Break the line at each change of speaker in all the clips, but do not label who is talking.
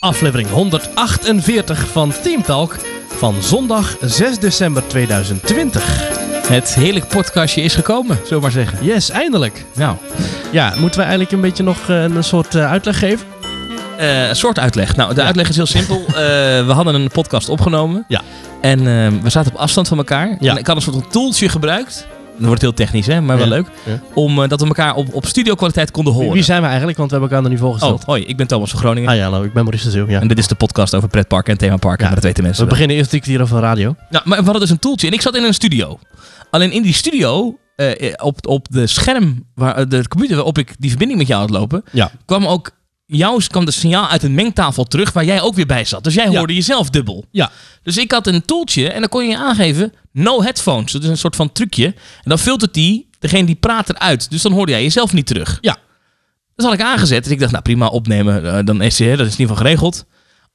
aflevering 148 van Team Talk van zondag 6 december 2020.
Het heerlijk podcastje is gekomen, zullen we maar zeggen.
Yes, eindelijk.
Nou,
Ja, moeten wij eigenlijk een beetje nog eh, een soort eh, uitleg geven?
eh, een soort uitleg. Nou, de uitleg is heel simpel. Eh, we hadden een podcast opgenomen.
Ja.
En eh, we zaten op afstand van elkaar.
Ja.
En ik had een soort van toeltje gebruikt. Dat wordt heel technisch, hè, maar wel
Ja.
leuk.
Ja.
Om eh, dat we elkaar op, op studiokwaliteit konden
Wie,
horen.
wie zijn we eigenlijk? Want we hebben elkaar nog niet voorgesteld.
oh, hoi, ik ben Thomas van Groningen.
Ah ja, hallo, ik ben Maurice de Zeeuw. Ja.
En dit is de podcast over pretparken en themaparken.
Ja.
Maar dat weten mensen
We
wel.
beginnen eerst natuurlijk hier over radio.
Nou, maar we hadden dus een toeltje en ik zat in een studio. Alleen in die studio, eh, op, op de scherm, waar, eh, de computer waarop ik die verbinding met jou had lopen,
Ja.
kwam ook jouw kwam de signaal uit een mengtafel terug waar jij ook weer bij zat. Dus jij
Ja.
hoorde jezelf dubbel.
Ja.
Dus ik had een toeltje en dan kon je aangeven, no headphones. Dat is een soort van trucje. En dan filtert die, degene die praat eruit. Dus dan hoorde jij jezelf niet terug.
Ja.
Dat had ik aangezet. Dus ik dacht, nou prima, opnemen. eh, dan is, eh, dat is in ieder geval geregeld.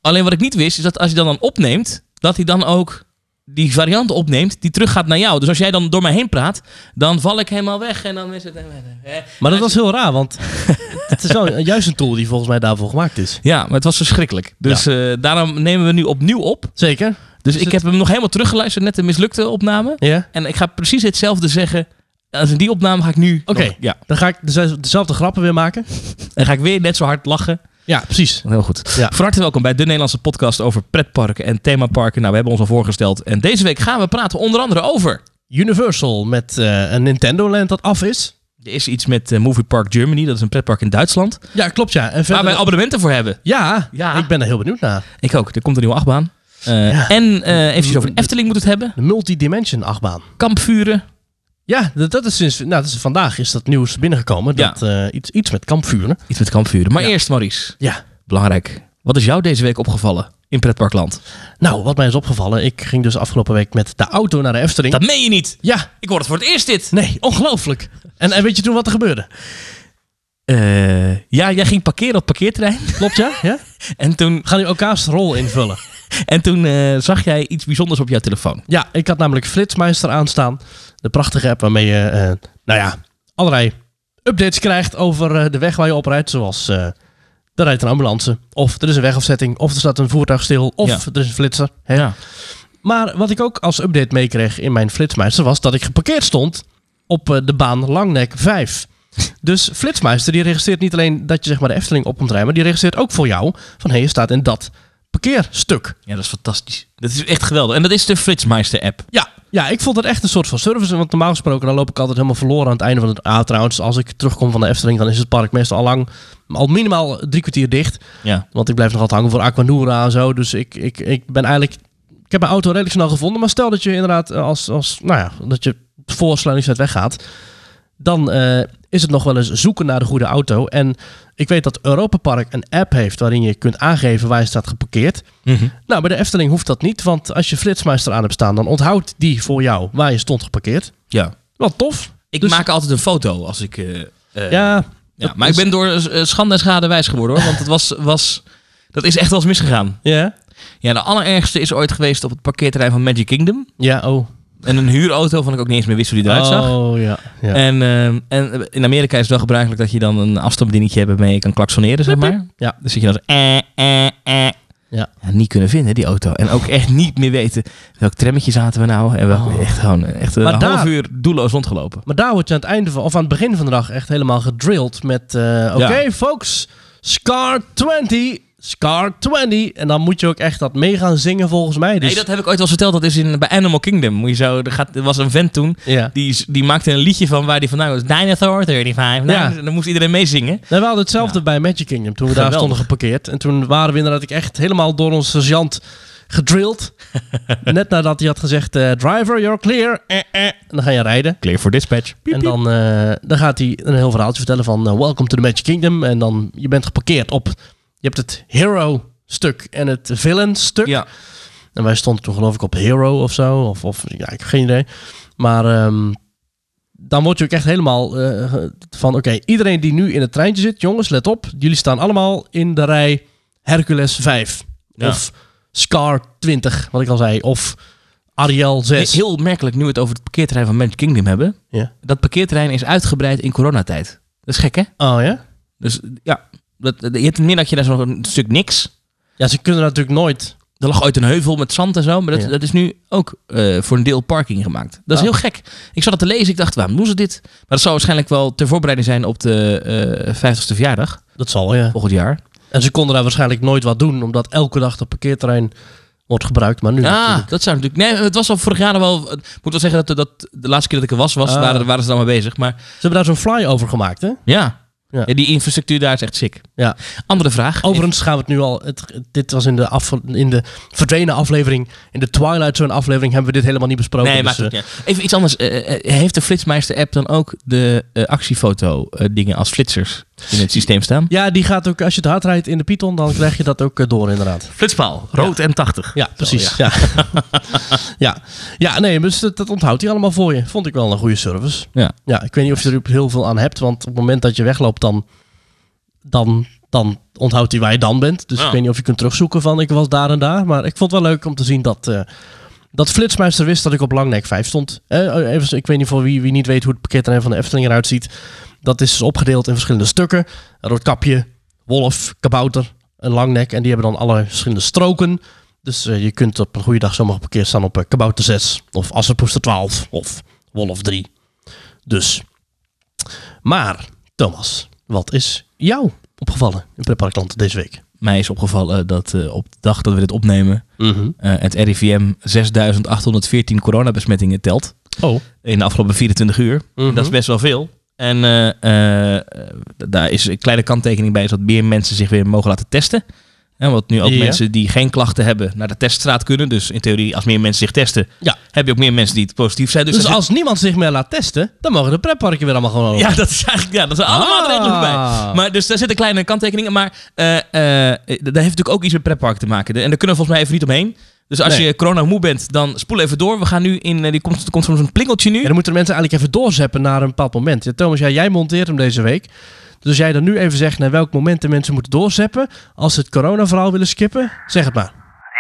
Alleen wat ik niet wist, is dat als je dan dan opneemt, dat hij dan ook die variant opneemt die teruggaat naar jou. Dus als jij dan door mij heen praat, dan val ik helemaal weg en dan is het... eh, eh.
Maar dat was heel raar, want het is wel juist een tool die volgens mij daarvoor gemaakt is.
Ja, maar het was verschrikkelijk. Dus eh, daarom nemen we nu opnieuw op.
Zeker?
Dus
Is
ik
het-
heb hem nog helemaal teruggeluisterd, net de mislukte opname.
Ja.
En ik ga precies hetzelfde zeggen. Als in die opname ga ik nu...
Oké.
nog- Ja.
Dan ga ik deze- dezelfde grappen weer maken.
En ga ik weer net zo hard lachen.
Ja, precies.
Heel goed.
Ja.
Van harte welkom bij de Nederlandse podcast over pretparken en themaparken. Nou, we hebben ons al voorgesteld. En deze week gaan we praten onder andere over...
Universal met eh, een Nintendo Land dat af is.
Er is iets met eh, Movie Park Germany, dat is een pretpark in Duitsland.
Ja, klopt ja. En
Waar
verder...
wij abonnementen voor hebben.
Ja,
Ja.
ik ben er heel benieuwd naar.
Ik ook, er komt een nieuwe achtbaan. Eh,
Ja.
En eh eventjes over de Efteling moet het hebben.
De multidimension achtbaan.
Kampvuren.
Ja, dat, dat is sinds... Nou, dat is, vandaag is dat nieuws binnengekomen.
Ja.
Dat eh, iets, iets met kampvuren.
Iets met kampvuren. Maar
Ja.
eerst Maurice,
Ja.
belangrijk. Wat is jou deze week opgevallen in pretparkland?
Nou, wat mij is opgevallen. Ik ging dus afgelopen week met de auto naar de Efteling.
Dat meen je niet.
Ja.
Ik hoor het voor het eerst dit.
Nee, ongelooflijk. En, en weet je toen wat er gebeurde?
Eh, ja, jij ging parkeren op het parkeerterrein.
Klopt ja? ja?
En toen,
We gaan nu elkaars rol invullen.
en toen eh, zag jij iets bijzonders op jouw telefoon.
Ja, ik had namelijk Flitsmeister aanstaan. De prachtige app waarmee je, eh, nou ja, allerlei updates krijgt over eh, de weg waar je op rijdt. Zoals, eh er rijdt een ambulance, of er is een wegafzetting, of er staat een voertuig stil, of
Ja.
er is een flitser. hè.
Ja.
Maar wat ik ook als update meekreeg in mijn Flitsmeister was dat ik geparkeerd stond op eh, de baan Langnek 5. Dus Flitsmeister die registreert niet alleen dat je zeg maar, de Efteling op komt rijden, maar die registreert ook voor jou van hé, je staat in dat parkeerstuk.
ja, dat is fantastisch. Dat is echt geweldig. En dat is de Flitsmeister-app.
Ja, ja, ik vond het echt een soort van service. Want normaal gesproken dan loop ik altijd helemaal verloren aan het einde van het... Ah, trouwens, als ik terugkom van de Efteling... dan is het park meestal al lang, al minimaal drie kwartier dicht.
Ja.
Want ik blijf nog altijd hangen voor Aquanura en zo. Dus ik, ik, ik ben eigenlijk... Ik heb mijn auto redelijk snel gevonden. Maar stel dat je inderdaad eh, als... als nou ja, dat je voor sluitingstijd weggaat... dan eh, is het nog wel eens zoeken naar de goede auto. En ik weet dat Europa Park een app heeft... waarin je kunt aangeven waar je staat geparkeerd...
Mhm.
Nou, bij de Efteling hoeft dat niet, want als je Flitsmeister aan hebt staan, dan onthoudt die voor jou waar je stond geparkeerd.
Ja.
Wat tof.
Ik
Dus-
maak altijd een foto als ik... eh, eh,
Ja,
Ja, maar ik ben door eh, schande en schade wijs geworden hoor. Want het was, was, dat is echt wel eens misgegaan.
ja.
Ja, de allerergste is ooit geweest op het parkeerterrein van Magic Kingdom.
Ja, oh.
En een huurauto van ik ook niet eens meer wist hoe die eruit zag.
Oh, ja. ja.
En, eh, en in Amerika is het wel gebruikelijk dat je dan een afstandsbedieningetje hebt waarmee je kan klaksoneren, zeg maar.
Ja.
Dus dat je dan zo... Eh, eh, eh.
Ja.
niet kunnen vinden, die auto. En ook echt niet meer weten welk trammetje zaten we nou. En welk,
Oh.
echt gewoon eh, echt een
Maar
half
daar-
uur doelloos rondgelopen.
Maar daar word je aan het einde van, of aan het begin van de dag echt helemaal gedrilled met, eh, oké folks, Scar 20, Scar 20. En dan moet je ook echt dat mee gaan zingen volgens mij. Dus,
Nee, dat heb ik ooit wel eens verteld. Dat is in, bij Animal Kingdom. Moet je zo, er, gaat, er was een vent toen
ja.
Die, is- die maakte een liedje van waar die vandaan was. Dinosaur 35. Nou,
Ja.
Dan moest iedereen meezingen.
Nou, we hadden hetzelfde bij Magic Kingdom toen we daar
Geweldig.
stonden geparkeerd. En toen waren we inderdaad ik echt helemaal door ons sergeant gedrilled. Net nadat hij had gezegd, eh, driver, you're clear. Eh, eh. En dan ga je rijden.
Clear for dispatch.
En dan, eh, dan gaat hij een heel verhaaltje vertellen van eh, welcome to the Magic Kingdom. En dan, je bent geparkeerd op, je hebt het hero stuk en het villain stuk.
Ja.
En wij stonden toen geloof ik op Hero of zo. Of, of ja, ik heb geen idee. Maar ehm, dan word je ook echt helemaal eh, van... Oké, iedereen die nu in het treintje zit, jongens, let op. Jullie staan allemaal in de rij Hercules 5.
Ja.
Of Scar 20, wat ik al zei. Of Ariel
He-
6.
Heel merkelijk nu we het over het parkeerterrein van Magic Kingdom hebben.
Ja.
Dat parkeerterrein is uitgebreid in coronatijd. Dat is gek hè?
Oh ja?
Dus ja, dat, je hebt een middagje daar zo'n stuk niks.
Ja, ze kunnen natuurlijk nooit.
Er lag ooit een heuvel met zand en zo, maar dat,
Ja.
dat is nu ook eh, voor een deel parking gemaakt. Dat is
Oh.
heel gek. Ik zat het te lezen, ik dacht, waarom doen ze dit? Maar dat zou waarschijnlijk wel ter voorbereiding zijn op de eh 50ste verjaardag
Dat zal, ja.
volgend jaar.
En ze konden daar waarschijnlijk nooit wat doen, omdat elke dag dat parkeerterrein wordt gebruikt. Maar nu
Ja,
natuurlijk.
Ah, dat zou natuurlijk... Nee, het was al vorig jaar wel... Ik moet wel zeggen dat, dat de laatste keer dat ik er was, was
Ah.
waren, waren ze dan mee bezig. Maar
Ze hebben daar zo'n flyover gemaakt, hè?
ja.
Ja.
Ja, die infrastructuur daar is echt sick.
Ja.
Andere vraag.
Overigens gaan we het nu al. Het, dit was in de, af, in de verdwenen aflevering. In de Twilight Zone aflevering hebben we dit helemaal niet besproken.
Nee,
dus,
maakt
eh,
het niet uit. Even iets anders. Eh, eh, heeft de Flitsmeister-app dan ook de eh, actiefoto-dingen als flitsers in het systeem staan?
ja, die gaat ook. Als je het hard rijdt in de Python, dan krijg je dat ook eh, door, inderdaad.
Flitspaal, rood en 80.
Ja, precies. Ja. Ja. ja. nee, dus dat, dat onthoudt hij allemaal voor je. Vond ik wel een goede service.
Ja.
ja. Ik weet niet of je er heel veel aan hebt, want op het moment dat je wegloopt, dan, dan, dan onthoudt hij waar je dan bent. Dus
Ja.
ik weet niet of je kunt terugzoeken van ik was daar en daar. Maar ik vond het wel leuk om te zien dat, eh, dat Flitsmeister wist dat ik op Langnek 5 stond. Eh, even, ik weet niet voor wie, wie niet weet hoe het parkeerterrein van de Efteling eruit ziet. Dat is dus opgedeeld in verschillende stukken. Een rood kapje, wolf, kabouter, een langnek. En die hebben dan alle verschillende stroken. Dus eh, je kunt op een goede dag zomaar geparkeerd staan op eh, Kabouter 6 of Asserpoester 12 of Wolf 3. Dus. Maar, Thomas, wat is jou opgevallen in Pretparkland deze week?
Mij is opgevallen dat eh, op de dag dat we dit opnemen, eh, het RIVM 6814 coronabesmettingen telt
Oh.
in de afgelopen 24 uur.
Mhm.
Dat is best wel veel. En eh, eh, d- daar is een kleine kanttekening bij, is dat meer mensen zich weer mogen laten testen. En wat nu ook
Ja.
mensen die geen klachten hebben naar de teststraat kunnen. Dus in theorie, als meer mensen zich testen,
Ja.
heb je ook meer mensen die het positief zijn. Dus,
Dus,
daar
als niemand zich meer laat testen, dan mogen de pretparken weer allemaal gewoon
zit-
open.
ja, dat is eigenlijk ja, dat zijn alle
Ah.
maatregelen voorbij. Maar, dus daar zitten kleine kanttekeningen. Maar eh, eh, d- dat heeft natuurlijk ook iets met pretpark te maken. De- En daar kunnen we volgens mij even niet omheen. Dus als
Nee.
je corona moe bent, dan spoel even door. We gaan nu in, eh, die komt, er komt soms een plingeltje nu.
Ja, dan moeten de mensen eigenlijk even doorzeppen naar een bepaald moment. Ja, Thomas, ja, jij monteert hem deze week. Dus als jij dan nu even zegt naar welk moment de mensen moeten doorzeppen. Als ze het corona-verhaal willen skippen, zeg het maar.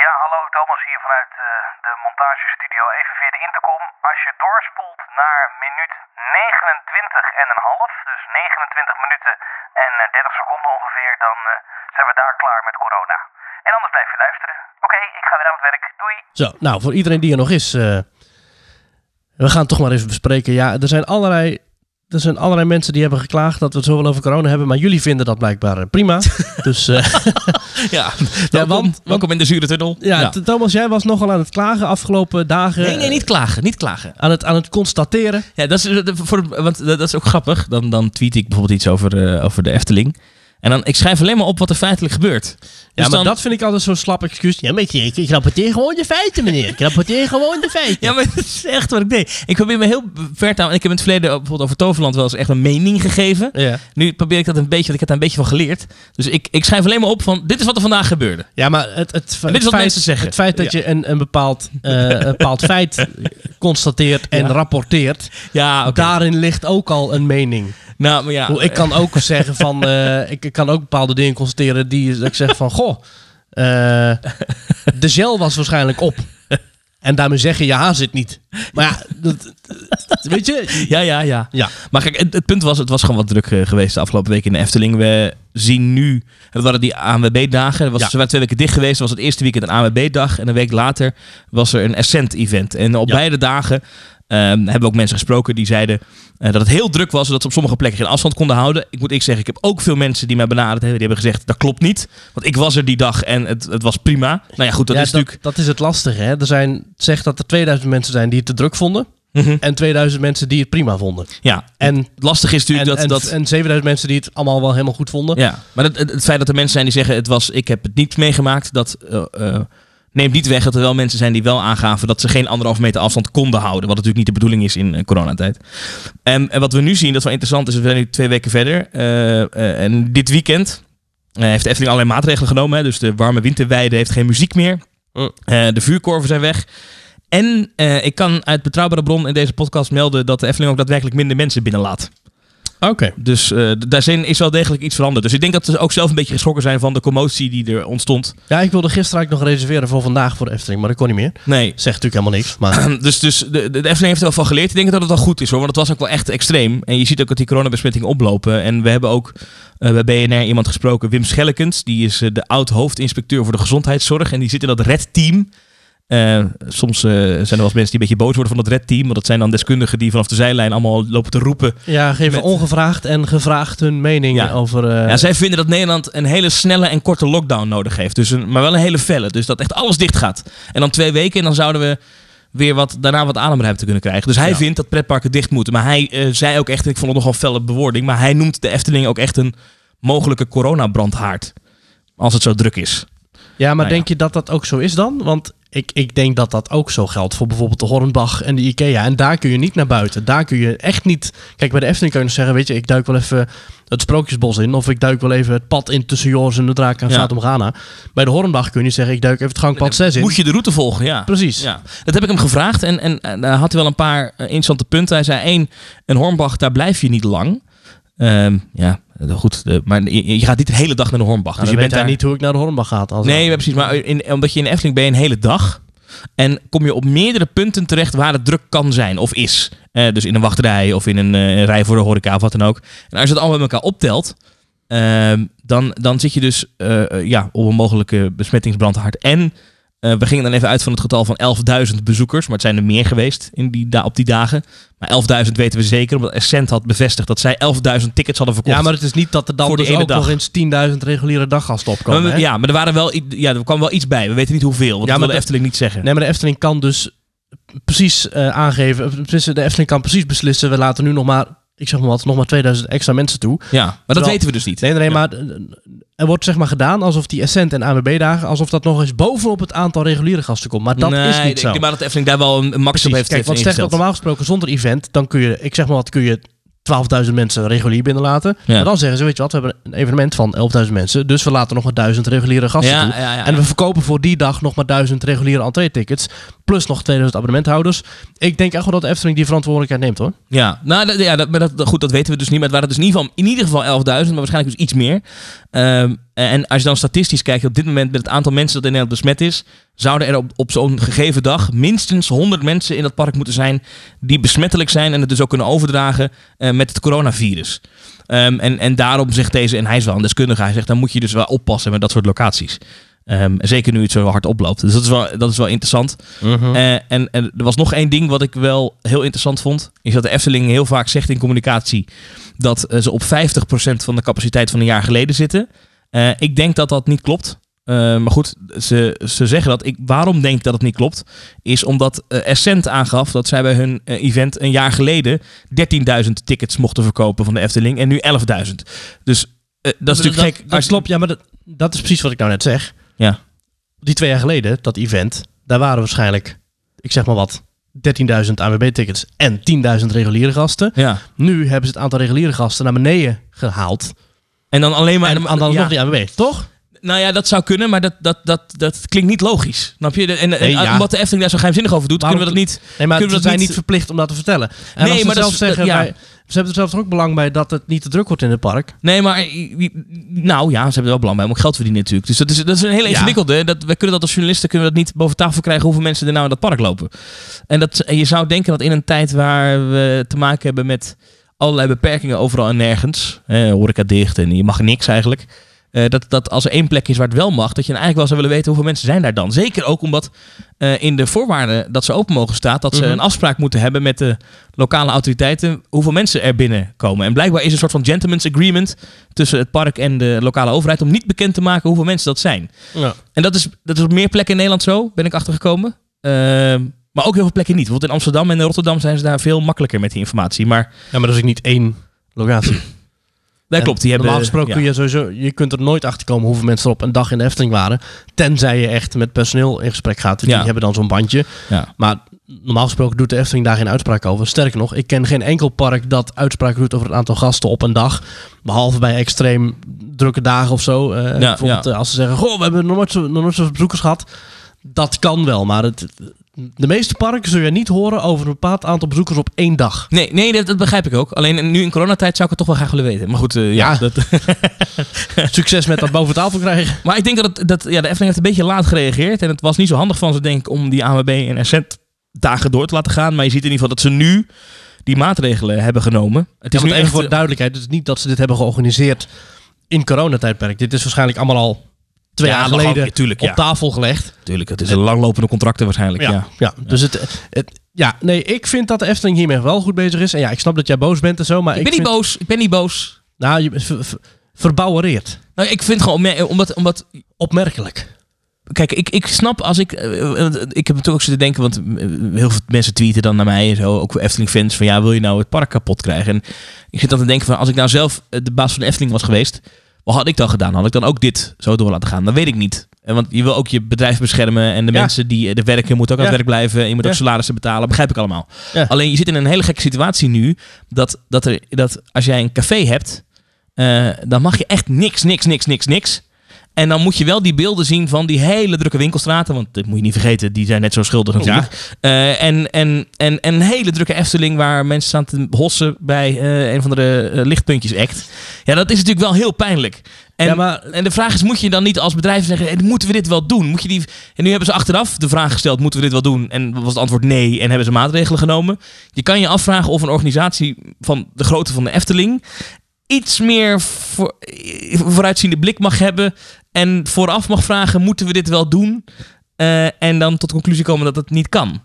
Ja, hallo, Thomas hier vanuit eh, de montagestudio even via de intercom. Als je doorspoelt naar minuut 29 en een half, dus 29 minuten en eh, 30 seconden ongeveer, dan eh, zijn we daar klaar met corona. En anders blijf je luisteren. Oké, ik ga weer aan het werk. Doei!
Zo, nou, voor iedereen die er nog is. eh, we gaan het toch maar even bespreken. Ja, er zijn, allerlei, er zijn allerlei mensen die hebben geklaagd dat we het zoveel over corona hebben. Maar jullie vinden dat blijkbaar eh, prima. dus eh,
Ja,
Ja,
welkom,
want-
welkom in de zure tunnel.
ja, T- Thomas, jij was nogal aan het klagen afgelopen dagen. eh,
Nee, nee, niet klagen, niet klagen.
Aan het, aan het constateren.
Ja, dat is, dat- voor, want dat dat is ook grappig. Dan, dan tweet ik bijvoorbeeld iets over, eh, over de Efteling. En dan, ik schrijf alleen maar op wat er feitelijk gebeurt. Dus
ja, maar
dan,
dat vind ik altijd zo'n slap excuus. Ja, maar ik, ik, ik rapporteer gewoon de feiten, meneer. Ik rapporteer gewoon de feiten.
Ja, maar dat is echt wat ik deed. Ik probeer me heel ver te houden. En ik heb in het verleden eh, bijvoorbeeld over Toverland wel eens echt een mening gegeven.
Ja.
Nu probeer ik dat een beetje, want ik heb daar een beetje van geleerd. Dus ik, ik schrijf alleen maar op van, dit is wat er vandaag gebeurde.
Ja, maar het, het, fe-
dit is wat
feit,
mensen zeggen.
het feit dat
Ja.
je een, een, bepaald, eh, een bepaald feit constateert en
Ja.
rapporteert,
Ja, oké.
daarin ligt ook al een mening.
Nou, maar ja.
Hoe Ik kan ook zeggen van, eh, ik ik kan ook bepaalde dingen constateren die dat ik zeg van, goh, eh, de gel was waarschijnlijk op. En daarmee zeggen, je haar zit niet. Maar ja, dat, weet je?
Ja, ja, ja.
Ja.
Maar kijk, het, het punt was, het was gewoon wat druk eh, geweest de afgelopen week in de Efteling. We zien nu, dat waren die ANWB-dagen. Er was-
Ja.
Ze waren twee weken dicht geweest. Er was het eerste weekend een ANWB-dag. En een week later was er een Ascent-event. En op
Ja.
beide dagen ehm, hebben we ook mensen gesproken die zeiden eh, dat het heel druk was. En dat ze op sommige plekken geen afstand konden houden. Ik moet ik zeggen, ik heb ook veel mensen die mij benaderd hebben. Die hebben gezegd, dat klopt niet. Want ik was er die dag en het, het was prima. Nou ja, goed, dat
ja,
is natuurlijk...
dat is het lastige. Hè? Er zijn, zegt dat er 2000 mensen zijn die het te druk vonden.
Mhm.
En 2000 mensen die het prima vonden.
Ja,
En
het lastige is natuurlijk
en,
dat...
en,
dat
en 7000 mensen die het allemaal wel helemaal goed vonden.
Ja, maar het, het, het feit dat er mensen zijn die zeggen: het was, ik heb het niet meegemaakt, dat eh, eh, neemt niet weg dat er wel mensen zijn die wel aangaven dat ze geen anderhalf meter afstand konden houden. Wat natuurlijk niet de bedoeling is in eh, coronatijd. Ehm, En, en wat we nu zien, dat is wel interessant, is we zijn nu twee weken verder. eh, eh, en dit weekend eh, heeft de Efteling allerlei maatregelen genomen. Hè, dus de warme winterweide heeft geen muziek meer.
Mm.
Eh, de vuurkorven zijn weg. En eh, ik kan uit betrouwbare bron in deze podcast melden dat de Efteling ook daadwerkelijk minder mensen binnenlaat.
Oké.
Dus eh, d- daarin is wel degelijk iets veranderd. Dus ik denk dat ze ook zelf een beetje geschrokken zijn van de commotie die er ontstond.
Ja, ik wilde gisteren eigenlijk nog reserveren voor vandaag voor de Efteling, maar dat kon niet meer.
Nee.
Zegt natuurlijk helemaal niks, maar...
Dus, dus de, de de Efteling heeft er wel van geleerd. Ik denk dat het wel goed is hoor, want het was ook wel echt extreem. En je ziet ook dat die coronabesmettingen oplopen. En we hebben ook eh, bij BNR iemand gesproken, Wim Schellekens. Die is eh, de oud-hoofdinspecteur voor de gezondheidszorg. En die zit in dat red-team. Eh, soms eh, zijn er wel eens mensen die een beetje boos worden van dat red-team. Want dat zijn dan deskundigen die vanaf de zijlijn allemaal lopen te roepen.
Ja, geven
Met-
ongevraagd en gevraagd hun mening
Ja.
over... eh,
Ja, zij vinden dat Nederland een hele snelle en korte lockdown nodig heeft. Dus een, maar wel een hele felle. Dus dat echt alles dicht gaat. En dan twee weken en dan zouden we weer wat, daarna wat ademruimte kunnen krijgen. Dus hij
Ja.
vindt dat pretparken dicht moeten. Maar hij eh, zei ook echt, en ik vond het nogal felle bewoording... maar hij noemt de Efteling ook echt een mogelijke coronabrandhaard. Als het zo druk is.
ja, maar
nou ja.
denk je dat dat ook zo is dan? Want ik, ik denk dat dat ook zo geldt voor bijvoorbeeld de Hornbach en de Ikea. En daar kun je niet naar buiten. Daar kun je echt niet... Kijk, bij de Efteling kun je nog zeggen, weet je, ik duik wel even het Sprookjesbos in. Of ik duik wel even het pad in tussen Joris en de Draak en
Ja.
gaat om Ghana. Bij de Hornbach kun je niet zeggen, ik duik even het gangpad 6 in.
Moet je de route volgen, ja.
Precies. Dus
Ja, dat heb ik hem gevraagd en, en eh, daar had hij wel een paar eh, interessante punten. Hij zei één, een Hornbach, daar blijf je niet lang. Ehm, ja, eh, goed, eh, maar je, je gaat niet de hele dag naar de Hornbach.
Nou,
dus
dan
je
weet
bent daar
hij niet hoe ik naar de Hornbach ga. als-
Nee, ja, precies, maar in, omdat je in de Efteling bent een hele dag en kom je op meerdere punten terecht waar het druk kan zijn of is. Eh, dus in een wachtrij of in een eh, rij voor de horeca of wat dan ook. En als je dat allemaal met elkaar optelt, ehm, dan, dan zit je dus eh, eh, ja, op een mogelijke besmettingsbrandhaard. En eh, we gingen dan even uit van het getal van 11.000 bezoekers. Maar het zijn er meer geweest in die da- op die dagen. Maar 11.000 weten we zeker, omdat Essent had bevestigd dat zij 11.000 tickets hadden verkocht.
Ja, maar het is niet dat er dan
Voor de
dus
ene
ook
dag.
nog eens 10.000 reguliere daggasten opkomen.
Maar
hè?
we- ja, maar er, waren wel, i- ja, er kwam wel iets bij. We weten niet hoeveel, want
Ja,
dat
maar
wil de
dat-
Efteling niet zeggen.
Nee, maar de Efteling kan dus precies eh, aangeven. of tenminste, De Efteling kan precies beslissen. We laten nu nog maar, ik zeg maar wat, nog maar 2000 extra mensen toe.
Ja, maar dat
Terwijl-
weten we dus niet.
Nee, nee,
Ja.
maar eh, er wordt zeg maar gedaan alsof die Essent en AWB-dagen, alsof dat nog eens bovenop het aantal reguliere gasten komt. Maar dat
Nee,
is
ik
niet zo.
denk maar dat de Efteling daar wel een een max op
Precies.
heeft,
Kijk,
heeft
want slecht dat
ingesteld.
normaal gesproken zonder event, dan kun je, ik zeg maar wat, kun je 12.000 mensen regulier binnenlaten.
Ja.
Maar dan zeggen ze, weet je wat, we hebben een evenement van 11.000 mensen, dus we laten nog maar 1000 reguliere gasten toe.
Ja, ja, ja.
En we verkopen voor die dag nog maar 1000 reguliere entree-tickets. Plus nog 2000 abonnementhouders. Ik denk echt wel dat de Efteling die verantwoordelijkheid neemt hoor.
ja, nou, dat, ja dat, maar dat, goed, dat weten we dus niet. Maar het waren dus in ieder geval, in ieder geval 11.000, maar waarschijnlijk dus iets meer. Ehm, en als je dan statistisch kijkt, op dit moment met het aantal mensen dat in Nederland besmet is, zouden er op, op zo'n gegeven dag minstens 100 mensen in dat park moeten zijn die besmettelijk zijn en het dus ook kunnen overdragen eh, met het coronavirus. Ehm, en, en daarom zegt deze, en hij is wel een deskundige, hij zegt dan moet je dus wel oppassen met dat soort locaties. Ehm, zeker nu het zo hard oploopt. Dus dat is wel, dat is wel interessant.
Hm.
Eh, en, en er was nog één ding wat ik wel heel interessant vond. Is dat de Efteling heel vaak zegt in communicatie dat eh, ze op 50% van de capaciteit van een jaar geleden zitten. Eh, ik denk dat dat niet klopt. Eh, maar goed, ze, ze zeggen dat. Ik, waarom denk ik dat het niet klopt? Is omdat eh Essent aangaf dat zij bij hun eh, event een jaar geleden 13.000 tickets mochten verkopen van de Efteling. En nu 11.000. Dus eh, dat is natuurlijk gek.
Dat
Als-
klopt, ja, maar dat, dat is precies wat ik nou net zeg.
Ja.
Die twee jaar geleden, dat event, daar waren waarschijnlijk, ik zeg maar wat, 13.000 AWB-tickets en 10.000 reguliere gasten.
Ja.
Nu hebben ze het aantal reguliere gasten naar beneden gehaald.
En dan alleen maar...
Maar en aan dan
ja.
nog die AWB, toch?
Nou ja, dat zou kunnen, maar dat, dat, dat, dat klinkt niet logisch. Snap je? En, en
Nee, ja.
omdat de Efteling daar zo geheimzinnig over doet,
Waarom-
kunnen we dat niet.
Nee, maar
Kunnen
ze
we dat
zijn
niet-
niet verplicht om dat te vertellen. En
Nee,
als ze
maar dat
zelf
is-
zeggen,
ja.
wij- ze hebben er zelf ook belang bij dat het niet te druk wordt in het park.
Nee, maar eh, nou ja, ze hebben er wel belang bij om ook geld te verdienen natuurlijk. Dus dat is, dat is een hele
Ja.
ingewikkelde. hè. Dat, we kunnen dat als journalisten kunnen we dat niet boven tafel krijgen hoeveel mensen er nou in dat park lopen. En, dat, en je zou denken dat in een tijd waar we te maken hebben met allerlei beperkingen overal en nergens. Hè, horeca dicht en je mag niks eigenlijk. eh, dat, dat als er één plek is waar het wel mag, dat je dan eigenlijk wel zou willen weten hoeveel mensen zijn daar dan. Zeker ook omdat eh, in de voorwaarden dat ze open mogen staat, dat ze
Mhm.
een afspraak moeten hebben met de lokale autoriteiten hoeveel mensen er binnenkomen. En blijkbaar is een soort van gentleman's agreement tussen het park en de lokale overheid om niet bekend te maken hoeveel mensen dat zijn.
Ja.
En dat is, dat is op meer plekken in Nederland zo, ben ik achtergekomen. Ehm, maar ook heel veel plekken niet. Bijvoorbeeld in Amsterdam en in Rotterdam zijn ze daar veel makkelijker met die informatie. Maar
Ja, maar dat is ook niet één locatie.
dat
En
klopt, die hebben...
Normaal gesproken
ja.
kun je sowieso... Je kunt er nooit achter komen hoeveel mensen er op een dag in de Efteling waren. Tenzij je echt met personeel in gesprek gaat. Die
Ja.
hebben dan zo'n bandje.
Ja.
Maar normaal gesproken doet de Efteling daar geen uitspraak over. Sterker nog, ik ken geen enkel park dat uitspraak doet over het aantal gasten op een dag. Behalve bij extreem drukke dagen of zo. Eh, bijvoorbeeld
ja.
eh, als ze zeggen, goh, we hebben nog nooit, zo, nog nooit zoveel bezoekers gehad. Dat kan wel, maar het, de meeste parken zul je niet horen over een bepaald aantal bezoekers op één dag.
Nee, nee dat, dat begrijp ik ook. Alleen nu in coronatijd zou ik het toch wel graag willen weten. Maar goed, eh, ja.
Ja.
Dat,
Succes met dat boven tafel krijgen.
maar ik denk dat, het- dat ja, de Efteling heeft een beetje laat gereageerd. En het was niet zo handig van ze, denk ik, om die AMB en Essent dagen door te laten gaan. Maar je ziet in ieder geval dat ze nu die maatregelen hebben genomen. Het
Het is ja,
is nu
want
echt eh,
even voor de duidelijktijdelijk, het is niet dat ze dit hebben georganiseerd in coronatijdperk. Dit is waarschijnlijk allemaal al twee
Ja,
jaar
nog
geleden
al- tuurlijk,
op
ja.
tafel gelegd.
Tuurlijk, het is een langlopende contracten waarschijnlijk. Ja.
Ja, ja. dus het, het... Ja, nee, ik vind dat de Efteling hiermee wel goed bezig is. En ja, ik snap dat jij boos bent en zo, maar
Ik
ik,
ben niet
vind-
boos. Ik ben niet boos.
Nou, je ver, ver- verbouwereerd.
Nou, ik vind gewoon, opmer- omdat, omdat
Opmerkelijk.
Kijk, ik, ik snap als ik. eh, eh, want ik heb natuurlijk ook zitten denken, want eh, heel veel mensen tweeten dan naar mij en zo. Ook Efteling-fans van ja, wil je nou het park kapot krijgen? En ik zit dan te denken van als ik nou zelf eh, de baas van de Efteling was geweest, wat had ik dan gedaan? Had ik dan ook dit zo door laten gaan? Dat weet ik niet. Eh, Want je wil ook je bedrijf beschermen en de
Ja.
mensen die eh, er werken moeten ook aan
Ja.
het werk blijven. En je moet ook
Ja.
salarissen betalen, begrijp ik allemaal.
Ja.
Alleen je zit in een hele gekke situatie nu dat, dat, er, dat als jij een café hebt, eh, dan mag je echt niks, niks, niks, niks, niks. En dan moet je wel die beelden zien van die hele drukke winkelstraten. Want dat moet je niet vergeten, die zijn net zo schuldig natuurlijk. Eh, en, en, en, en een hele drukke Efteling waar mensen staan te hossen bij eh, een van de lichtpuntjes act. Ja, dat is natuurlijk wel heel pijnlijk. En,
Ja, maar-
en de vraag is, moet je dan niet als bedrijf zeggen, "Hey, moeten we dit wel doen? Moet je die... En nu hebben ze achteraf de vraag gesteld, moeten we dit wel doen? En was het antwoord nee, en hebben ze maatregelen genomen. Je kan je afvragen of een organisatie van de grootte van de Efteling iets meer voor, eh, vooruitziende blik mag hebben en vooraf mag vragen, moeten we dit wel doen? Eh, en dan tot de conclusie komen dat het niet kan.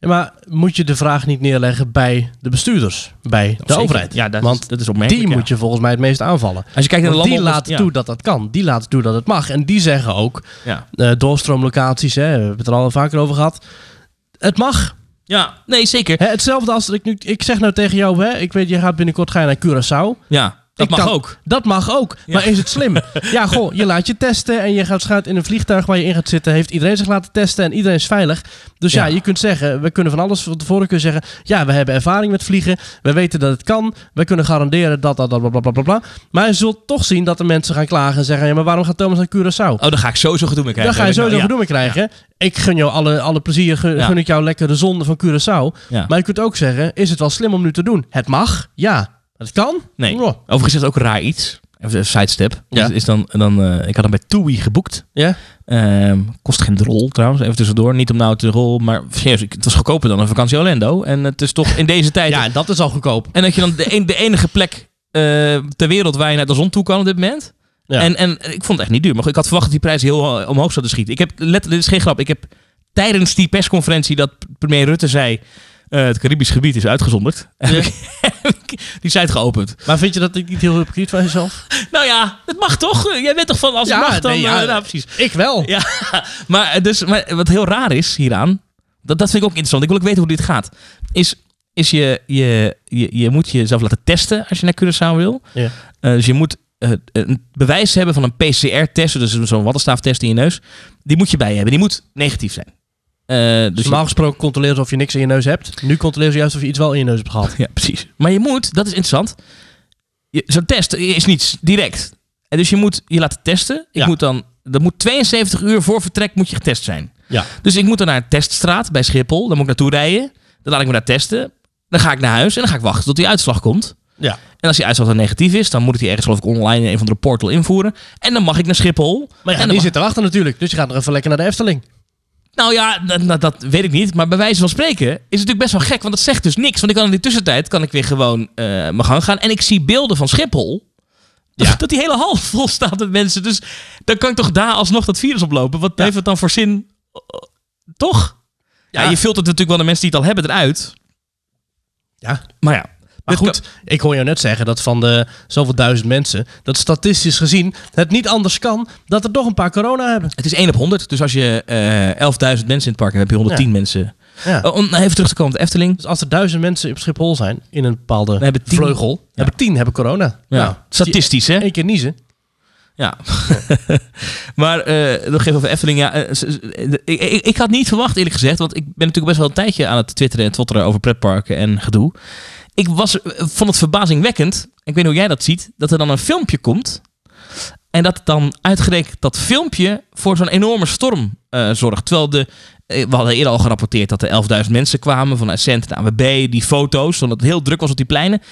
Ja, maar moet je de vraag niet neerleggen bij de bestuurders, bij de
Zeker.
overheid?
Ja, dat,
Want
dat is
die
opmerkelijk. ja.
moet je volgens mij het meest aanvallen.
Als je kijkt naar de
Want die
landen...
laten toe dat dat kan. Die laten toe dat het mag. En die zeggen ook,
Ja.
eh, doorstroomlocaties, hè, we hebben het er al vaker over gehad. Het mag.
ja, nee, zeker.
Hè, hetzelfde als dat ik nu, ik zeg nou tegen jou, hè, ik weet, je gaat binnenkort ga je naar Curaçao.
Ja, dat
Ik
mag
kan-
ook.
Dat mag ook.
Ja.
Maar is het slim? ja, goh, je laat je testen en je gaat schuilt in een vliegtuig waar je in gaat zitten. Heeft iedereen zich laten testen en iedereen is veilig. Dus ja,
Ja.
je kunt zeggen, we kunnen van alles van tevoren kunnen zeggen. Ja, we hebben ervaring met vliegen. We weten dat het kan. We kunnen garanderen dat, dat, dat, bla, bla, bla, bla, bla. Maar je zult toch zien dat er mensen gaan klagen en zeggen, ja, maar waarom gaat Thomas naar Curaçao?
Oh, dan ga ik sowieso gedoe mee
Daar
krijgen.
ga je
Heb ik
sowieso
nou-
gedoe mee krijgen. Ik gun jou alle, alle plezier, gun,
Ja.
gun ik jou lekker de zonde van Curaçao.
Ja. Ja.
Maar je kunt ook zeggen, is het wel slim om nu te doen? Het mag, ja. Het kan?
Nee.
Oh,
Overigens is het ook raar iets. Even een sidestep.
Ja.
Is, is dan, dan, eh, ik had hem bij TUI geboekt.
Ja.
Ehm, kost geen rol trouwens, even tussendoor. Niet om nou te rol, maar serieus, ik- het was goedkoper dan een vakantie Orlando. En het is toch in deze tijd...
Ja, en dat is al goedkoop.
En dat je dan de, een- de enige plek eh, ter wereld waar je naar de zon toe kan op dit moment.
Ja.
En, en ik vond het echt niet duur. Maar goed, ik had verwacht dat die prijs heel eh, omhoog zouden schieten. Ik heb letterlijk, dit is geen grap. Ik heb tijdens die persconferentie dat premier Rutte zei. eh, het Caribisch gebied is uitgezonderd. heb ik die site geopend.
Maar vind je dat ik niet heel hypocriet van jezelf?
Nou ja, dat mag toch? Jij bent toch van als het mag dan? eh, nou, precies.
Ik wel.
Ja, maar, eh, dus, maar wat heel raar is hieraan, dat, dat vind ik ook interessant. Ik wil ook weten hoe dit gaat. Is, is je, je, je, je moet jezelf laten testen als je naar Curaçao wil.
Ja.
Eh, dus je moet eh, een bewijs hebben van een PCR-test, dus zo'n wattenstaaftest in je neus. Die moet je bij je hebben. Die moet negatief zijn. Eh,
Dus
je-
normaal gesproken controleren ze of je niks in je neus hebt. Nu controleren ze juist of je iets wel in je neus hebt gehad.
Ja, precies. Maar je moet, dat is interessant. je- Zo'n test is niets direct. En dus je moet je laten testen. Ik
Ja.
moet dan, dat moet 72 uur voor vertrek moet je getest zijn.
Ja.
Dus ik moet dan naar een teststraat bij Schiphol. Dan moet ik naartoe rijden. Dan laat ik me daar testen. Dan ga ik naar huis en dan ga ik wachten tot die uitslag komt.
Ja.
En als die uitslag dan negatief is, dan moet ik die ergens geloof ik online in een van de portal invoeren. En dan mag ik naar Schiphol.
Maar ja,
en
die
dan mag-
zit erachter natuurlijk. Dus je gaat nog even lekker naar de Efteling.
Nou ja, dat, dat- dat weet ik niet. Maar bij wijze van spreken is het natuurlijk best wel gek. Want dat zegt dus niks. Want ik kan in de tussentijd kan ik weer gewoon eh, mijn gang gaan. En ik zie beelden van Schiphol.
Ja.
Dat die hele hal vol staat met mensen. Dus dan kan ik toch daar alsnog dat virus oplopen. Wat heeft het dan voor zin? eh, Toch? Ja,
Ja.
je filtert natuurlijk wel de mensen die het al hebben eruit.
Ja.
Maar ja.
Maar
dit
goed, ik hoor jou net zeggen dat van de zoveel duizend mensen, dat statistisch gezien het niet anders kan dat er toch een paar corona hebben.
Het is 1 op 100. Dus als je eh 11.000 mensen in het park hebt, heb je 110 mensen.
Ja.
Oh, om even terug te komen op de Efteling.
Dus als er duizend mensen op Schiphol zijn in een bepaalde
We hebben tien.
vleugel, hebben tien hebben corona.
Ja.
Nou,
Statistisch, hè?
Eén keer niezen.
Ja. maar eh nog even over Efteling. Ja, eh, s- s- eh, ik, ik, ik had niet verwacht, eerlijk gezegd. Want ik ben natuurlijk best wel een tijdje aan het twitteren en twitteren over pretparken en gedoe. Ik was, eh, vond het verbazingwekkend. Ik weet niet hoe jij dat ziet. Dat er dan een filmpje komt. En dat dan uitgerekend dat filmpje voor zo'n enorme storm eh, zorgt. Terwijl de, eh, we hadden eerder al gerapporteerd dat er 11.000 mensen kwamen van Ascent naar AWB. Die foto's, omdat het heel druk was op die pleinen.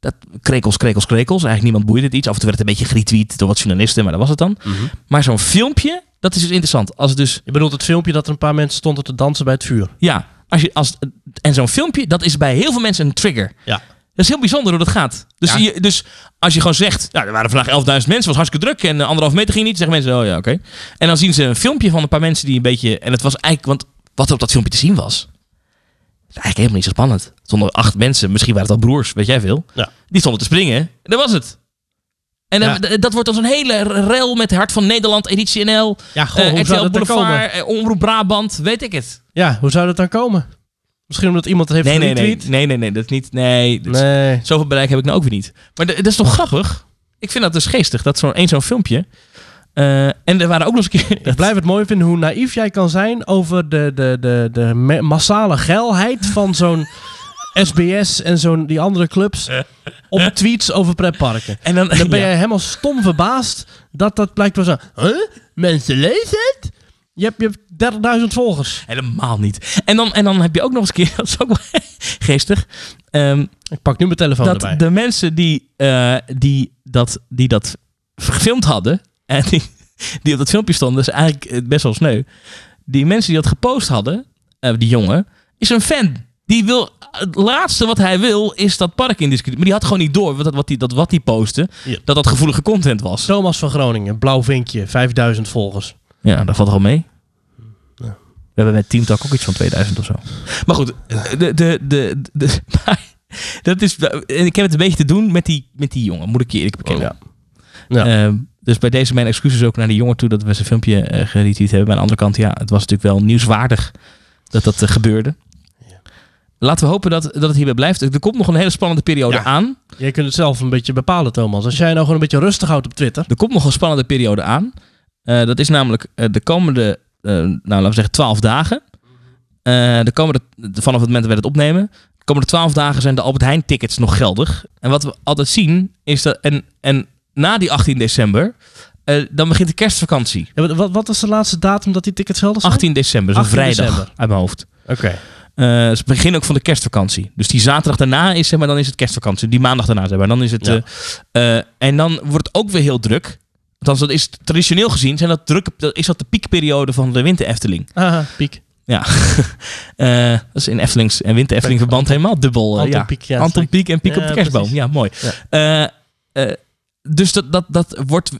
Dat, krekels, krekels, krekels. Eigenlijk niemand boeide het iets. Af en toe werd het een beetje geretweet door wat journalisten, maar dat was het dan. Maar zo'n filmpje, dat is dus interessant. Als het dus,
Je bedoelt het filmpje dat er een paar mensen stonden te dansen bij het vuur.
ja, als je, als, en zo'n filmpje, dat is bij heel veel mensen een trigger.
Ja.
Dat is heel bijzonder hoe dat gaat. Dus,
Ja.
je, dus als je gewoon zegt, nou, er waren vandaag 11.000 mensen, was hartstikke druk en eh, anderhalf meter ging niet, zeggen mensen, oh ja, oké. En dan zien ze een filmpje van een paar mensen die een beetje, en het was eigenlijk, want wat er op dat filmpje te zien was, is eigenlijk helemaal niet zo spannend. Zonder acht mensen, misschien waren het al broers, weet jij veel,
Ja.
die stonden te springen. En dat was het. En dan-
Ja.
d- dat wordt als een hele rel met Hart van Nederland, Editie NL,
Ja, goh,
eh,
hoe zou
RTL
dat dan komen?
Boulevard, eh, Omroep Brabant, weet ik het.
Ja, hoe zou dat dan komen? Misschien omdat iemand het heeft
Nee, nee, nee,
geretweet?
nee, nee, nee, dat is niet, nee, dat is-
Nee. Oh.
Zoveel bereik heb ik nou ook weer niet. Maar d- dat is toch grappig? Ik vind dat dus geestig. Dat zo'n één zo'n filmpje. Eh, en er waren ook nog eens een keer...
Ik blijf het mooi vinden hoe naïef jij kan zijn over de, de, de, de me- massale geilheid van zo'n SBS en zo'n die andere clubs op tweets over pretparken.
En dan,
Dan ben
ja.
jij helemaal stom verbaasd dat dat blijkbaar zo... Huh? Mensen lezen het? Je hebt, je hebt 30.000 volgers.
Helemaal niet. En dan, en dan heb je ook nog eens een keer... Dat is ook wel geestig. ehm,
Ik pak nu mijn telefoon
dat
erbij.
de mensen die, eh, die, dat, die dat gefilmd hadden... En die, die op dat filmpje stonden... is eigenlijk eh, best wel sneu. Die mensen die dat gepost hadden... eh, die jongen... Is een fan. Die wil... Het laatste wat hij wil is dat park in discussie. Maar die had gewoon niet door wat, dat- wat, die, dat, wat die postte.
Ja.
dat dat gevoelige content was.
Thomas van Groningen, blauw vinkje, 5.000 volgers.
Ja, dat valt wel mee. We hebben met Team Talk ook iets van 2000 of zo. Maar goed, de, de, de, de, maar dat is, en ik heb het een beetje te doen met die, met die jongen, moet ik je eerlijk bekennen.
Ja. Oh. Ja.
Ehm, dus bij deze mijn excuses ook naar die jongen toe dat we zijn filmpje eh geretweet hebben. Maar aan de andere kant, ja, het was natuurlijk wel nieuwswaardig dat dat eh, gebeurde. Laten we hopen dat, dat het hierbij blijft. Er komt nog een hele spannende periode
Ja.
aan.
Jij kunt het zelf een beetje bepalen, Thomas. Als jij nou gewoon een beetje rustig houdt op Twitter...
Er komt nog een spannende periode aan. Eh, dat is namelijk eh, de komende, eh, nou laten we zeggen, 12 dagen. Eh, de komende, vanaf het moment dat wij het opnemen. De komende 12 dagen zijn de Albert Heijn tickets nog geldig. En wat we altijd zien is dat. En, en na die 18 december, eh, dan begint de kerstvakantie.
Ja, wat- wat, wat was de laatste datum dat die tickets geldig zijn?
18 december, dat is een
18
vrijdag
december.
uit mijn hoofd.
Oké.
Eh, het is het begin ook van de kerstvakantie. Dus die zaterdag daarna is, zeg maar, dan is het kerstvakantie. Die maandag daarna, zeg maar. Dan is het,
Ja.
eh, eh, en dan wordt het ook weer heel druk. Althans, dat is traditioneel gezien, zijn dat drukke, dat is dat de piekperiode van de winter Efteling.
Haha, piek.
Ja, Eh, dat is in Eftelings en winter Efteling verband helemaal dubbel. eh,
Anton
ja.
Pieck, ja,
Anton
zeker.
Pieck en Piek
Ja,
op de kerstboom.
precies.
Ja, mooi. Eh, eh, dus dat, dat, dat wordt...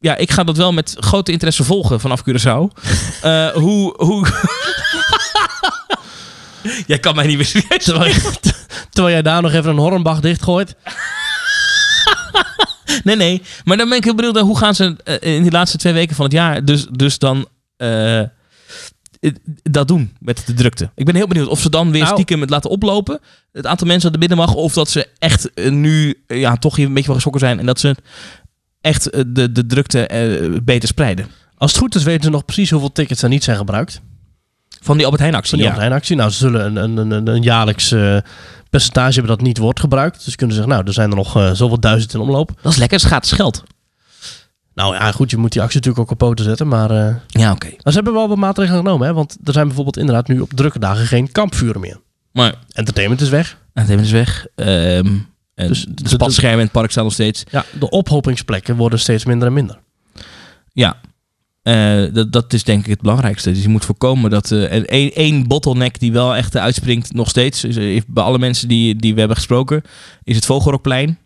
Ja, ik ga dat wel met grote interesse volgen vanaf Curaçao. Eh, hoe... hoe... Jij kan mij niet meer serieus
Terwijl, terwijl jij daar nog even een hornbach dichtgooit.
Nee, nee. Maar dan ben ik heel benieuwd naar hoe gaan ze eh, in die laatste twee weken van het jaar dus, dus dan eh, eh, dat doen met de drukte. Ik ben heel benieuwd of ze dan weer
Nou.
stiekem het laten oplopen. Het aantal mensen dat er binnen mag. Of dat ze echt eh, nu eh, ja, toch hier een beetje van geschrokken zijn. En dat ze echt eh, de, de drukte eh, beter spreiden.
Als het goed is weten ze nog precies hoeveel tickets er niet zijn gebruikt.
Van die Albert Heijn actie.
Van die
ja.
online actie. Nou, ze zullen een, een, een, een jaarlijks eh, percentage hebben dat niet wordt gebruikt. Dus kunnen ze zeggen, nou, er zijn er nog eh, zoveel duizend in omloop.
Dat is lekker. Het gaat geld.
Nou ja, goed, je moet die actie natuurlijk ook op poten zetten. Maar eh, nou,
Ja, oké.
ze hebben wel wat maatregelen genomen. Hè? Want er zijn bijvoorbeeld inderdaad nu op drukke dagen geen kampvuren meer.
Maar
Entertainment is weg.
Nou, het hebben is weg. Ehm en
Dus
dus
de-
de spatschermen in het park staan nog steeds.
Ja, de ophopingsplekken worden steeds minder en minder.
Ja, Eh, dat, dat is denk ik het belangrijkste. Dus je moet voorkomen dat eh, en één één bottleneck die wel echt eh, uitspringt, nog steeds. is, eh, bij alle mensen die, die we hebben gesproken, is het Vogelrokplein.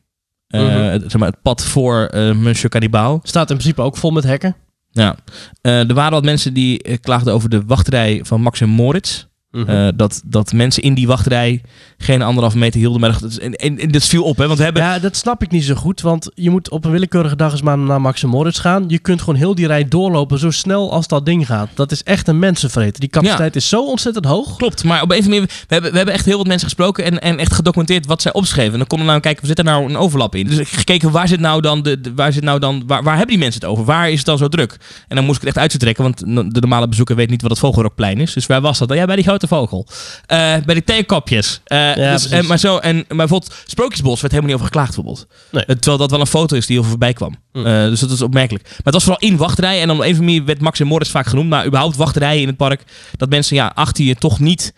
Eh,
Mhm.
het, zeg maar, het pad voor eh Monsieur Cannibaal.
Staat in principe ook vol met hekken.
Ja. Eh, er waren wat mensen die eh, klaagden over de wachtrij van Max en Moritz.
Mhm.
Eh, dat, dat mensen in die wachtrij geen anderhalve meter hielden. Maar dat, en, en, en dat viel op, hè? Want we hebben.
Ja, dat snap ik niet zo goed. Want je moet op een willekeurige dag eens maar naar Max en Moritz gaan. Je kunt gewoon heel die rij doorlopen zo snel als dat ding gaat. Dat is echt een mensenvreter. Die capaciteit is zo ontzettend hoog.
Klopt, maar op een of andere manier, we hebben, we hebben echt heel wat mensen gesproken en, en echt gedocumenteerd wat zij opschreven. En dan konden we nou kijken, zit er nou een overlap in? Dus gekeken, waar zit nou dan, de, de- waar, zit nou dan waar, waar hebben die mensen het over? Waar is het dan zo druk? En dan moest ik het echt uittrekken, want no- de normale bezoeker weet niet wat het Vogelrokplein is. Dus waar was dat? Ja, bij die grote zwarte vogel. Eh, bij die theekopjes. Eh,
Ja,
dus,
precies.
en, maar zo, en maar bijvoorbeeld Sprookjesbos werd helemaal niet over geklaagd bijvoorbeeld.
Nee.
Eh, terwijl dat wel een foto is die heel veel voorbij kwam.
Hm.
Eh, dus dat is opmerkelijk. Maar het was vooral in wachtrijen. En dan op een of andere manier werd Max en Morris vaak genoemd. Maar überhaupt wachtrijen in het park. Dat mensen ja, achter je toch niet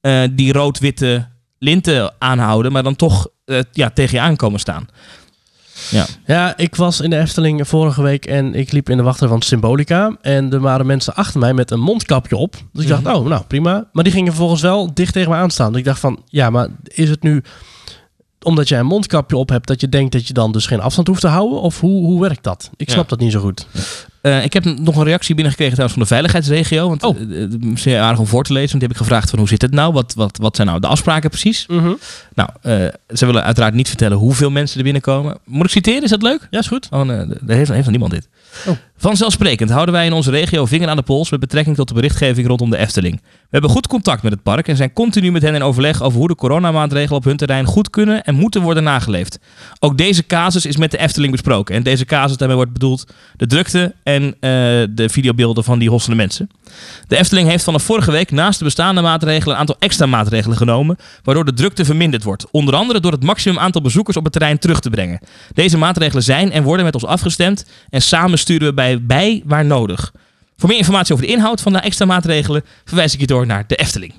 eh, die rood-witte linten aanhouden. Maar dan toch eh, ja, tegen je aankomen staan. Ja.
Ja, ik was in de Efteling vorige week en ik liep in de wachter van Symbolica. En er waren mensen achter mij met een mondkapje op. Dus ik dacht,
Mhm.
oh, nou prima. Maar die gingen vervolgens wel dicht tegen me aanstaan. Dus ik dacht van, ja, maar is het nu omdat jij een mondkapje op hebt... dat je denkt dat je dan dus geen afstand hoeft te houden? Of hoe, hoe werkt dat? Ik
Ja.
snap dat niet zo goed.
Eh, ik heb nog een reactie binnengekregen trouwens van de veiligheidsregio. Want
Oh.
oh. zeer aardig om voor te lezen. Want die heb ik gevraagd van hoe zit het nou? Wat, wat, wat zijn nou de afspraken precies? Nou, eh, ze willen uiteraard niet vertellen hoeveel mensen er binnenkomen. Moet ik citeren? Is dat leuk?
Ja, is goed.
Oh, nee, daar heeft, heeft nog niemand dit.
Oh.
Vanzelfsprekend houden wij in onze regio vinger aan de pols met betrekking tot de berichtgeving rondom de Efteling. We hebben goed contact met het park en zijn continu met hen in overleg over hoe de coronamaatregelen op hun terrein goed kunnen en moeten worden nageleefd. Ook deze casus is met de Efteling besproken. En deze casus, daarmee wordt bedoeld de drukte en eh, de videobeelden van die hossende mensen. De Efteling heeft vanaf vorige week naast de bestaande maatregelen een aantal extra maatregelen genomen, waardoor de drukte verminderd wordt. Onder andere door het maximum aantal bezoekers op het terrein terug te brengen. Deze maatregelen zijn en worden met ons afgestemd en samen sturen we bij, bij waar nodig. Voor meer informatie over de inhoud van de extra maatregelen verwijs ik je door naar de Efteling.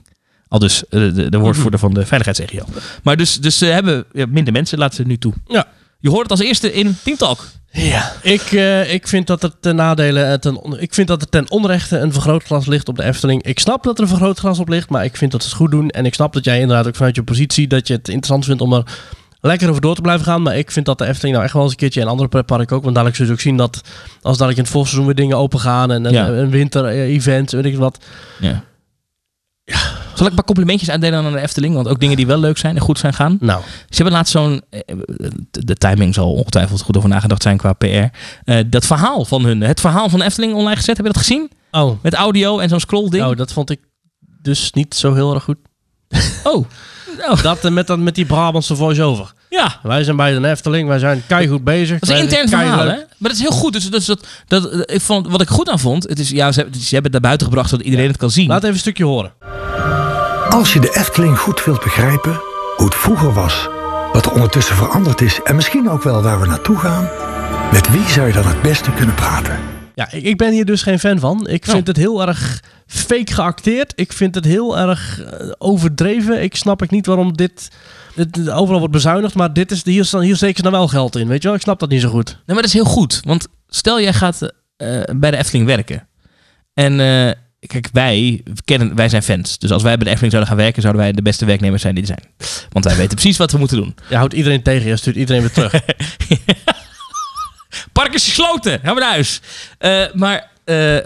Al dus eh, de, de woordvoerder van de veiligheidsregio. Maar dus, dus ze hebben ja, minder mensen, laten ze nu toe.
Ja.
Je hoort het als eerste in Team Talk.
Ja, ik, eh, ik vind dat er ten nadele, eh, ten on- ik vind dat er ten onrechte een vergrootglas ligt op de Efteling. Ik snap dat er een vergrootglas op ligt, maar ik vind dat ze het goed doen. En ik snap dat jij inderdaad ook vanuit je positie dat je het interessant vindt om er lekker over door te blijven gaan. Maar ik vind dat de Efteling nou echt wel eens een keertje en andere pretparken ook. Want dadelijk zul je ook zien dat als dadelijk in het voorseizoen weer dingen open gaan en, en-
Ja.
en winter-events, weet ik wat.
Ja. Zal ik een paar complimentjes uitdelen aan de Efteling? Want ook dingen die wel leuk zijn en goed zijn gaan.
Nou,
Ze hebben laatst zo'n. eh, De timing zal ongetwijfeld goed over nagedacht zijn qua PR. Eh, dat verhaal van hun. Het verhaal van Efteling online gezet. Heb je dat gezien?
oh,
Met audio en zo'n scrollding.
nou, dat vond ik dus niet zo heel erg goed.
Oh. Oh.
Dat eh, met, dat met die Brabantse voice-over.
Ja.
Wij zijn bij de Efteling, wij zijn keihard bezig.
Dat is
Wij
een
zijn
intern verhaal,
keileuk.
hè? Maar dat is heel goed. Dus, dus dat, dat, eh, ik vond, wat ik goed aan vond, het is, ja, ze, hebben- ze hebben het naar buiten gebracht zodat iedereen het kan zien.
Laat even een stukje horen.
Als je de Efteling goed wilt begrijpen, hoe het vroeger was, wat er ondertussen veranderd is en misschien ook wel waar we naartoe gaan, met wie zou je dan het beste kunnen praten?
Ja, ik, ik ben hier dus geen fan van. Ik vind
Oh.
het heel erg fake geacteerd. Ik vind het heel erg eh, overdreven. Ik snap ik niet waarom dit, dit- dit overal wordt bezuinigd. Maar dit is, hier, staan- hier zeker dan wel geld in. Weet je wel? Ik snap dat niet zo goed.
Nee, maar dat is heel goed. Want stel jij gaat eh, bij de Efteling werken. En eh, kijk, wij, kennen, wij zijn fans. Dus als wij bij de Efteling zouden gaan werken, zouden wij de beste werknemers zijn die er zijn. Want wij weten precies wat we moeten doen.
Je houdt iedereen tegen. Je stuurt iedereen weer terug.
Park is gesloten. Gaan we naar huis. Eh, maar, eh,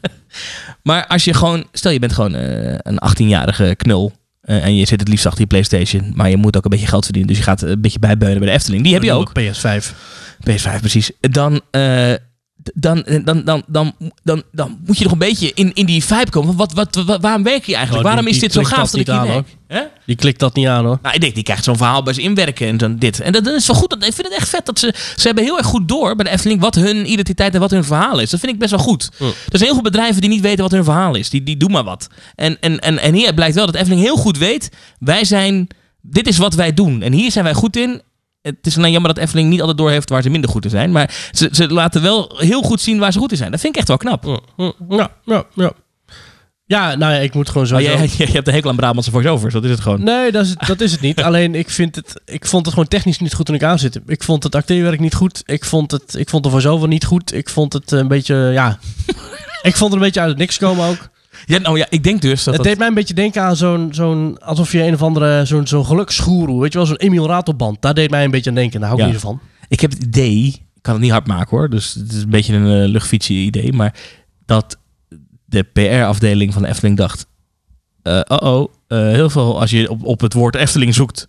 maar als je gewoon... Stel, je bent gewoon eh, een 18-jarige knul. eh, en je zit het liefst achter je Playstation. Maar je moet ook een beetje geld verdienen. Dus je gaat een beetje bijbeunen bij de Efteling. Die heb je ook.
PS5.
PS5, precies. Dan, eh, d- dan, eh, dan, dan, dan, dan, dan moet je nog een beetje in, in die vibe komen. Wat, wat, wa- waarom werk je eigenlijk?
Nou, die-
waarom is
die
dit zo
klikt
gaaf
dat
dat ik
niet
hier
aan,
werk? Hè?
Die klikt dat niet aan hoor.
Nou, ik denk, die krijgt zo'n verhaal bij ze inwerken en dan dit. En dat, dat is wel goed. Dat, ik vind het echt vet dat ze... Ze hebben heel erg goed door bij de Efteling wat hun identiteit en wat hun verhaal is. Dat vind ik best wel goed.
Hm.
Er zijn heel veel bedrijven die niet weten wat hun verhaal is. Die, die doen maar wat. En, en, en, en hier blijkt wel dat Efteling heel goed weet... Wij zijn... Dit is wat wij doen. En hier zijn wij goed in. Het is alleen jammer dat Efteling niet altijd doorheeft waar ze minder goed in zijn. Maar ze, ze laten wel heel goed zien waar ze goed in zijn. Dat vind ik echt wel knap.
Hm, hm, Ja, ja, ja. Ja, nou ja, ik moet gewoon
Maar
sowieso...
jij, jij hebt de hekel aan Brabantse voice-overs. Dat is het gewoon.
Nee, dat is het, dat is het niet. Alleen ik, vind het, ik vond het gewoon technisch niet goed toen ik aan zit. Ik vond het acteerwerk niet goed. Ik vond, het, ik vond de voice-over niet goed. Ik vond het eh, een beetje, ja... ik vond het een beetje uit het niks komen ook.
Ja, nou ja, ik denk dus dat...
het
dat-
deed mij een beetje denken aan zo'n... zo'n alsof je een of andere... Zo'n zo'n geluksgoeroe, weet je wel? Zo'n Emil Ratelband. Daar deed mij een beetje aan denken. Daar hou ik
Ja.
niet zo van.
Ik heb het idee, ik kan het niet hard maken hoor, dus het is een beetje een eh, luchtfietsje idee, maar dat de PR-afdeling van de Efteling dacht, eh oh heel veel als je op, op het woord Efteling zoekt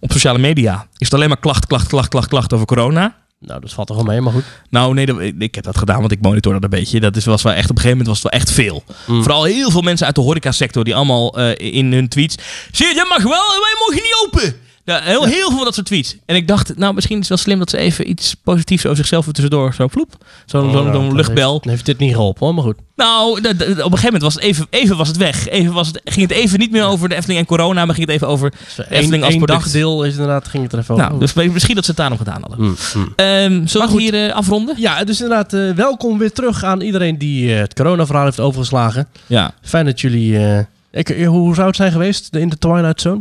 op sociale media, is het alleen maar klacht, klacht, klacht, klacht, klacht over corona.
Nou, dat valt er wel mee, maar goed.
Nou, nee, dat- ik heb dat gedaan, want ik monitor dat een beetje. Dat is, was wel echt, op een gegeven moment was het wel echt veel.
Mm.
Vooral heel veel mensen uit de horecasector die allemaal eh, in hun tweets... Zie je, dat mag wel, wij mogen niet open. Ja, heel, heel veel van dat soort tweets. En ik dacht, nou, misschien is het wel slim dat ze even iets positiefs over zichzelf er tussendoor zo ploep. Zo'n
Oh,
zo'n-
nou,
zo'n
dat
luchtbel.
Heeft, heeft dit niet geholpen hoor, maar goed.
Nou, d- d- op een gegeven moment was het even, even was het weg. Even was het, ging het even niet meer over de Efteling en corona, maar ging het even over de Efteling als
Eén
product.
dagdeel is inderdaad, ging het er even
Nou,
over.
dus misschien dat ze het daarom gedaan hadden.
Hmm, hmm.
Ehm zullen we
goed.
hier eh, afronden?
Ja, dus inderdaad, eh, welkom weer terug aan iedereen die eh, het coronaverhaal heeft overgeslagen.
Ja.
Fijn dat jullie... eh, ik, eh, hoe zou het zijn geweest in de Twilight Zone?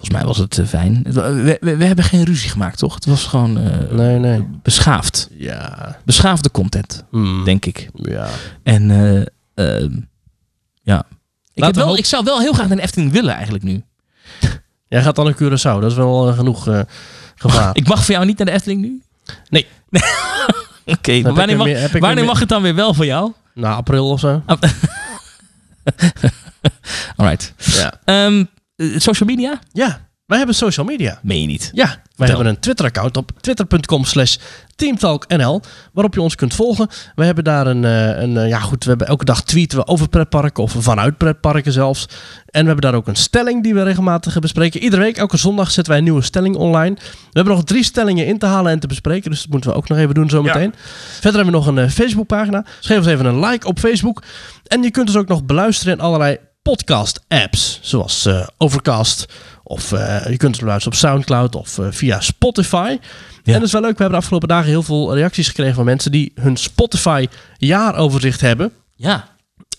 Volgens mij was het eh, fijn. Het wa- We, we, we hebben geen ruzie gemaakt, toch? Het was gewoon eh,
Nee, nee.
beschaafd.
Ja.
Beschaafde content,
Hmm.
denk ik.
Ja.
En eh, ehm, ja. Ik, heb
we
wel,
hopen-
ik zou wel heel graag naar de Efteling willen eigenlijk nu.
Jij gaat dan naar Curaçao, dat is wel eh, genoeg eh, gevaar.
Ik mag voor jou niet naar de Efteling nu?
Nee.
Oké, maar
ik
wanneer,
er
mag,
meer- heb ik er
wanneer
meer-
mag het dan weer wel voor jou?
Na april of zo.
Alright.
Ja.
Ehm, eh, social media?
ja, wij hebben social media.
Meen je niet.
Ja, wij hebben een Twitter-account op twitter.com slash teamtalknl, waarop je ons kunt volgen. We hebben daar een, eh, een eh, ja goed, we hebben elke dag tweeten we over pretparken of vanuit pretparken zelfs. En we hebben daar ook een stelling die we regelmatig bespreken. Iedere week, elke zondag, zetten wij een nieuwe stelling online. We hebben nog drie stellingen in te halen en te bespreken, dus dat moeten we ook nog even doen zometeen. Verder hebben we nog een eh, Facebookpagina. Dus geef ons even een like op Facebook. En je kunt dus ook nog beluisteren in allerlei podcast-apps, zoals eh, Overcast. Of eh, je kunt het luisteren op Soundcloud of eh, via Spotify. En dat is wel leuk. We hebben de afgelopen dagen heel veel reacties gekregen van mensen die hun Spotify jaaroverzicht hebben.
Ja.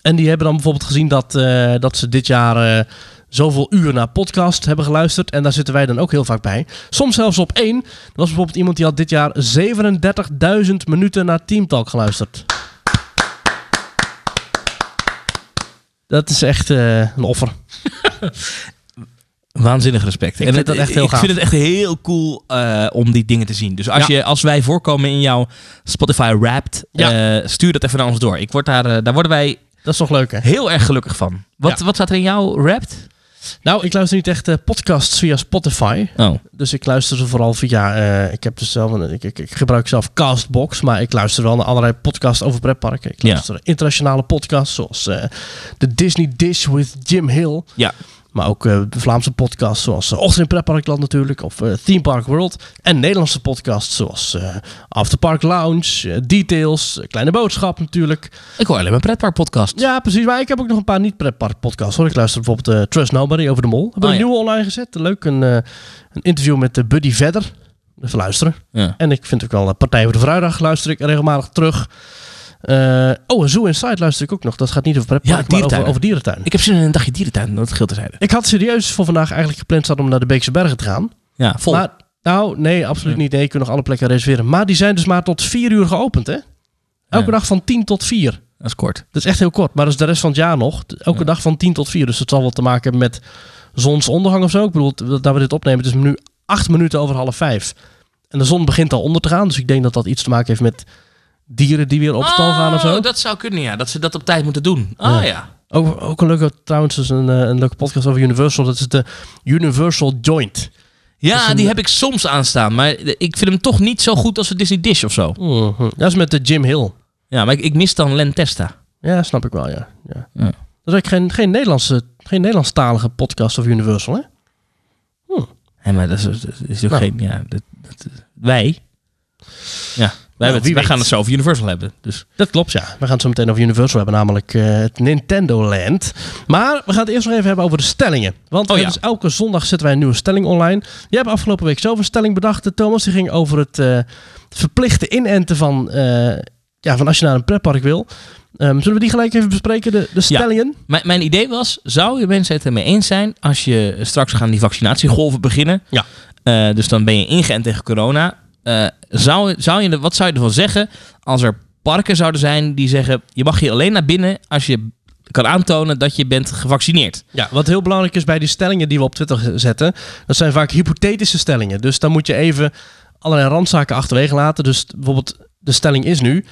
En die hebben dan bijvoorbeeld gezien dat, eh, dat ze dit jaar eh, zoveel uur naar podcast hebben geluisterd. En daar zitten wij dan ook heel vaak bij. Soms zelfs op één. Er was bijvoorbeeld iemand die had dit jaar 37.000 minuten naar Teamtalk geluisterd. Dat is echt eh, een offer.
Waanzinnig respect.
Ik vind
het-
dat echt heel
Ik
gaaf.
vind het echt heel cool eh, om die dingen te zien. Dus als,
Ja.
je, als wij voorkomen in jouw Spotify Wrapped,
Ja.
eh, stuur dat even naar ons door. Ik word daar, eh, daar worden wij
Dat is toch leuk, hè?
heel erg gelukkig van. Wat,
Ja.
wat staat er in jouw Wrapped?
Nou, ik luister niet echt eh, podcasts via Spotify.
Oh,
Dus ik luister ze vooral via. eh, ik, heb dus zelf een, ik, ik, ik gebruik zelf Castbox, maar ik luister wel naar allerlei podcasts over pretparken. Ik
Ja.
luister internationale podcasts zoals eh, de Disney Dish with Jim Hill.
ja.
Maar ook eh, Vlaamse podcasts zoals eh, Ochtend in Pretparkland natuurlijk. Of eh, Theme Park World. En Nederlandse podcasts zoals eh After Park Lounge, eh, Details, eh, Kleine Boodschap natuurlijk.
Ik hoor alleen maar pretpark podcast.
Ja, precies. Maar ik heb ook nog een paar niet-pretpark podcasts hoor. Ik luister bijvoorbeeld eh, Trust Nobody over de mol. Hebben we
Oh,
een
ja.
nieuwe online gezet. Leuk, een, eh, een interview met de Buddy Vedder. Even luisteren.
Ja.
En ik vind ook wel eh, Partij voor de Vrijdag luister ik regelmatig terug. Eh, oh, en Zoo Inside luister ik ook nog. Dat gaat niet over
Ja,
pretpark, maar over,
dierentuinen.
over dierentuin. Ik,
Ik heb zin in een dagje dierentuin, dat geldt terzijde.
had serieus voor vandaag eigenlijk gepland staan om naar de Beekse Bergen te gaan.
Ja, vol.
Maar, nou, nee, absoluut
Ja.
niet. Nee, je kunt nog alle plekken reserveren. Maar die zijn dus maar tot vier uur geopend, hè? Elke
Ja.
dag van 10 tot 4.
dat is kort.
Dat is echt heel kort, maar dat is de rest van het jaar nog. Elke
Ja.
dag van 10 tot 4. Dus dat zal wel te maken hebben met zonsondergang of zo. Ik bedoel, dat dat we dit opnemen, het is nu 8 minuten over half 5. En de zon begint al onder te gaan. Dus ik denk dat dat iets te maken heeft met dieren die weer op stal gaan of zo.
Oh, dat zou kunnen, ja. Dat ze dat op tijd moeten doen. Ah
Ja.
ja.
Ook, ook een leuke, trouwens, is een, eh, een leuke podcast over Universal. Dat is de Universal Joint. Dat
Ja,
is een-
die heb ik soms aanstaan. Maar ik vind hem toch niet zo goed als de Disney Dish of zo.
Mhm. Dat is met de Jim Hill.
Ja, maar ik, ik mis dan Lentesta.
Ja, snap ik wel, ja. ja.
Ja.
Dat is eigenlijk geen, geen, Nederlandse, geen Nederlandstalige podcast over Universal, hè?
Hé, maar dat is, dat is ook
Nou.
geen... Ja, dat, dat, wij. Ja, wij, hebben het-
Nou, wie
wij
weet.
gaan het zo over Universal hebben. Dus
Dat klopt, ja. We gaan het zo meteen over Universal hebben, namelijk eh, het Nintendo Land. Maar we gaan het eerst nog even hebben over de stellingen. Want
Oh,
er
ja.
is elke zondag zetten wij een nieuwe stelling online. Jij hebt afgelopen week zelf een stelling bedacht, eh, Thomas. Die ging over het eh, verplichte inenten van, eh, ja, van als je naar een pretpark wil. Ehm, zullen we die gelijk even bespreken, de, de stellingen?
mijn, mijn idee was, zou je mensen het ermee eens zijn als je straks gaan die vaccinatiegolven beginnen?
Ja.
Eh, dus dan ben je ingeënt tegen corona. Eh, zou, zou je, er- wat zou je ervan zeggen als er parken zouden zijn die zeggen... je mag hier alleen naar binnen als je kan aantonen dat je bent gevaccineerd.
Ja. Wat heel belangrijk is bij die stellingen die we op Twitter ge- zetten, dat zijn vaak hypothetische stellingen. Dus daar moet je even allerlei randzaken achterwege laten. Dus t- bijvoorbeeld, de stelling is nu: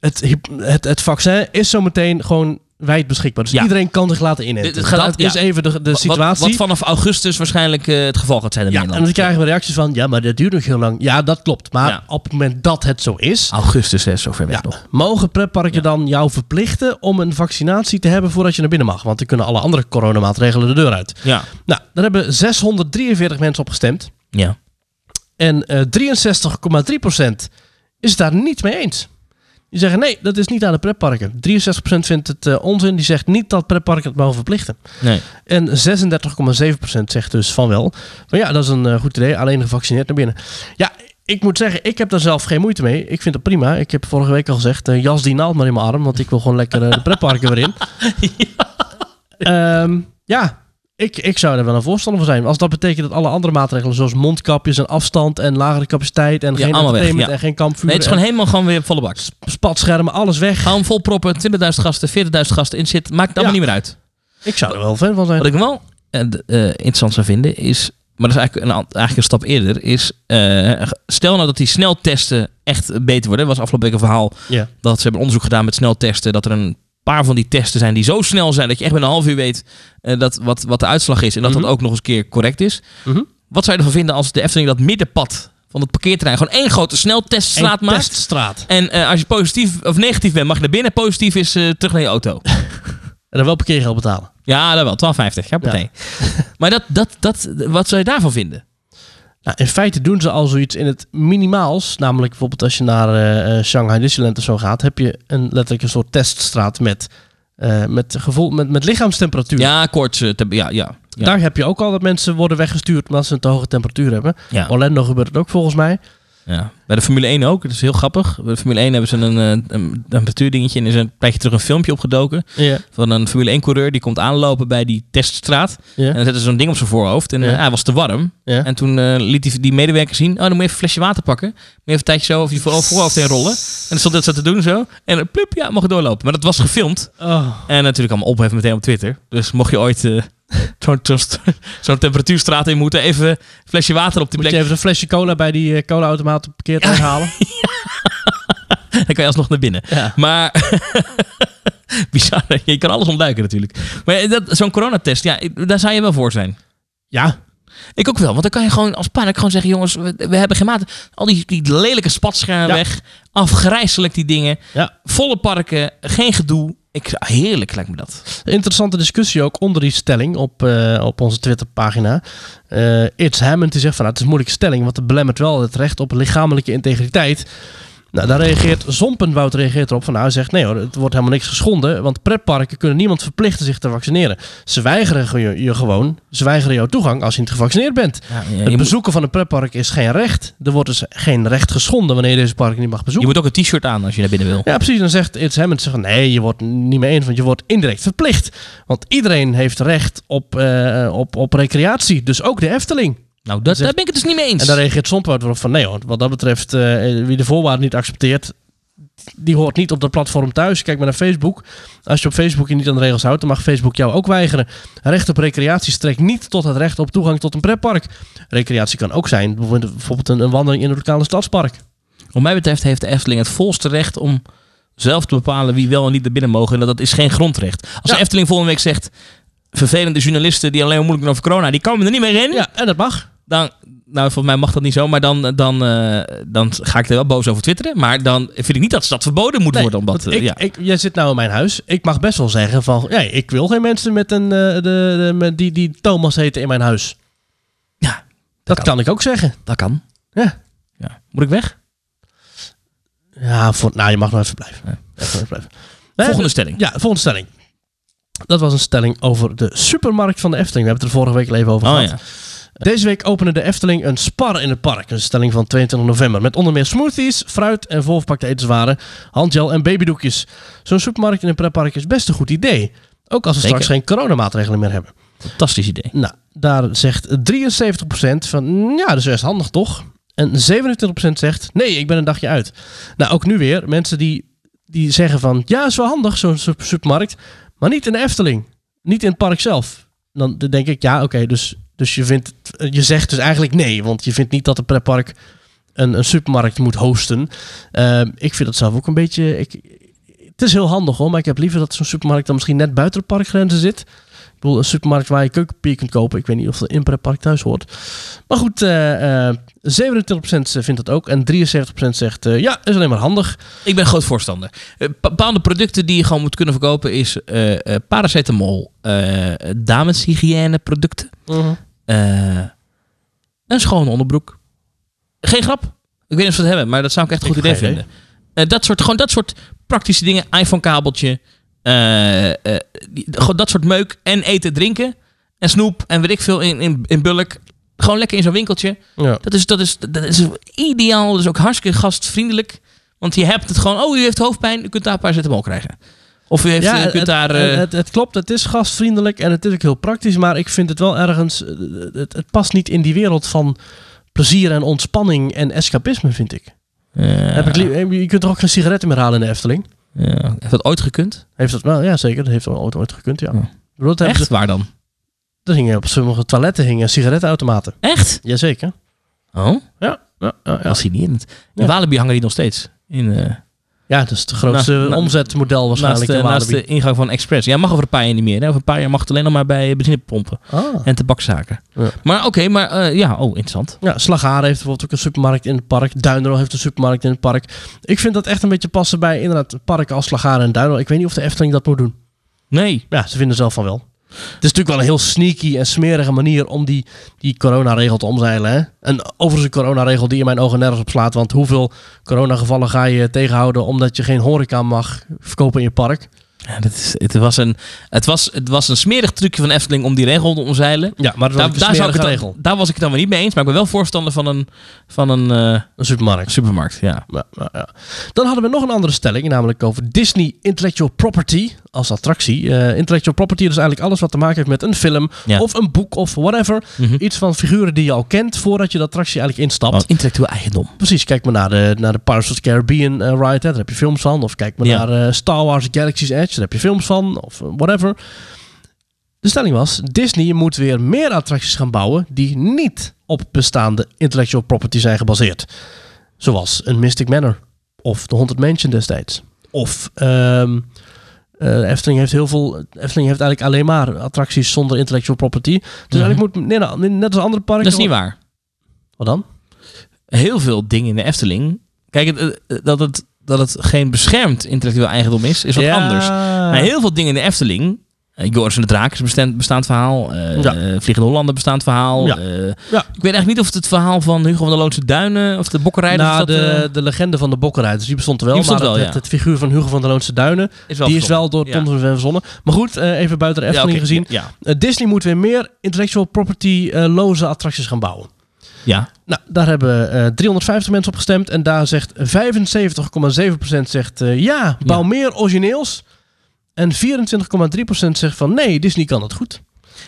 het, hyp- het, het vaccin is zometeen gewoon wijd beschikbaar. Dus
Ja.
iedereen kan zich laten inenten.
Dit- dit gaat-
dat
ja.
is even de, de
Wat-
situatie.
Wat, wat vanaf augustus waarschijnlijk eh, het geval gaat zijn in
ja, en
Nederland.
dan krijgen we reacties van, ja, maar dat duurt nog heel lang. Ja, dat klopt. Maar
Ja.
op het moment dat het zo is,
Augustus, hè, zover weg nog.
mogen pretparken dan jou verplichten om een vaccinatie te hebben voordat je naar binnen mag. Want dan kunnen alle andere coronamaatregelen de deur uit.
Ja.
Nou, daar hebben 643 mensen op gestemd.
ja.
En eh 63,3% is het daar niet mee eens. Die zeggen nee, dat is niet aan de pretparken. 63% vindt het eh, onzin. Die zegt niet dat pretparken het mogen verplichten.
Nee.
En 36,7% zegt dus van wel. Maar ja, dat is een eh, goed idee. Alleen gevaccineerd naar binnen. Ja, ik moet zeggen, ik heb daar zelf geen moeite mee. Ik vind het prima. Ik heb vorige week al gezegd, eh, jas die naald maar in mijn arm. Want ik wil gewoon lekker eh, de pretparken weer in. ja, ja. Ik, ik zou er wel een voorstander van zijn. Als dat betekent dat alle andere maatregelen, zoals mondkapjes en afstand en lagere capaciteit en
Ja,
geen
allemaal weg,
entertainment
ja.
en geen kampvuur
nee, het is gewoon helemaal gewoon weer volle bak.
en spatschermen, alles weg.
Ga hem vol proppen, 20.000 gasten, 40.000 gasten in zitten. Maakt het allemaal
Ja.
niet meer uit.
Ik zou er wel fan van zijn.
Wat ik wel eh, d- eh, interessant zou vinden is... Maar dat is eigenlijk een, an- eigenlijk een stap eerder. Is, eh, stel nou dat die sneltesten echt beter worden. Er was afgelopen week een verhaal
Ja.
dat ze hebben onderzoek gedaan met sneltesten. Dat er een paar van die testen zijn die zo snel zijn dat je echt binnen een half uur weet eh, dat, wat, wat de uitslag is. En dat
Mhm.
dat ook nog eens een keer correct is.
Mhm.
Wat zou je ervan vinden als de Efteling dat middenpad van het parkeerterrein gewoon één grote snelteststraat
Een
maakt?
teststraat.
En eh, als je positief of negatief bent, mag je naar binnen. Positief is eh, terug naar je auto.
En dan wel parkeergeld betalen.
Ja, dat wel. 12,50. Ga meteen. maar dat, dat, dat, wat zou je daarvan vinden?
Nou, in feite doen ze al zoiets in het minimaals. Namelijk bijvoorbeeld als je naar eh, eh, Shanghai Disneyland of zo gaat, heb je een, letterlijk een soort teststraat met, eh, met, gevoel, met, met lichaamstemperatuur.
Ja, koorts. eh, te- ja, ja, ja.
Daar heb je ook al dat mensen worden weggestuurd omdat ze een te hoge temperatuur hebben.
ja.
Orlando gebeurt het ook volgens mij.
Ja. Bij de Formule 1 ook. Dat is heel grappig. Bij de Formule 1 hebben ze een, eh, een temperatuurdingetje. En er is een tijdje terug een filmpje opgedoken.
Ja.
Van een Formule 1-coureur. Die komt aanlopen bij die teststraat. En dan zetten ze zo'n ding op zijn voorhoofd. En eh,
Ja.
hij was te warm.
Ja.
En toen eh, liet die, die medewerker zien. Oh, dan moet je even een flesje water pakken. Moet je even een tijdje zo over je voor- voorhoofd heen rollen. En dan stond dat zo te doen zo. En dan plup, ja, mag het doorlopen. Maar dat was gefilmd.
Oh.
En natuurlijk allemaal ophef meteen op Twitter. Dus mocht je ooit eh, zo'n zo'n- zo'n temperatuurstraat in moeten. Even een flesje water op die
Moet
plek.
je even een flesje cola bij die eh, colaautomaat op parkeerterrein halen?
Dan kan je alsnog naar binnen.
Ja.
Maar bizar, hè? je kan alles ontduiken natuurlijk. Maar dat- zo'n coronatest, ja, daar zou je wel voor zijn.
ja.
Ik ook wel, want dan kan je gewoon als paniek gewoon zeggen, jongens, we, we hebben geen maat. Al die, die lelijke spatschermen
Ja.
weg, afgrijzelijk die dingen,
Ja.
volle parken, geen gedoe. Ik, heerlijk lijkt me dat.
Interessante discussie ook onder die stelling op, eh, op onze Twitterpagina. Eh It's Hammond die zegt van nou, het is een moeilijke stelling, want het belemmert wel het recht op lichamelijke integriteit. Nou, daar reageert Zompenwoud reageert erop van nou, hij zegt nee hoor, het wordt helemaal niks geschonden, want pretparken kunnen niemand verplichten zich te vaccineren. Ze weigeren je, je gewoon, ze weigeren jou toegang als je niet gevaccineerd bent.
Ja, je,
Het
moet,
bezoeken van een pretpark is geen recht. Er wordt dus geen recht geschonden wanneer je deze park niet mag
je
bezoeken.
moet ook een t-shirt aan als je naar binnen wil.
Ja, precies. Dan zegt It's Hammond zegt van nee, je wordt niet mee eens, want je wordt indirect verplicht. Want iedereen heeft recht op, eh, op, op recreatie, dus ook de Efteling.
Nou, dat, daar ben ik het dus niet mee eens.
En daar reageert Zondwoud erop van nee hoor, wat dat betreft, eh, wie de voorwaarden niet accepteert, die hoort niet op dat platform thuis. Kijk maar naar Facebook. Als je op Facebook je niet aan de regels houdt, dan mag Facebook jou ook weigeren. Recht op recreatie strekt niet tot het recht op toegang tot een pretpark. Recreatie kan ook zijn, bijvoorbeeld bijvoorbeeld een, een wandeling in het lokale stadspark.
Wat mij betreft heeft de Efteling het volste recht om zelf te bepalen wie wel en niet naar binnen mogen. En dat, dat is geen grondrecht. Als
Ja.
de Efteling volgende week zegt, vervelende journalisten die alleen maar moeilijk doen over corona, die komen er niet meer in.
Ja, en dat mag.
Dan, nou, volgens mij mag dat niet zo, maar dan, dan, eh, dan ga ik er wel boos over twitteren. Maar dan vind ik niet dat dat verboden moet
Nee,
worden. Omdat,
want ik,
eh, ja.
ik, jij zit nou in mijn huis. Ik mag best wel zeggen van... Ja, ik wil geen mensen met een, eh, de, de- met die, die Thomas heten in mijn huis.
Ja,
dat, kan. ik ook zeggen.
dat kan.
Ja.
Ja. Moet ik weg?
Ja, voor, nou, je mag nog even blijven.
Ja.
Even blijven.
Volgende
Nee,
stelling.
Ja, volgende stelling. Dat was een stelling over de supermarkt van de Efteling. We hebben het er vorige week al even over
Oh,
gehad.
ja.
Deze week opende de Efteling een spar in het park. Een stelling van 22 november. Met onder meer smoothies, fruit en volverpakte etenswaren, handgel en babydoekjes. Zo'n supermarkt in een pretpark is best een goed idee. Ook als we
Zeker.
straks geen coronamaatregelen meer hebben.
Fantastisch idee.
Nou, daar zegt 73% van ja, dat is best handig toch? En 27% zegt nee, ik ben een dagje uit. Nou, ook nu weer mensen die, die zeggen van ja, is wel handig zo'n sup- supermarkt, maar niet in de Efteling, niet in het park zelf. Dan denk ik ja, oké, dus, dus je, vindt, je zegt dus eigenlijk nee, want je vindt niet dat een pretpark een, een supermarkt moet hosten. Ehm, ik vind dat zelf ook een beetje. Ik, Het is heel handig hoor, maar ik heb liever dat zo'n supermarkt dan misschien net buiten de parkgrenzen zit. Ik bedoel, een supermarkt waar je keukenpapier kunt kopen. Ik weet niet of dat in per park thuis hoort. Maar goed, eh eh 27% vindt dat ook. En 73% zegt, eh, ja, is alleen maar handig.
Ik ben groot voorstander. Eh, Bepaalde producten die je gewoon moet kunnen verkopen is eh, eh, paracetamol, eh dameshygiëneproducten, eh, een schone onderbroek. Geen grap. Ik weet niet of ze het hebben, maar dat zou ik echt een
Ik
goed idee
geen idee.
vinden. Eh, dat soort, gewoon dat soort praktische dingen. iPhone-kabeltje. eh, eh, die- gewoon dat soort meuk. En eten, drinken. En snoep. En weet ik veel in, in, in bulk. Gewoon lekker in zo'n winkeltje.
Ja.
Dat is, dat, is, dat is ideaal. Dat is ook hartstikke gastvriendelijk. Want je hebt het gewoon... Oh, u heeft hoofdpijn. U kunt daar een paar zetten krijgen. Of u, heeft, u kunt
het,
daar... eh,
het, het klopt, het is gastvriendelijk en het is ook heel praktisch. Maar ik vind het wel ergens, eh, het, het past niet in die wereld van plezier en ontspanning en escapisme, vind ik.
ja,
Heb ik lie- eh, je kunt toch ook geen sigaretten meer halen in de Efteling?
ja. Heeft dat ooit gekund?
Heeft dat wel? Ja, zeker. Dat heeft wel ooit, ooit gekund, ja.
Ja.
Ik bedoel, dat hebben
Echt?
ze-
Waar dan?
er hingen op sommige toiletten hingen sigarettenautomaten.
Echt?
Jazeker.
Oh,
Ja. Ja, ja, ja.
fascinerend. In
Ja.
Walibi hangen die nog steeds. In, eh
ja, dat is het grootste
Naast- na-
omzetmodel
naast,
waarschijnlijk.
de,
in
eh, naast
Walibi.
de ingang van Express. Ja, mag over een paar jaar niet meer. Hè? Over een paar jaar mag het alleen nog maar bij eh, benzinepompen
Ah.
en tabakzaken.
Ja.
Maar oké, maar eh, ja, oh, interessant.
Ja, Slagharen heeft bijvoorbeeld ook een supermarkt in het park. Duinrol heeft een supermarkt in het park. Ik vind dat echt een beetje passen bij inderdaad parken als Slagharen en Duinrol. Ik weet niet of de Efteling dat moet doen.
Nee.
Ja, ze vinden zelf van wel. Het is natuurlijk wel een heel sneaky en smerige manier om die, die coronaregel te omzeilen. Hè? En overigens een coronaregel die in mijn ogen nergens op slaat. Want hoeveel coronagevallen ga je tegenhouden omdat je geen horeca mag verkopen in je park?
Ja, dat is, het, was een, het, was, het was een smerig trucje van Efteling om die regel te omzeilen.
Ja, maar dat is wel
Daar,
een
daar, zou ik
smerige
het dan-
regel.
daar was ik het dan weer niet mee eens, maar ik ben wel voorstander van een, van een eh,
Een supermarkt.
supermarkt. Ja.
Ja, ja, ja. Dan hadden we nog een andere stelling, namelijk over Disney Intellectual Property als attractie. Eh, intellectual property is eigenlijk alles wat te maken heeft met een film
Ja.
of een boek of whatever.
Mhm.
Iets van figuren die je al kent voordat je de attractie eigenlijk instapt.
Want intellectueel eigendom.
Precies, kijk maar naar de, naar de Pirates of the Caribbean eh, ride, hè, daar heb je films van. Of kijk maar
Ja.
naar eh, Star Wars Galaxy's Edge, daar heb je films van. Of eh, whatever. De stelling was, Disney moet weer meer attracties gaan bouwen die niet op bestaande intellectual property zijn gebaseerd. Zoals een Mystic Manor of de Haunted Mansion destijds. Of ehm, eh, Efteling heeft heel veel. Efteling heeft eigenlijk alleen maar attracties zonder intellectual property. Dus eigenlijk moet nee, net als andere parken.
Mhm. Dat is niet waar.
Wat dan?
Heel veel dingen in de Efteling. Kijk, het, eh, dat, het, dat het geen beschermd intellectueel eigendom is, is wat anders. Maar heel veel dingen in de Efteling. eh, Joris en de Draak is een bestaan- bestaand verhaal. eh,
Ja.
eh, Vliegende Hollander bestaand verhaal.
Ja.
eh,
Ja.
Ik weet eigenlijk niet of het het verhaal van Hugo van de Loonse Duinen of de Bokkenrijder
Nou,
of dat, eh,
de, de legende van de bokkenrijders, die bestond er wel.
Die bestond
maar
wel,
het,
ja.
het, het figuur van Hugo van der Loonse Duinen,
is wel
die is
verzonnen.
wel door
Ja.
Tom van Ven verzonnen. Maar goed, eh, even buiten de
Ja,
Efteling
oké,
gezien.
Ja,
Eh, Disney moet weer meer intellectual property-loze attracties gaan bouwen.
ja.
Nou, daar hebben eh 350 mensen op gestemd. En daar zegt 75,7% zegt eh, ja, bouw
Ja.
meer origineels. En 24,3% zegt van nee, Disney kan het goed.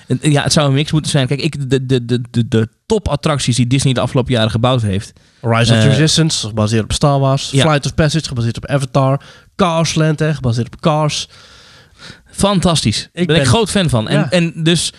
En, eh, ja, het zou een mix moeten zijn. Kijk, ik, de, de, de, de, de topattracties die Disney de afgelopen jaren gebouwd heeft.
Rise of the
Eh,
Resistance, gebaseerd op Star Wars.
Ja.
Flight of Passage, gebaseerd op Avatar. Carsland, hè, gebaseerd op Cars.
Fantastisch. Daar ben,
ben-
ik groot fan van. En,
Ja.
en dus,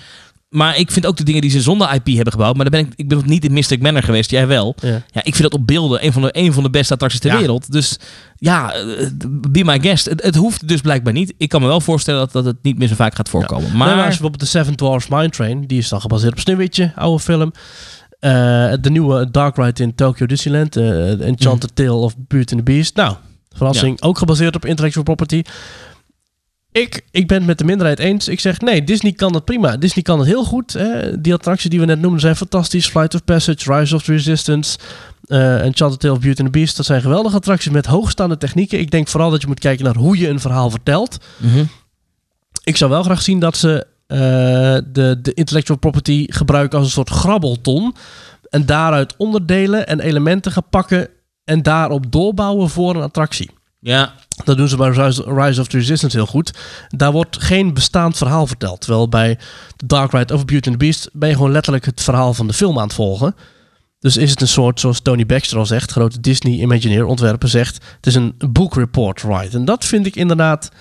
maar ik vind ook de dingen die ze zonder IP hebben gebouwd. Maar dan ben ik, ik ben nog niet in Mystic Manor geweest. Jij wel.
Ja.
Ja, ik vind dat op beelden een van de, een van de beste attracties ter
Ja.
wereld. Dus ja, eh, be my guest. Het, het hoeft dus blijkbaar niet. Ik kan me wel voorstellen dat, dat het niet meer zo vaak gaat voorkomen. Maar,
Nee, maar als je bijvoorbeeld de Seven Dwarfs Mine Train, die is dan gebaseerd op Sneeuwwitje, oude film. Eh, de nieuwe Dark Ride in Tokyo Disneyland, eh, The Enchanted Tale of Beauty and the Beast. Nou, verrassing, ook gebaseerd op intellectual property. Ik, ik ben het met de minderheid eens. Ik zeg nee, Disney kan dat prima. Disney kan het heel goed. Hè. Die attracties die we net noemden zijn fantastisch. Flight of Passage, Rise of the Resistance, eh Enchanted Tale of Beauty and the Beast. Dat zijn geweldige attracties met hoogstaande technieken. Ik denk vooral dat je moet kijken naar hoe je een verhaal vertelt.
Mhm.
Ik zou wel graag zien dat ze eh, de, de intellectual property gebruiken als een soort grabbelton. En daaruit onderdelen en elementen gaan pakken en daarop doorbouwen voor een attractie.
ja,
Dat doen ze bij Rise- Rise of the Resistance heel goed. Daar wordt geen bestaand verhaal verteld. Terwijl bij The Dark Ride of Beauty and the Beast ben je gewoon letterlijk het verhaal van de film aan het volgen. Dus is het een soort, zoals Tony Baxter al zegt, grote Disney Imagineer ontwerper zegt, het is een book report ride. En dat vind ik inderdaad,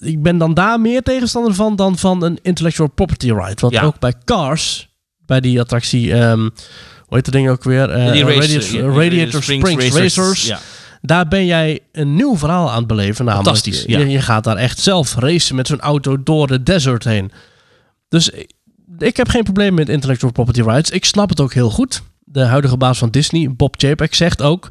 ik ben dan daar meer tegenstander van dan van een intellectual property ride. Want
Ja.
ook bij Cars, bij die attractie, ehm, hoe heet dat ding ook weer? Eh,
die
Radiator,
race- ja, die
Radiator Springs, Racers.
Ja.
Daar ben jij een nieuw verhaal aan het beleven. Namelijk.
Fantastisch,
Je-
ja.
je, gaat daar echt zelf racen met zo'n auto door de desert heen. Dus ik- ik heb geen probleem met intellectual property rights. Ik snap het ook heel goed. De huidige baas van Disney, Bob Chapek, zegt ook...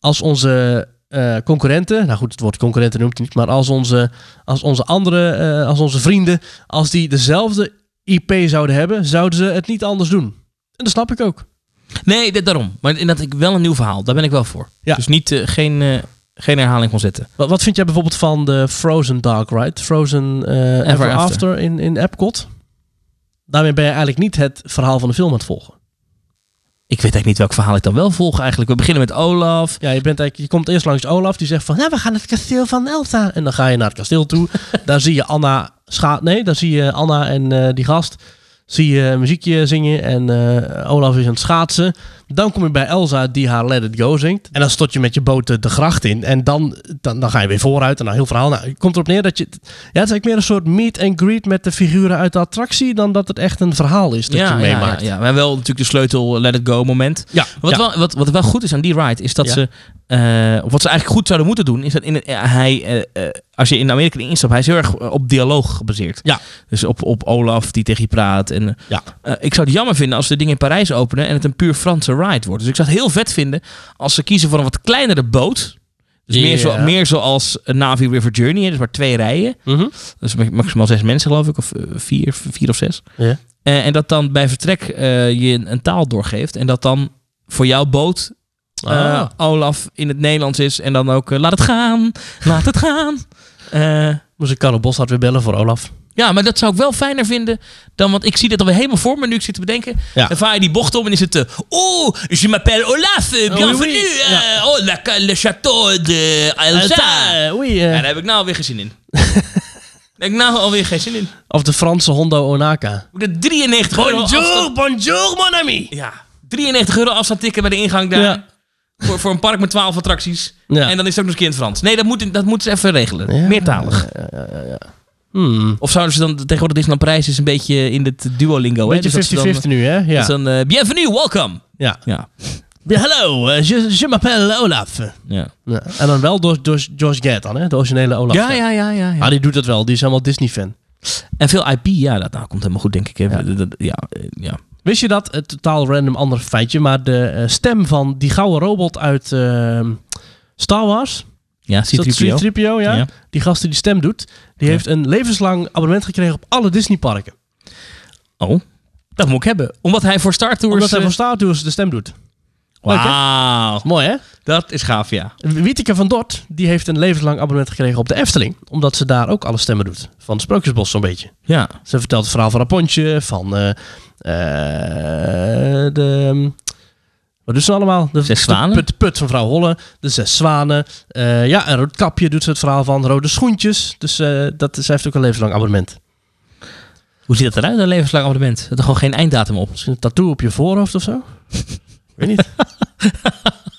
als onze eh, concurrenten... Nou goed, het woord concurrenten noemt hij niet... maar als onze, als onze andere, eh, als onze vrienden... als die dezelfde IP zouden hebben... zouden ze het niet anders doen. En dat snap ik ook.
Nee, dit, daarom. Maar inderdaad, ik wel een nieuw verhaal. Daar ben ik wel voor.
Ja.
Dus niet, eh, geen, eh, geen herhaling van zetten.
Wat, wat vind jij bijvoorbeeld van de Frozen Dark Ride? Frozen eh, Ever,
Ever
After,
After.
in, in Epcot. Daarmee ben je eigenlijk niet het verhaal van de film aan het volgen.
Ik weet eigenlijk niet welk verhaal ik dan wel volg eigenlijk. We beginnen met Olaf.
Ja, je, bent eigenlijk, je komt eerst langs Olaf, die zegt van... Nou, we gaan naar het kasteel van Elsa. En dan ga je naar het kasteel toe. daar zie je Anna... Scha nee, daar zie je Anna en eh, die gast... Zie je een muziekje zingen en eh, Olaf is aan het schaatsen. Dan kom je bij Elsa die haar Let It Go zingt. En dan stort je met je boot eh, de, de gracht in. En dan, dan, dan ga je weer vooruit en dan heel verhaal. Nou, het komt erop neer dat je... Ja, het is eigenlijk meer een soort meet and greet met de figuren uit de attractie... dan dat het echt een verhaal is dat je
ja, ja,
meemaakt.
ja. Maar wel natuurlijk de sleutel eh, let it go moment.
Ja,
Wat,
ja.
wel, wat, wat wel goed is aan die ride, is dat
Ja.
ze. eh, of wat ze eigenlijk goed zouden moeten doen, is dat in, eh, hij, eh, eh, als je in Amerika erin instapt, hij is heel erg eh, op dialoog gebaseerd.
Ja.
Dus op, op Olaf die tegen je praat. En, eh,
Ja.
eh, ik zou het jammer vinden als ze de dingen in Parijs openen en het een puur Franse ride wordt. Dus ik zou het heel vet vinden als ze kiezen voor een wat kleinere boot. Dus meer, zo,
Ja.
meer zoals een Navi River Journey, hè, dus maar twee rijen.
Mhm.
Dus ma- maximaal zes mensen geloof ik, of eh, vier, vier of zes.
Ja.
Eh, en dat dan bij vertrek eh, je een, een taal doorgeeft. En dat dan voor jouw boot eh,
Ah.
Olaf in het Nederlands is. En dan ook eh, laat het gaan, laat het gaan. Eh,
Moest ik Carlo Bossard weer bellen voor Olaf.
ja, maar dat zou ik wel fijner vinden dan... Want ik zie dat alweer helemaal voor me nu ik zit te bedenken.
Ja.
Dan vaar je die bocht om en is het... eh, oh, je m'appelle Olaf, eh, bienvenue.
Oh, oui, oui.
eh,
Ja.
oh, la, le château de Elsa.
Elsa, oei, eh.
Ja, daar heb ik nou alweer geen zin in. Daar heb ik nou alweer geen zin in.
Of de Franse Hondo Onaka.
Moet ik 93 euro afstand-
bonjour, mon ami.
Ja, 93 euro afstand tikken bij de ingang daar.
Ja.
Voor, voor een park met 12 attracties.
Ja.
En dan is het ook nog eens een keer in het Frans. Nee, dat moeten dat moet ze even regelen. Meertalig.
Hmm.
Of zouden ze dan tegenwoordig Disneyland Parijs is een beetje in het Duolingo. hè? Dus
Beetje 50-50
dat ze dan-
nu, hè?
dat
Ja.
ze dan, eh, bienvenue, welcome.
ja.
Ja.
Ja, Hallo, eh, je, je m'appelle Olaf.
Ja.
Ja. En dan wel door, door George Gad dan, hè? De originele Olaf.
Ja, ja, ja, ja, ja.
Ah, die doet dat wel. Die is helemaal Disney-fan.
En veel IP, ja, dat nou, komt helemaal goed, denk ik. hè.
Ja.
Dat- dat- Ja. eh, ja.
Wist je dat? Een totaal random ander feitje. Maar de eh, stem van die gouden robot uit ehm, Star Wars.
Ja,
Is dat
C-3PO.
C-3PO, ja?
Ja.
Die gast die die stem doet. Die
Ja.
heeft een levenslang abonnement gekregen op alle Disney-parken.
Oh, dat moet ik hebben. Omdat hij voor Star Tours...
Omdat hij
eh,
van Star Tours de stem doet. Leuk, hè?
Wauw,
Mooi, hè?
dat is gaaf, ja.
Wieteke van Dort, die heeft een levenslang abonnement gekregen op de Efteling. Omdat ze daar ook alle stemmen doet. Van het Sprookjesbos zo'n beetje.
Ja.
Ze vertelt het verhaal van Rapontje, van eh, eh, de... ehm, Wat doet ze nou allemaal? De,
Zes zwanen?
De put, put van vrouw Holle, de zes zwanen. Eh, ja, en Roodkapje doet ze het verhaal van Rode Schoentjes. Dus eh, dat, ze heeft ook een levenslang abonnement.
Hoe ziet dat eruit, een levenslang abonnement? Er is gewoon geen einddatum op.
Misschien een tattoo op je voorhoofd of zo? Weet niet.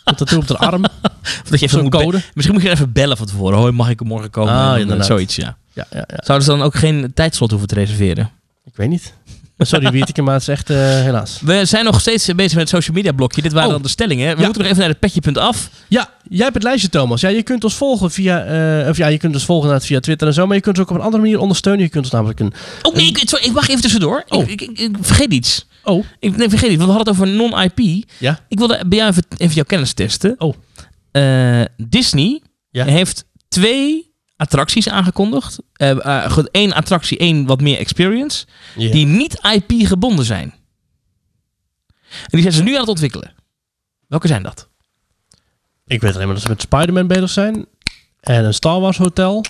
een tattoo op de arm.
Of dat je even
Zo'n
moet
code.
be- Misschien moet je even bellen van tevoren. Hoi, mag ik er morgen komen?
Ah,
En dan, eh,
inderdaad.
Zoiets, ja.
Ja, ja, ja.
Zouden ze dan ook geen tijdslot hoeven te reserveren?
Ik weet niet. Sorry Wieteke, maar het is echt eh, helaas.
We zijn nog steeds bezig met het social media blokje. Dit waren
Oh.
dan de stellingen. We
Ja.
moeten nog even naar het petje.af.
Ja, jij hebt het lijstje, Thomas. Ja, je kunt ons volgen via, eh, of ja, je kunt ons volgen inderdaad via Twitter en zo, maar je kunt ons ook op een andere manier ondersteunen. Je kunt ons namelijk een.
Oh nee, ik, sorry, ik wacht even tussendoor.
Oh.
Ik, ik, ik- ik vergeet iets.
Oh,
Ik nee, vergeet iets, want we hadden het over non-IP.
ja.
Ik wilde bij jou even, even jouw kennis testen.
Oh.
Eh, Disney
Ja.
heeft twee attracties aangekondigd. Eh, eh, goed, Eén attractie, één wat meer experience. die niet IP gebonden zijn. En die zijn ze nu aan het ontwikkelen. Welke zijn dat?
Ik weet alleen maar dat ze met Spider-Man bezig zijn. En een Star Wars hotel.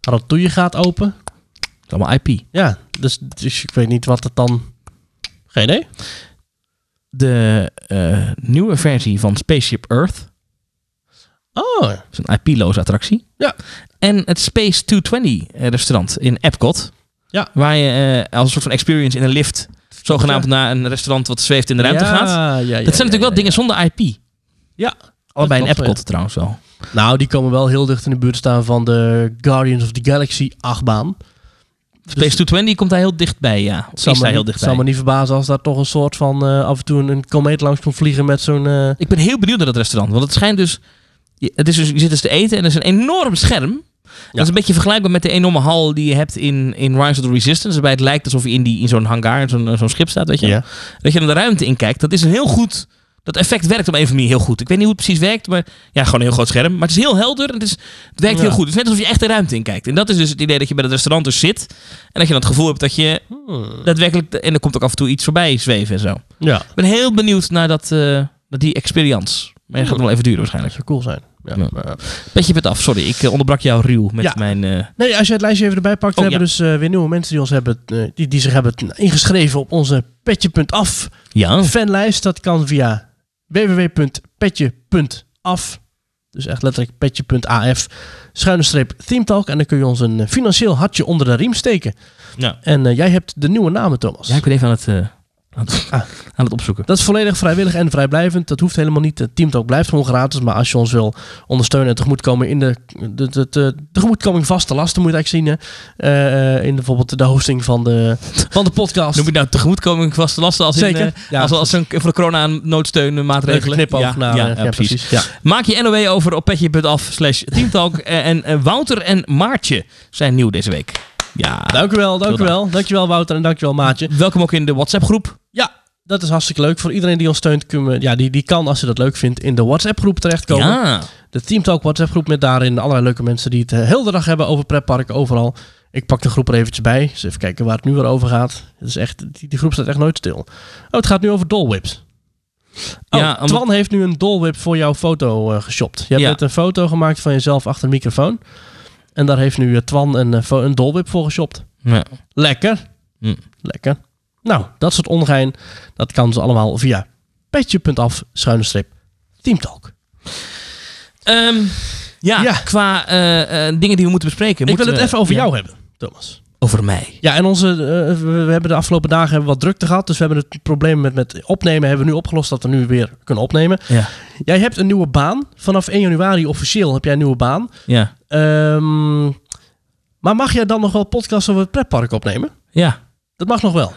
Ratatouille gaat open.
Het is Allemaal IP.
Ja, dus, dus ik weet niet wat het dan. Geen idee.
De eh, nieuwe versie van Spaceship Earth
Oh,
is een IP-loze attractie.
Ja.
En het Space 220 eh, restaurant in Epcot.
Ja.
Waar je eh, als een soort van experience in een lift zogenaamd
Ja.
naar een restaurant wat zweeft in de ruimte
ja,
gaat. Dat
Ja, ja,
zijn natuurlijk wel dingen zonder IP.
Ja.
Allebei in
Dat klopt,
Epcot trouwens wel.
Nou, die komen wel heel dicht in de buurt staan van de Guardians of the Galaxy achtbaan.
Space 220 komt daar heel dichtbij, ja. Is
Dus Zou me
daar heel
niet-
dichtbij.
Zou me niet verbazen als daar toch een soort van eh, af en toe een, een komeet langs kon vliegen met zo'n. eh,
Ik ben heel benieuwd naar dat restaurant. Want het schijnt dus... je, het is dus, je zit dus te eten en er is een enorm scherm. Dat is een beetje vergelijkbaar met de enorme hal die je hebt in, in Rise of the Resistance. Waarbij het lijkt alsof je in, die, in zo'n hangar, in zo'n zo'n schip staat, weet je.
Ja.
Dat je dan de ruimte in kijkt. Dat is een heel goed... Dat effect werkt op een of andere manier heel goed. Ik weet niet hoe het precies werkt, maar ja, gewoon een heel groot scherm. Maar het is heel helder en het, is, het werkt heel
Ja.
goed. Het is net alsof je echt de ruimte in kijkt. En dat is dus het idee dat je bij het restaurant dus zit. En dat je dan het gevoel hebt dat je
Hmm.
daadwerkelijk... En er komt ook af en toe iets voorbij zweven en zo.
Ja,
Ik ben heel benieuwd naar, dat, eh, naar die experience. Maar dat gaat wel even duren
dat
waarschijnlijk.
zou cool zijn. Ja.
Ja.
maar, eh,
Petje bent af, sorry. Ik eh, onderbrak jou ruw met
Ja.
mijn... eh,
Nee, als je het lijstje even erbij pakt, we
Oh,
hebben dus eh, weer nieuwe mensen die, ons hebben, eh, die, die zich hebben ingeschreven op onze petje.af Oh.
ja,
fanlijst. Dat kan via www.petje.af. Dus echt letterlijk petje.af. Schuine streep Theme Talk. En dan kun je ons een eh, financieel hartje onder de riem steken.
Ja.
En eh, jij hebt de nieuwe namen, Thomas.
ja ik ben even aan het, eh, aan het,
Ah.
aan het opzoeken.
Dat is volledig vrijwillig en vrijblijvend. Dat hoeft helemaal niet. Het Team Talk blijft gewoon gratis. Maar als je ons wil ondersteunen en tegemoetkomen in de, de, de, de tegemoetkoming vaste lasten, moet je het eigenlijk zien. hè. Eh, eh, in bijvoorbeeld de hosting van de, van de podcast.
Noem je nou tegemoetkoming vaste lasten als in...
Zeker.
eh,
Ja,
als, als een, voor de corona een noodsteun eh,
Leuke
maatregelen.
knipoog
ja,
naar,
ja,
eh,
ja,
ja,
precies.
precies. Ja.
Maak je NOE over op petje.af slash teamtalk. Eh, en eh, Wouter en Maartje zijn nieuw deze week. Ja,
Dank u wel, dank u
Heel
wel. Dankjewel Wouter en dankjewel Maatje.
welkom ook in de WhatsApp groep.
Ja, dat is hartstikke leuk. Voor iedereen die ons steunt, kunnen we- ja, die, die kan als ze dat leuk vindt in de WhatsApp groep terechtkomen.
Ja,
De Team Talk WhatsApp groep met daarin allerlei leuke mensen die het eh, heel de dag hebben over pretparken overal. Ik pak de groep er eventjes bij. Dus even kijken waar het nu weer over gaat. Het is echt, die, die groep staat echt nooit stil. Oh, het gaat nu over dolwips. Oh,
Ja, omdat-
Twan heeft nu een dolwip voor jouw foto eh, geshopt. Je hebt
Ja.
net een foto gemaakt van jezelf achter de microfoon. En daar heeft nu eh, Twan een, eh, fo- een dolwip voor geshopt.
ja.
Lekker.
Hm.
Lekker. Nou, dat soort ongein, dat kan ze allemaal via petje.af schuine strip teamtalk.
Ehm, ja,
Ja.
qua eh, eh, dingen die we moeten bespreken.
Ik wil
moeten
het
we-
even over
ja.
jou hebben, Thomas.
Over mij.
Ja, en onze, eh, we we hebben de afgelopen dagen hebben we wat drukte gehad. Dus we hebben het probleem met, met opnemen hebben we nu opgelost dat we nu weer kunnen opnemen.
Ja.
Jij hebt een nieuwe baan. Vanaf 1 januari officieel heb jij een nieuwe baan.
Ja.
Ehm, maar mag jij dan nog wel podcasts over het pretpark opnemen?
Ja.
Dat mag nog wel.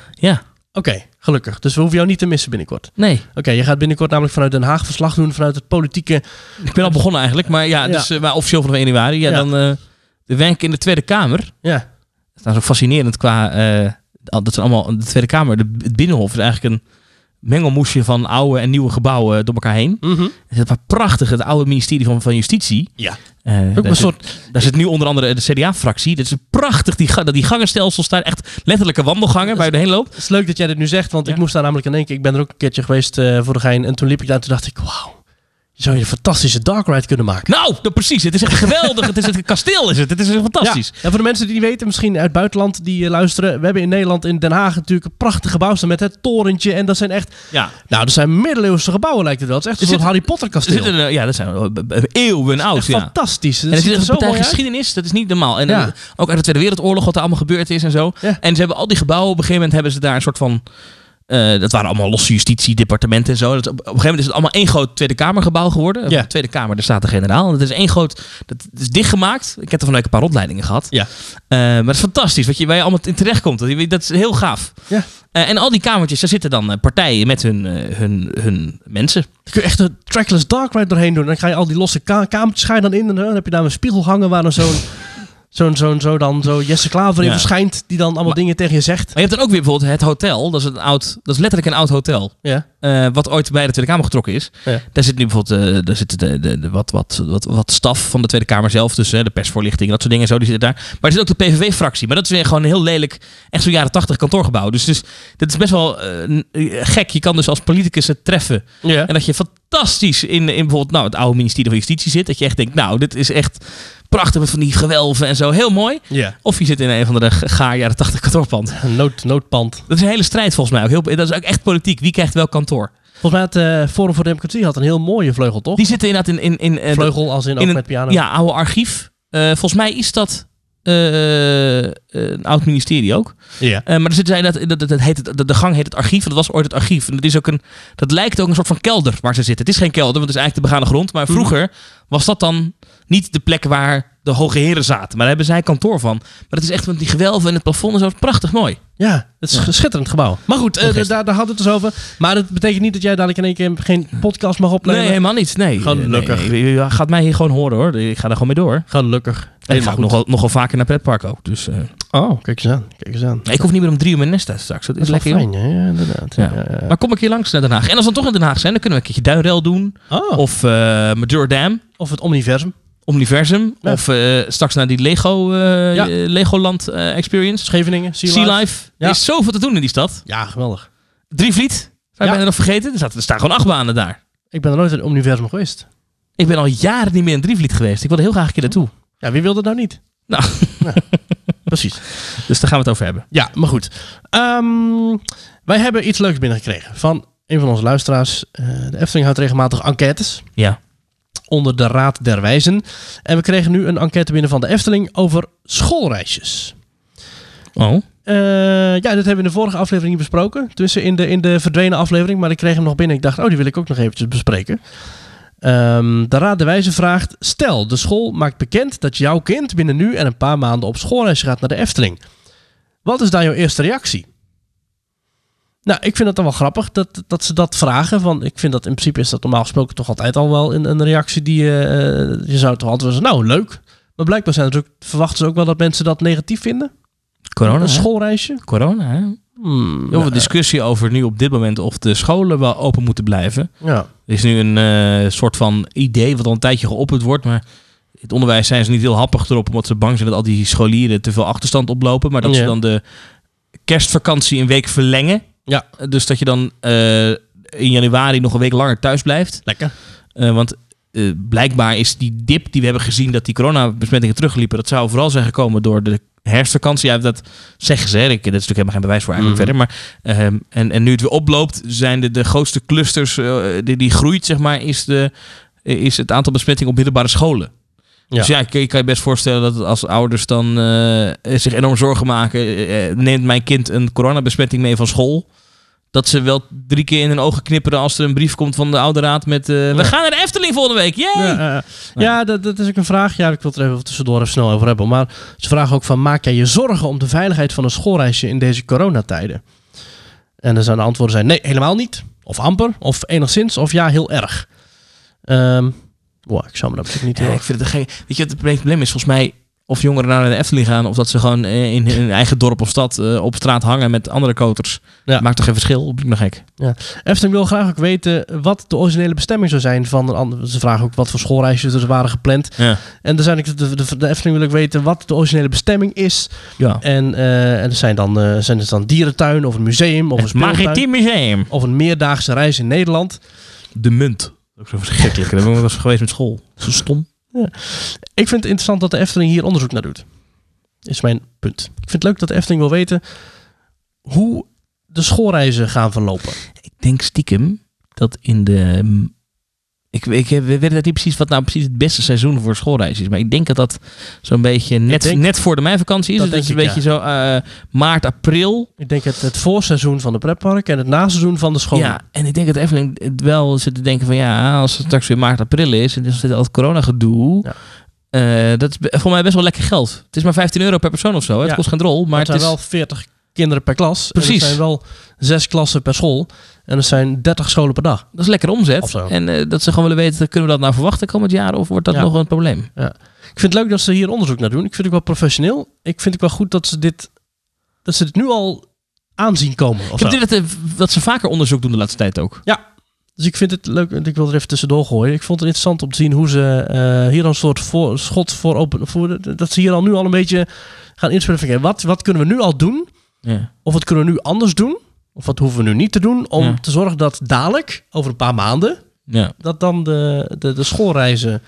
Oké,
Ja.
gelukkig. Dus we hoeven jou niet te missen binnenkort.
Nee.
Oké, je gaat binnenkort namelijk vanuit Den Haag verslag doen vanuit het politieke...
Ik ben al begonnen eigenlijk. Maar ja,
Ja.
dus, eh, maar officieel vanaf 1 januari. Ja,
Ja.
dan eh werk ik in de Tweede Kamer.
Ja,
Dat is trouwens ook fascinerend qua... eh, al- dat zijn allemaal... De Tweede Kamer, de, het Binnenhof is eigenlijk een mengelmoesje van oude en nieuwe gebouwen eh, door elkaar heen.
Mhm.
Er zit maar prachtig het oude ministerie van, van Justitie.
ja.
Eh, daar
ook een
zit-
soort...
Daar zit nu onder andere de CDA-fractie. Dat is prachtig. Die, ga- dat die gangenstelsel staan echt letterlijke wandelgangen waar je doorheen loopt.
Het is leuk dat jij dit nu zegt, want
Ja.
ik moest daar namelijk aan denken. Ik ben er ook een keertje geweest eh, voor de gein. En toen liep ik daar en toen dacht ik, wauw. Zou je een fantastische dark ride kunnen maken?
Nou, dat precies. Het is echt geweldig. het is het kasteel is het. Het is echt fantastisch.
Ja. En voor de mensen die niet weten, misschien uit het buitenland die eh, luisteren. We hebben in Nederland, in Den Haag natuurlijk, een prachtig gebouw staan met het torentje. En dat zijn echt,
Ja.
nou dat zijn middeleeuwse gebouwen lijkt het wel. Het is echt een
Er
soort
zit-
Harry Potter
Er
kasteel.
zit een, eh, ja, dat zijn eh, b- b- eeuwen oud.
Echt
Ja.
fantastisch.
En er zit echt een
zo
partij
mooi uit.
geschiedenis, dat is niet normaal. En
Ja.
eh, ook uit de Tweede Wereldoorlog, wat er allemaal gebeurd is en zo.
Ja.
En ze hebben al die gebouwen, op een gegeven moment hebben ze daar een soort van... eh, dat waren allemaal losse justitiedepartementen en zo. Dat, op, op een gegeven moment is het allemaal één groot Tweede Kamergebouw geworden. Op
Ja.
de Tweede Kamer, daar staat de generaal. Dat is één groot... Dat is dichtgemaakt. Ik heb er van de week een paar rondleidingen gehad.
Ja.
Eh, maar dat is fantastisch, wat je, waar je allemaal in terecht komt. Dat, je- dat is heel gaaf.
Ja.
Eh, en al die kamertjes, daar zitten dan eh, partijen met hun, eh, hun, hun mensen.
Dan kun je echt een trackless dark ride doorheen doen. Dan ga je al die losse ka kamertjes ga je dan in. En eh, dan heb je daar een spiegel hangen waar dan zo'n... Zo'n, zo'n, zo dan, zo Jesse Klaver in
Ja.
verschijnt, die dan allemaal
Maar-
dingen tegen je zegt.
Maar je hebt dan ook weer bijvoorbeeld het hotel. Dat is, een oud, dat is letterlijk een oud hotel.
Ja.
eh, wat ooit bij de Tweede Kamer getrokken is.
Ja.
Daar zit nu bijvoorbeeld eh, daar zitten de, de, de wat, wat, wat, wat staf van de Tweede Kamer zelf. Dus eh, de persvoorlichting, dat soort dingen. en Zo, die zitten daar. Maar er zit ook de PVV-fractie. Maar dat is weer gewoon een heel lelijk, echt zo'n jaren tachtig kantoorgebouw. Dus, dus dat is best wel eh, n- eh, gek. Je kan dus als politicus het treffen.
ja.
En dat je fantastisch in, in bijvoorbeeld nou, het oude ministerie van Justitie zit. Dat je echt denkt, nou, dit is echt prachtig met van die gewelven en zo. Heel mooi.
ja.
Of je zit in een van de gaar jaren tachtig kantoorpand.
Een nood, noodpand.
Dat is een hele strijd volgens mij. Ook heel, dat is ook echt politiek. Wie krijgt welk kantoor?
Volgens mij had eh, Forum voor Democratie had een heel mooie vleugel, toch?
Die zitten inderdaad in... in, in eh,
vleugel als in, ook
in een-
met piano.
ja, oude archief. Eh, volgens mij is dat eh, een oud ministerie ook.
Ja.
Eh, maar er zitten zij, dat, dat, dat, dat heet het, de, de gang heet het archief. Dat was ooit het archief. En dat, is ook een, dat lijkt ook een soort van kelder waar ze zitten. Het is geen kelder, want het is eigenlijk de begane grond.
Mhm.
Maar vroeger was dat dan niet de plek waar de hoge heren zaten. Maar daar hebben zij kantoor van. Maar het is echt met die gewelven en het plafond en zo. Prachtig mooi.
Ja, het is een schitterend gebouw. Maar goed, eh,
Nog eens.
daar, daar hadden we het dus over. Maar dat betekent niet dat jij dadelijk in één keer geen podcast mag opnemen.
Nee, helemaal niet. Nee.
Gewoon
Eh,
gelukkig.
nee, je- je gaat mij hier gewoon horen hoor. Ik ga daar gewoon mee door.
Gelukkig.
En ik ga
Helemaal
ook
goed.
nogal, nogal vaker naar pretpark ook. Dus, eh,
Oh, kijk eens aan. Kijk eens aan.
ik hoef niet meer om drie uur mijn nest uit straks. Dat is,
Dat is lekker
lekker joh.
fijn, ja, ja, inderdaad.
Ja.
Ja, ja.
Maar kom ik hier langs naar Den Haag. En als we dan toch in Den Haag zijn, dan kunnen we een keertje Duinrel doen.
Oh, of,
Of eh Major Dam.
het omniversum.
Omniversum.
Ja.
Of eh, straks naar die Lego, eh,
Ja.
eh, Legoland eh, Experience.
Scheveningen, Sea Life.
Sea Life.
Ja.
Er is zoveel te doen in die stad.
Ja, geweldig.
Drievliet. Zijn
Ja.
we bijna nog vergeten? Er, zaten, er staan gewoon achtbanen daar.
Ik ben er nooit in het omniversum geweest.
Ik ben al jaren niet meer in Drievliet geweest. Ik wilde heel graag een keer naartoe.
Ja, wie wil dat nou niet?
Nou.
Ja, Precies.
Dus daar gaan we het over hebben.
Ja, maar goed. Ehm, wij hebben iets leuks binnengekregen van een van onze luisteraars. Eh, de Efteling houdt regelmatig enquêtes
Ja.
onder de Raad der Wijzen. En we kregen nu een enquête binnen van de Efteling over schoolreisjes.
Oh.
Eh, ja, dit hebben we in de vorige aflevering niet besproken. Tussen in de, in de verdwenen aflevering. Maar ik kreeg hem nog binnen. Ik dacht, oh, die wil ik ook nog eventjes bespreken. Ehm, de Raad der Wijze vraagt... Stel, de school maakt bekend dat jouw kind binnen nu en een paar maanden op schoolreis gaat naar de Efteling. Wat is dan jouw eerste reactie? Nou, ik vind het dan wel grappig dat, dat ze dat vragen. Want ik vind dat in principe is dat normaal gesproken toch altijd al wel een, een reactie die je... eh, je zou toch altijd wel zeggen, nou, leuk. Maar blijkbaar zijn er ook, verwachten ze ook wel dat mensen dat negatief vinden.
Corona.
een
hè?
schoolreisje.
Corona, hè?
Hmm,
Heel veel discussie over nu op dit moment of de scholen wel open moeten blijven.
ja.
Er is nu een eh, soort van idee wat al een tijdje geopperd wordt, maar in het onderwijs zijn ze niet heel happig erop, omdat ze bang zijn dat al die scholieren te veel achterstand oplopen. Maar dat ze
Ja.
dan de kerstvakantie een week verlengen.
Ja.
Dus dat je dan eh, in januari nog een week langer thuis blijft.
Lekker.
Eh, want eh, blijkbaar is die dip die we hebben gezien dat die coronabesmettingen terugliepen, dat zou vooral zijn gekomen door de herfstvakantie. Ja, dat zeggen ze. hè. Ik, dat is natuurlijk helemaal geen bewijs voor eigenlijk
Mhm.
verder. Maar, ehm, en, en nu het weer oploopt, zijn de, de grootste clusters eh, die, die groeit, zeg maar, is, de, is het aantal besmettingen op middelbare scholen.
Ja.
Dus ja, ik, ik kan je best voorstellen dat als ouders dan eh, zich enorm zorgen maken, eh, eh, neemt mijn kind een coronabesmetting mee van school. Dat ze wel drie keer in hun ogen knipperen als er een brief komt van de oude raad met... eh,
Ja.
We gaan naar de Efteling volgende week, yay!
Ja, eh, ja dat, dat is ook een vraag. Ja, ik wil het er even tussendoor even snel over hebben. Maar ze vragen ook van, maak jij je zorgen om de veiligheid van een schoolreisje in deze coronatijden? En dan zijn de antwoorden zijn, nee, helemaal niet. Of amper. Of enigszins. Of ja, heel erg. Ehm wow, ik zou me dat natuurlijk niet
Ja,
heel
ik
erg...
vind het geen. Weet je, wat het probleem is volgens mij of jongeren nou naar de Efteling gaan of dat ze gewoon eh, in hun eigen dorp of stad eh, op straat hangen met andere koters.
Ja.
Maakt toch geen verschil? Of ben ik nog gek?
Efteling wil graag ook weten wat de originele bestemming zou zijn van een ander. Ze vragen ook wat voor schoolreisjes er waren gepland.
Ja.
En er zijn, ook- de, de, de Efteling wil ook weten wat de originele bestemming is.
ja.
En, eh, en er zijn dan, eh, zijn het dan dierentuin of een museum of een
Het
speeltuin.
Maritiem Museum.
Of een meerdaagse reis in Nederland.
De munt. Ook zo verschrikkelijk. Daar ben ik wel eens geweest met school. Zo stom.
Ik vind het interessant dat de Efteling hier onderzoek naar doet. Is mijn punt. Ik vind het leuk dat de Efteling wil weten hoe de schoolreizen gaan verlopen.
Ik denk stiekem dat in de... mm, Ik, ik, we weten dat niet precies wat nou precies het beste seizoen voor schoolreis is. Maar ik denk dat dat zo'n beetje net,
denk-
net voor de meivakantie is.
Dat
Dat, dus dat
denk
is een
ik,
beetje zo eh, maart, april.
Ik denk het, het voorseizoen van de pretpark en het naseizoen van de school.
Ja, en ik denk dat Efteling het wel zit te denken van ja, als het straks weer maart, april is en er is nog steeds al het corona-gedoe.
Ja.
eh, dat is be- voor mij best wel lekker geld. Het is maar 15 euro per persoon of zo. hè. Het
Ja.
kost geen drol, maar
maar
het,
het zijn
is
wel 40 kinderen per klas. En
Precies.
er zijn wel zes klassen per school. En er zijn 30 scholen per dag.
dat is lekker
Of
omzet.
zo.
En eh, dat ze gewoon willen weten, kunnen we dat nou verwachten komend jaar of wordt dat
Ja.
nog een probleem?
Ik vind het leuk dat ze hier onderzoek naar doen. Ik vind het ook wel professioneel. Ik vind het wel goed dat ze dit, dat ze dit nu al aanzien komen. of
Ik heb
zo.
dit dat, eh, dat ze vaker onderzoek doen de laatste tijd ook.
Dus ik vind het leuk. en Ik wil er even tussendoor gooien. Ik vond het interessant om te zien hoe ze eh, hier al een soort voor, schot voor open... Voor, dat ze hier al nu al een beetje gaan inspelen. van, oké, Wat, wat kunnen we nu al doen?
Ja.
Of wat kunnen we nu anders doen? Of wat hoeven we nu niet te doen? Om
Ja.
te zorgen dat dadelijk, over een paar maanden...
Ja.
dat dan de, de, de schoolreizen...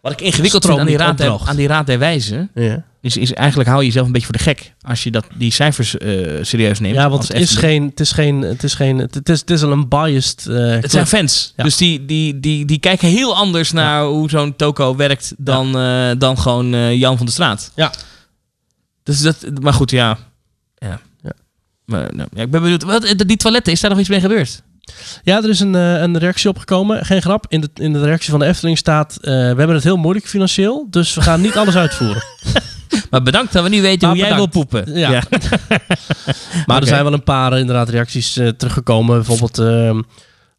Wat ik ingewikkeld vind aan die, raad der,
Stroom niet
aan die raad der wijzen,
Ja,
is, is eigenlijk hou je jezelf een beetje voor de gek als je dat, die cijfers eh, serieus neemt.
ja want
als
het is,
Efteling.
geen, het is geen... Het is geen... Het is, het is al een biased... eh,
Het
club.
zijn fans.
Ja.
Dus die, die, die, die kijken heel anders naar hoe zo'n toko werkt dan, eh, dan gewoon eh, Jan van de Straat.
Ja.
Dus dat, maar goed, ja. Ja.
Ja.
Maar, nou, ja ik ben benieuwd. Wat, die toiletten, is daar nog iets mee gebeurd?
Ja, er is een, eh, een reactie opgekomen. Geen grap. In de, in de reactie van de Efteling staat... eh, we hebben het heel moeilijk financieel, dus we gaan niet alles uitvoeren.
Maar Nou, bedankt dat we nu weten
Maar
hoe
bedankt.
jij wil poepen.
Ja. Maar er zijn wel een paar eh, inderdaad reacties eh, teruggekomen. Bijvoorbeeld ehm,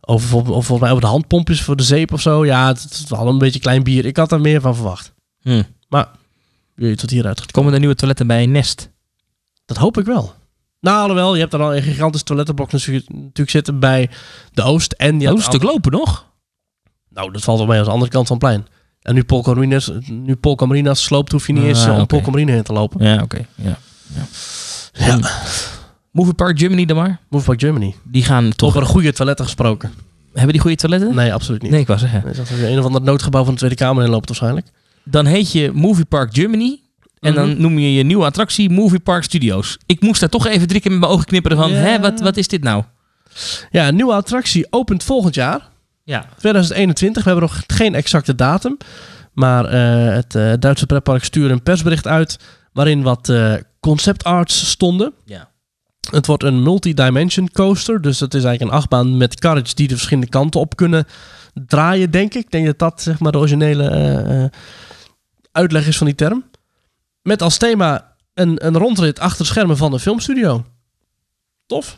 over, vol- of volgens mij over de handpompjes voor de zeep of zo. Ja, het, het was al een beetje klein bier. Ik had daar meer van verwacht.
Hm.
Maar jullie tot hieruit gekomen.
Komen er nieuwe toiletten bij Nest?
Dat hoop ik wel. Nou, alhoewel, je hebt daar al een gigantisch toilettenblok natuurlijk natuurlijk zitten bij de Oost. En je
Ja,
had
een stuk lopen nog.
Nou, dat valt wel mee aan de andere kant van het plein. En nu Polka Marinas, nu Polka Marinas sloopt, hoef je niet
Ah,
eens eh, om
oké.
Polka Marina heen te lopen.
Ja, oké. Ja. Ja. Movie Park Germany dan maar.
Move Back Germany.
Die gaan toch...
Over goede toiletten gesproken.
Hebben die goede toiletten?
Nee, absoluut niet.
Nee, ik was zeggen.
Nee, Dat er een of ander noodgebouw van de Tweede Kamer in loopt waarschijnlijk.
Dan heet je Movie Park Germany. En dan noem je je nieuwe attractie Movie Park Studios. Ik moest daar toch even drie keer met mijn ogen knipperen van...
Ja.
Hè, wat, wat is dit nou?
Ja, een nieuwe attractie opent volgend jaar.
Ja.
2021. We hebben nog geen exacte datum. Maar eh, het eh, Duitse pretpark stuurde een persbericht uit... waarin wat eh, concept arts stonden.
Ja.
Het wordt een multi-dimension coaster. Dus dat is eigenlijk een achtbaan met carriage die de verschillende kanten op kunnen draaien, denk ik. Ik denk dat dat zeg maar, de originele eh, eh, uitleg is van die term. Met als thema een, een rondrit achter schermen van een filmstudio. Tof.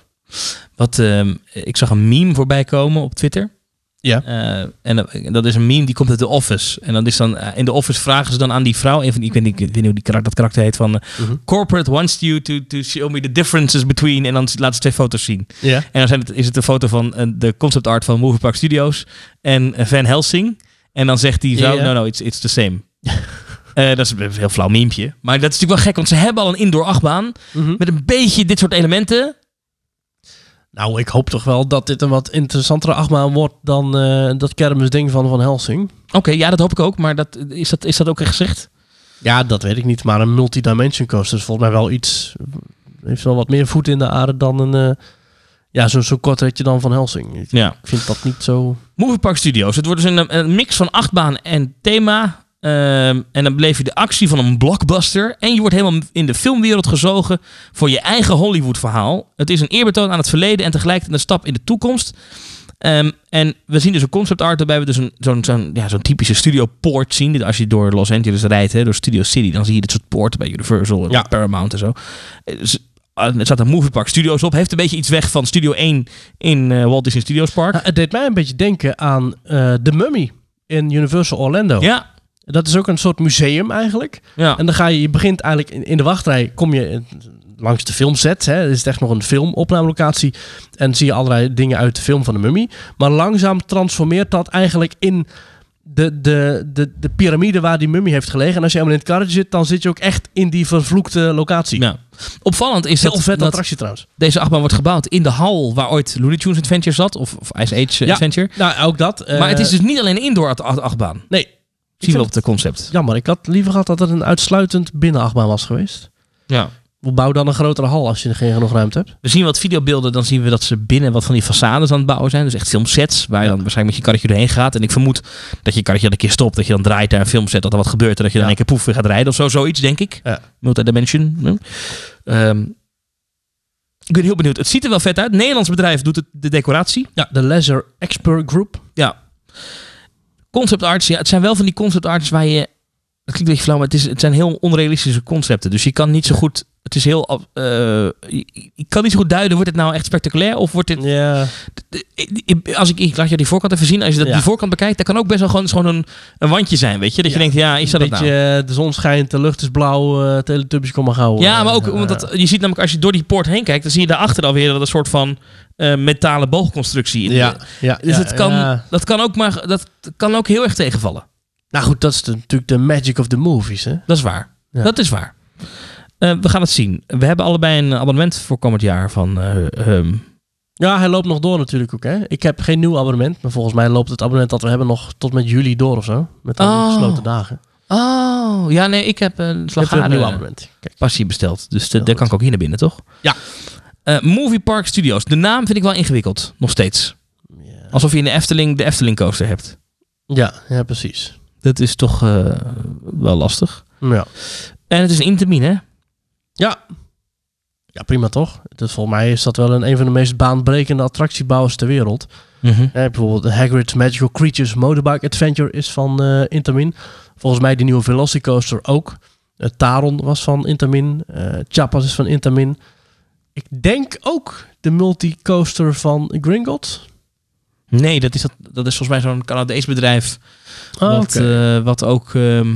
Wat, ehm, ik zag een meme voorbij komen op Twitter.
Ja.
Eh, en dat- dat is een meme die komt uit The Office. En dat is dan, eh, in The Office vragen ze dan aan die vrouw, een van, die- ik weet niet, ik weet niet hoe die karakter, dat karakter heet, van eh,
Mhm.
corporate wants you to, to show me the differences between, en dan laat ze twee foto's zien.
Ja.
En dan zijn het, is het een foto van eh, de concept art van Movie Park Studios en eh, Van Helsing. En dan zegt die vrouw,
Ja.
no, no, it's, it's the same. Eh, dat is een heel flauw memepje. Maar dat is natuurlijk wel gek, want ze hebben al een indoor achtbaan
Mhm.
met een beetje dit soort elementen.
Nou, ik hoop toch wel dat dit een wat interessantere achtbaan wordt dan eh, dat kermisding van Van Helsing.
Oké, ja, dat hoop ik ook. Maar dat, is, dat, is dat ook echt gezegd?
Ja, dat weet ik niet. Maar een multidimension coaster is volgens mij wel iets... Heeft wel wat meer voet in de aarde dan een... eh, ja, zo'n zo kort ritje dan Van Helsing. Ik
Ja.
vind dat niet zo...
Movie Park Studios. Het wordt dus een, een mix van achtbaan en thema. Ehm, en dan beleef je de actie van een blockbuster. En je wordt helemaal in de filmwereld gezogen voor je eigen Hollywood verhaal. Het is een eerbetoon aan het verleden en tegelijkertijd een stap in de toekomst. Ehm, en we zien dus een concept art waarbij we dus een, zo'n, zo'n, ja, zo'n typische studio poort zien. Dit- Als je door Los Angeles rijdt, hè, door Studio City, dan zie je dit soort poorten bij Universal en
Ja.
Paramount en zo. Eh, dus, ah, Er staat een Movie Park Studios op. Heeft een beetje iets weg van Studio 1 in eh, Walt Disney Studios Park.
Nou, het deed mij een beetje denken aan eh The Mummy in Universal Orlando.
Ja,
Dat is ook een soort museum eigenlijk.
ja.
En dan ga je, je begint eigenlijk in, in de wachtrij, kom je eh, langs de filmset. Hè, is het echt nog een filmopnamelocatie. En zie je allerlei dingen uit de film van de mummy. Maar langzaam transformeert dat eigenlijk in de, de, de, de piramide waar die mummy heeft gelegen. En als je helemaal in het karretje zit, dan zit je ook echt in die vervloekte locatie.
Ja. Opvallend is
Heel
dat,
vet
dat
attractie trouwens.
deze achtbaan wordt gebouwd in de hal waar ooit Looney Tunes Adventure zat. Of, of Ice Age eh,
Ja.
Adventure.
Nou, ook dat. eh,
maar het is dus niet alleen een indoor acht- acht- achtbaan.
Nee,
Zie
vind
je wel op de concept.
jammer. Ik had liever gehad dat het een uitsluitend binnenachtbaan was geweest.
Ja.
Bouw dan een grotere hal als je er geen genoeg ruimte hebt.
We zien wat videobeelden, dan zien we dat ze binnen wat van die façades aan het bouwen zijn. Dus echt filmsets, waar je dan waarschijnlijk met je karretje doorheen gaat. En ik vermoed dat je karretje dan een keer stopt, dat je dan draait naar een filmset, dat er wat gebeurt. En dat je dan
Ja.
een keer poef weer gaat rijden of zo, zoiets denk ik.
Ja.
Multidimension. ja. Ehm, ik ben heel benieuwd. Het ziet er wel vet uit. Nederlands bedrijf doet het, de decoratie.
Ja, de Leisure Expert Group.
Ja. Concept arts, ja, het zijn wel van die concept arts waar je... Het klinkt een beetje flauw, maar het, is, het zijn heel onrealistische concepten. Dus je kan niet zo goed... Het is heel... af- eh, je, je kan niet zo goed duiden, wordt het nou echt spectaculair of wordt dit...
Ja.
Als ik, ik laat je die voorkant even zien. Als je dat,
Ja.
die voorkant bekijkt, dat kan ook best wel gewoon, is gewoon een, een wandje zijn, weet je? Dat je denkt, ja, is dat het nou?
beetje, eh, de zon schijnt, de lucht is blauw, eh teletubbies kom maar gauw.
Ja,
eh,
maar ook,
eh,
want dat, je ziet namelijk als je door die poort heen kijkt, dan zie je daarachter alweer dat een soort van eh, metalen boogconstructie.
ja, ja,
Dus
eh. ja,
het kan,
ja.
dat kan ook maar, dat kan ook heel erg tegenvallen.
Nou goed, dat is de- natuurlijk de magic of the movies, hè?
Dat is waar.
Ja.
Dat is waar. Eh, we gaan het zien. We hebben allebei een abonnement voor komend jaar van eh, ehm,
Ja, hij loopt nog door natuurlijk ook, hè? Ik heb geen nieuw abonnement, maar volgens mij loopt het abonnement dat we hebben nog tot met juli door of zo. Met al die
Oh.
gesloten dagen.
Oh, ja, nee, ik heb een
Ik heb weer een nieuw
slagharen
abonnement. Kijk.
passie besteld. Dus de-
Heel
daar
goed.
kan ik ook hier naar binnen, toch?
Ja.
Eh, Movie Park Studios. De naam vind ik wel ingewikkeld. Nog steeds. Alsof je in de Efteling de Efteling coaster hebt.
Ja, ja, precies.
Dat is toch eh, wel lastig.
Ja.
En het is een intermin, hè?
Ja. Ja, prima toch? Dus volgens mij is dat wel een, een van de meest baanbrekende attractiebouwers ter wereld. Eh, bijvoorbeeld de Hagrid's Magical Creatures Motorbike Adventure is van eh, Intamin. Volgens mij die nieuwe Velocicoaster ook. Eh, Taron was van Intamin. Eh Chapas is van Intamin. Ik denk ook de multicoaster van Gringotts.
Nee, dat is, dat, dat is volgens mij zo'n Canadees bedrijf.
Oh,
wat,
oké.
eh, wat ook, ehm,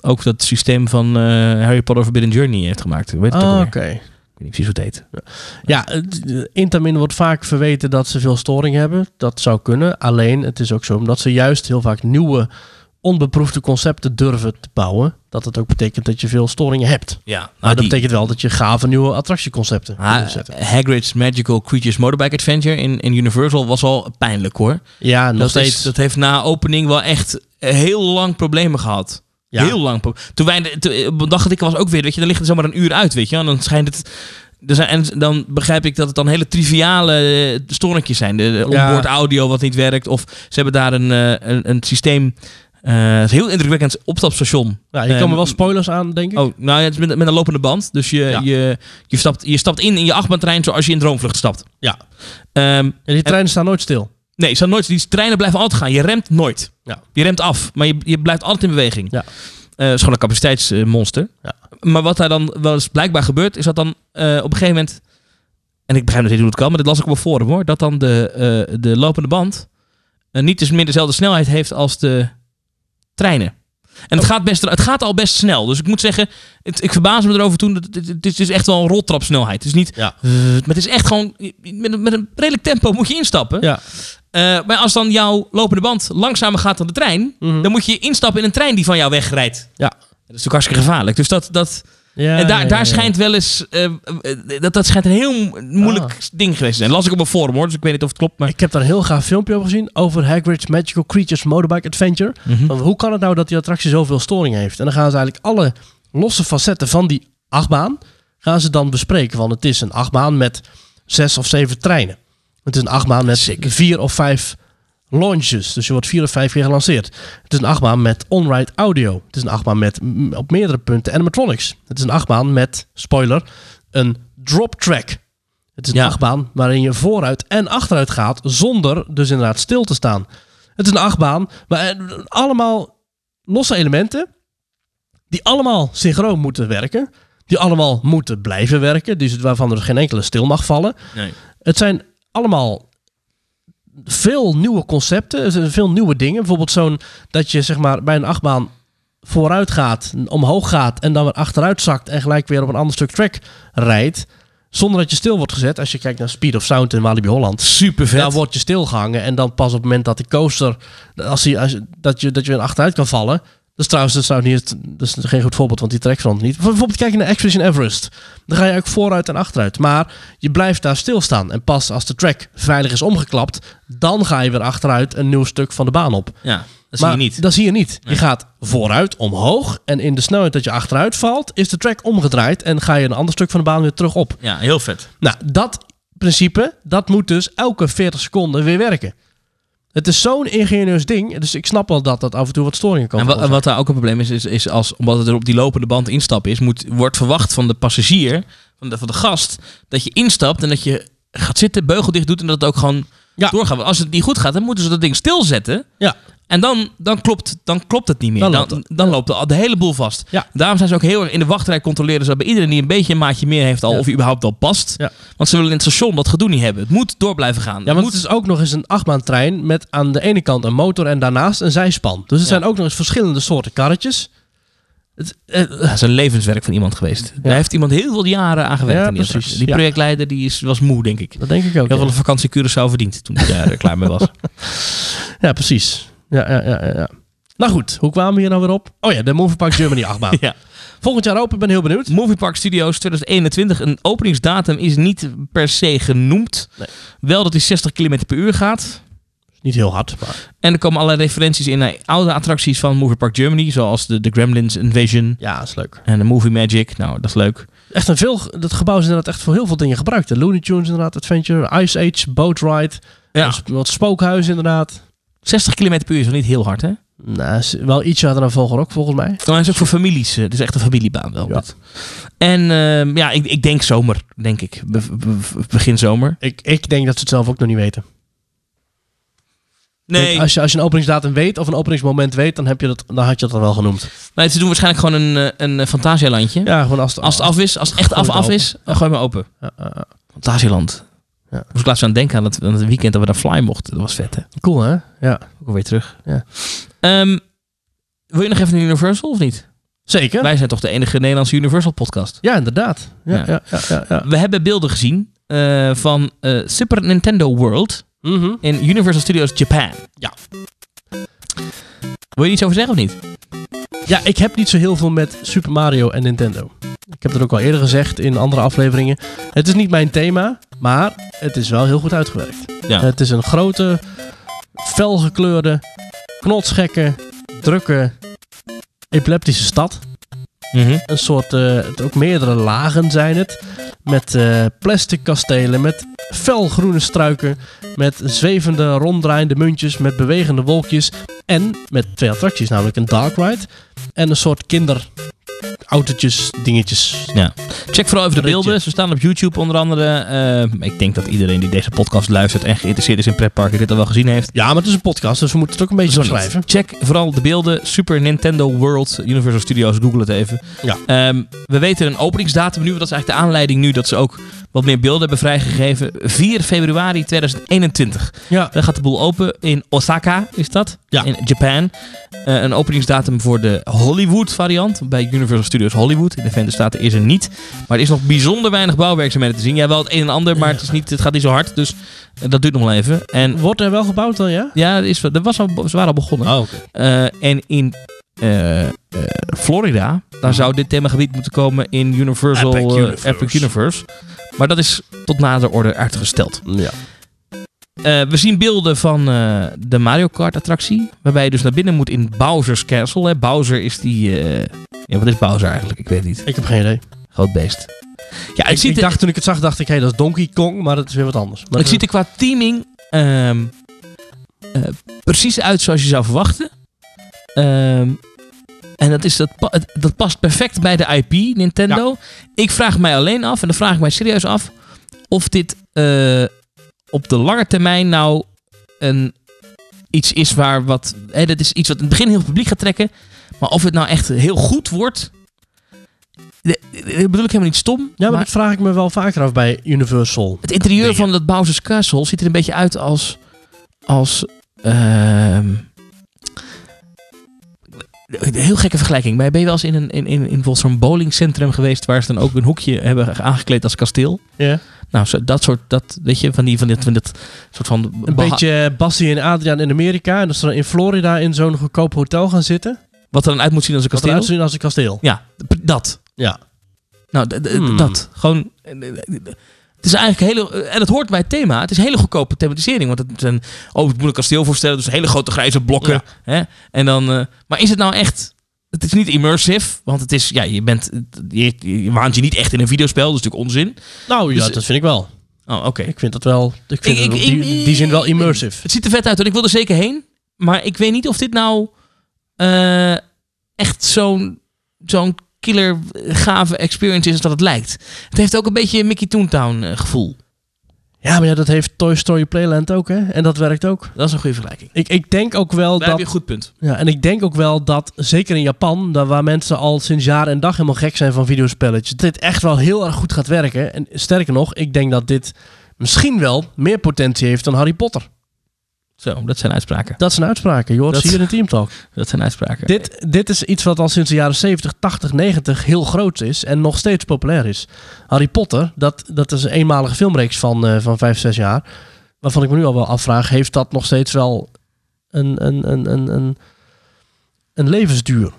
ook dat systeem van eh, Harry Potter Forbidden Journey heeft gemaakt. Weet het
Ah,
ook alweer.
oké.
Ik weet niet precies hoe het heet.
Ja, het- eh, Intamin wordt vaak verweten dat ze veel storing hebben. Dat zou kunnen. Alleen, het is ook zo omdat ze juist heel vaak nieuwe, onbeproefde concepten durven te bouwen. Dat het ook betekent dat je veel storingen hebt. Maar
Ja, nou,
dat
die- Ah,
betekent wel dat je gave nieuwe attractieconcepten
Ha-
kunt zetten.
Hagrid's Magical Creatures Motorbike Adventure in, in Universal was al pijnlijk hoor.
Ja, nog
Dat,
steeds.
heeft, dat heeft na opening wel echt heel lang problemen gehad.
Ja.
Heel lang. pro- Toen wij, de- toen, eh, dacht ik was ook weer, weet je, dan ligt het zomaar een uur uit, weet je. En dan schijnt het, er zijn, en dan begrijp ik dat het dan hele triviale eh, storingjes zijn. De, de
Ja.
onboard audio wat niet werkt. Of ze hebben daar een, eh, een, een systeem, eh, een heel indrukwekkend opstapstation.
ja, je
Ehm,
kan me wel spoilers aan, denk ik.
Oh, nou ja, het is met, met een lopende band. Dus je,
Hm. Ja.
je, je, stapt, je stapt in in je achtbaantrein zoals je in droomvlucht stapt.
Ja.
Ehm,
En die treinen staan nooit stil.
nee, ze gaan nooit, die treinen blijven altijd gaan. Je remt nooit.
Ja.
Je remt af, maar je, je blijft altijd in beweging.
Ja.
Eh, is gewoon een capaciteitsmonster.
Ja.
Maar wat daar dan wel eens blijkbaar gebeurt, is dat dan eh, op een gegeven moment... En ik begrijp natuurlijk hoe het kan, maar dit las ik op een forum hoor. Dat dan de, eh, de lopende band eh, niet dus meer dezelfde snelheid heeft als de treinen. En
Oh.
het, gaat best, het gaat al best snel. Dus ik moet zeggen, het, ik verbaas me erover toen. dat Het, het, het is echt wel een roltrapsnelheid. Het is niet... eh,
Ja.
maar het is echt gewoon... Met een, met een redelijk tempo moet je instappen.
Ja.
Eh, maar als dan jouw lopende band langzamer gaat dan de trein...
Mhm.
dan moet je instappen in een trein die van jou wegrijdt.
Ja.
Dat is natuurlijk hartstikke gevaarlijk. Dus dat, dat,
Ja,
en daar,
ja, ja, ja.
daar schijnt wel eens... eh, eh, dat, dat schijnt een heel mo- moeilijk ding geweest te zijn. las ik op een forum hoor, dus Ah. ik weet niet of het klopt. Maar...
Ik heb daar een heel gaaf filmpje over gezien. Over Hagrid's Magical Creatures Motorbike Adventure.
Mhm.
Want hoe kan het nou dat die attractie zoveel storing heeft? En dan gaan ze eigenlijk alle losse facetten van die achtbaan... gaan ze dan bespreken. Want het is een achtbaan met zes of zeven treinen. Het is een achtbaan met vier of vijf launches. Dus je wordt vier of vijf keer gelanceerd. Het is een achtbaan met on-ride audio. Het is een achtbaan met mm, op meerdere punten animatronics. Het is een achtbaan met, spoiler, een drop track. Het is een
Ja.
achtbaan waarin je vooruit en achteruit gaat zonder dus inderdaad stil te staan. Het is een achtbaan waar eh, allemaal losse elementen die allemaal synchroon moeten werken. Die allemaal moeten blijven werken. Dus waarvan er geen enkele stil mag vallen.
Nee.
Het zijn allemaal veel nieuwe concepten, er zijn veel nieuwe dingen. Bijvoorbeeld zo'n dat je zeg maar bij een achtbaan vooruit gaat, omhoog gaat en dan weer achteruit zakt en gelijk weer op een ander stuk track rijdt. Zonder dat je stil wordt gezet. Als je kijkt naar Speed of Sound in Walibi Holland.
Super
Daar word je stilgehangen. En dan pas op het moment dat de coaster. Als hij als, dat, je, dat je weer achteruit kan vallen. Dat is trouwens dat is trouwens niet, het- dat is geen goed voorbeeld, want die trekt van niet. Bijvoorbeeld kijk je naar Expedition Everest. Dan ga je ook vooruit en achteruit. Maar je blijft daar stilstaan. En pas als de track veilig is omgeklapt, dan ga je weer achteruit een nieuw stuk van de baan op.
Ja, dat
maar
zie je niet.
Dat zie je niet.
Nee.
Je gaat vooruit, omhoog. En in de snelheid dat je achteruit valt, is de track omgedraaid. En ga je een ander stuk van de baan weer terug op.
Ja, heel vet.
Nou, dat principe, dat moet dus elke 40 seconden weer werken. Het is zo'n ingenieus ding, dus ik snap wel dat dat af en toe wat storingen kan
En wat, en
veroorzaken.
wat daar ook een probleem is, is, is als, omdat het er op die lopende band instappen is, moet, wordt verwacht van de passagier, van de, van de gast, dat je instapt en dat je gaat zitten, beugel dicht doet en dat het ook gewoon
Ja.
doorgaat. Want als het niet goed gaat, dan moeten ze dat ding stilzetten.
Ja,
En dan, dan, klopt, dan klopt het niet meer. Dan,
Dan
dan,
loopt
loopt, de, de hele boel vast.
Ja.
Daarom zijn ze ook heel erg in de wachtrij controleren. Ze bij iedereen die een beetje een maatje meer heeft al,
Ja.
of hij überhaupt al past.
Ja.
Want ze willen in het station dat gedoe niet hebben. Het moet door blijven gaan.
ja
Het
want
moet,
het is ook nog eens een achtbaantrein met aan de ene kant een motor en daarnaast een zijspan. Dus het
Ja.
zijn ook nog eens verschillende soorten karretjes. Het, eh,
dat is een levenswerk van iemand geweest. Daar heeft iemand heel veel jaren aan gewerkt.
Ja,
aan die
precies.
attractie. Die
Ja.
projectleider die is, was moe, denk ik.
dat denk ik ook.
Heel
Ja,
veel vakantie Curaçao verdiend toen hij daar eh, klaar mee was.
Ja, precies. Ja, ja, ja, ja, ja. Nou goed, hoe kwamen we hier nou weer op? Oh ja, de Movie Park Germany achtbaan.
Ja.
Volgend jaar open, ik ben heel benieuwd.
Movie Park Studios 2021. Een openingsdatum is niet per se genoemd.
Nee.
Wel dat hij 60 km per uur gaat.
Niet heel hard, maar
En er komen allerlei referenties in naar oude attracties van Movie Park Germany. Zoals de, de Gremlins Invasion
ja, is leuk.
en de Movie Magic. Nou, dat is leuk.
Echt een veel, dat gebouw is inderdaad echt voor heel veel dingen gebruikt. De Looney Tunes inderdaad, Adventure, Ice Age, Boat Ride,
Ja.
wat- wat spookhuis inderdaad.
60 km per uur is wel niet heel hard, hè?
Nou, is wel ietsje harder dan Vogelrok volgens mij.
Maar hij is ook voor families. eh, Het is echt een familiebaan wel.
Ja.
En ehm, ja, ik, ik denk zomer, denk ik. Be- be- begin zomer.
Ik, ik denk dat ze het zelf ook nog niet weten. Ik
Nee,
denk, Als je, als je een openingsdatum weet of een openingsmoment weet, dan, heb je dat, dan had je dat al wel genoemd.
nee, ze doen waarschijnlijk gewoon een, eh, een eh, Fantasialandje.
Ja, gewoon als het,
Als het af is, als het echt
Gooi
af
het
af
open.
is, dan gooi maar open.
Ja, ja, ja.
Fantasieland.
Ja.
Moest ik laatst aan denken aan het, aan het weekend dat we daar fly mochten. Dat was vet, hè?
Cool, hè? Ja.
Ook alweer terug.
Ja.
Ehm, wil je nog even naar Universal of niet?
Zeker.
Wij zijn toch de enige Nederlandse Universal podcast.
Ja, inderdaad. Ja,
Ja.
ja. Ja, ja, ja.
We hebben beelden gezien eh, van eh, Super Nintendo World
Mhm.
in Universal Studios Japan.
Ja.
Wil je iets over zeggen of niet?
Ja, ik heb niet zo heel veel met Super Mario en Nintendo. Ik heb dat ook al eerder gezegd in andere afleveringen. Het is niet mijn thema, maar het is wel heel goed uitgewerkt.
Ja.
Het is een grote, felgekleurde, knotsgekke, drukke, epileptische stad. Een soort, eh, het ook meerdere lagen zijn het. Met eh, plastic kastelen, met felgroene struiken, met zwevende, ronddraaiende muntjes, met bewegende wolkjes. En met twee attracties, namelijk een dark ride en een soort kinder autootjes, dingetjes.
Check vooral even de
Ritje.
beelden. Ze staan op YouTube onder andere. Eh, ik denk dat iedereen die deze podcast luistert en geïnteresseerd is in pretparken dit al wel gezien heeft.
Ja, maar het is een podcast, dus we moeten het ook een beetje
Zo niet.
beschrijven.
Check vooral de beelden. Super Nintendo World, Universal Studios, google het even.
Ja.
Ehm, we weten een openingsdatum nu. want Dat is eigenlijk de aanleiding nu dat ze ook wat meer beelden hebben vrijgegeven. 4 februari 2021.
Ja.
Dan gaat de boel open in Osaka, is dat?
Ja.
In Japan. Eh, een openingsdatum voor de Hollywood variant. Bij Universal Studios Hollywood. In de Verenigde Staten is er niet. Maar er is nog bijzonder weinig bouwwerkzaamheden te zien. Ja, wel het een en ander, maar het, is niet, het gaat niet zo hard. Dus eh, dat duurt nog wel even. En
Wordt er wel gebouwd dan, ja?
ja, er is, er was al, ze waren al begonnen.
Oh,
Eh, en in eh, eh, Florida, daar zou dit themagebied moeten komen in Universal
Epic
eh,
Universe.
Epic Universe. Maar dat is tot nader orde uitgesteld.
Mm, Ja.
Eh, we zien beelden van eh, de Mario Kart attractie. Waarbij je dus naar binnen moet in Bowser's Castle. Hè. Bowser is die... eh, ja, wat is Bowser eigenlijk? Ik weet het niet.
Ik heb geen idee.
Groot beest. Ja, het
Ik,
ziet,
ik
er-
dacht toen ik het zag, dacht ik, hé, dat is Donkey Kong, maar dat is weer wat anders. Maar eh,
het ziet er qua teaming ehm, eh, precies uit zoals je zou verwachten. Ehm, en dat, is, dat, pa- het- dat past perfect bij de IP, Nintendo. Ik vraag mij alleen af, en dan vraag ik mij serieus af... of dit eh, op de lange termijn nou een, iets is waar wat... Hè, dat is iets wat in het begin heel veel publiek gaat trekken. Maar of het nou echt heel goed wordt... de- de- Dat bedoel ik helemaal niet stom.
ja, maar, dat vraag ik me wel vaker af bij Universal.
Het interieur
dingen.
van dat Bowser's Castle ziet er een beetje uit als... als ehm, een heel gekke vergelijking. Maar ben je wel eens in, een, in, in, in bijvoorbeeld zo'n bowlingcentrum geweest... waar ze dan ook een hoekje hebben aangekleed als kasteel?
Ja.
Nou, zo- dat soort... Dat, weet je, van, die, van, dit, van dit soort van...
Een
Baha-
beetje Bassie en Adriaan in Amerika. En dat ze dan in Florida in zo'n goedkoop hotel gaan zitten.
Wat er dan uit moet zien als een
Wat
kasteel?
eruit zien als een kasteel.
Ja, p- dat.
Ja.
Nou, d- d-
Hmm.
dat. Gewoon... eh, eh, eh, Het is eigenlijk hele... eh, En het hoort bij het thema. Het is hele goedkope thematisering. Want het zijn... Oh, het moet een kasteel voorstellen. Dus hele grote grijze blokken. Hè? En dan... eh, maar is het nou echt... Het is niet immersive. Want het is... Ja, je bent... Je, je waant je niet echt in een videospel. Dat is natuurlijk onzin.
Nou ja,
Dus-
dat vind ik wel.
Oh, oké.
Ik vind dat wel. Ik vind het
Ik- ik-
op die,
ik-
die zin wel immersive.
Het ziet er vet uit. En ik wil er zeker heen. Maar ik weet niet of dit nou... eh, echt zo'n... Zo'n killer eh, gave experience is als dat het lijkt. Het heeft ook een beetje een Mickey Toontown eh, gevoel.
Ja, maar ja, dat heeft Toy Story Playland ook, hè? En dat werkt ook.
Dat is een goede vergelijking.
Ik, ik denk ook wel
Daar heb je
dat.
een goed punt.
Ja, en ik denk ook wel dat, zeker in Japan, daar waar mensen al sinds jaar en dag helemaal gek zijn van videospelletjes, dit echt wel heel erg goed gaat werken. En sterker nog, ik denk dat dit misschien wel meer potentie heeft dan Harry Potter.
Zo, dat zijn uitspraken.
Dat zijn uitspraken. Je hoort
Dat-
ze hier in Team Talk.
Dat zijn uitspraken.
Dit, dit is iets wat al sinds de jaren 70, 80, 90 heel groot is en nog steeds populair is. Harry Potter, dat, dat is een eenmalige filmreeks van, eh, van 5, 6 jaar. Waarvan ik me nu al wel afvraag, heeft dat nog steeds wel een, een, een, een, een, een levensduur?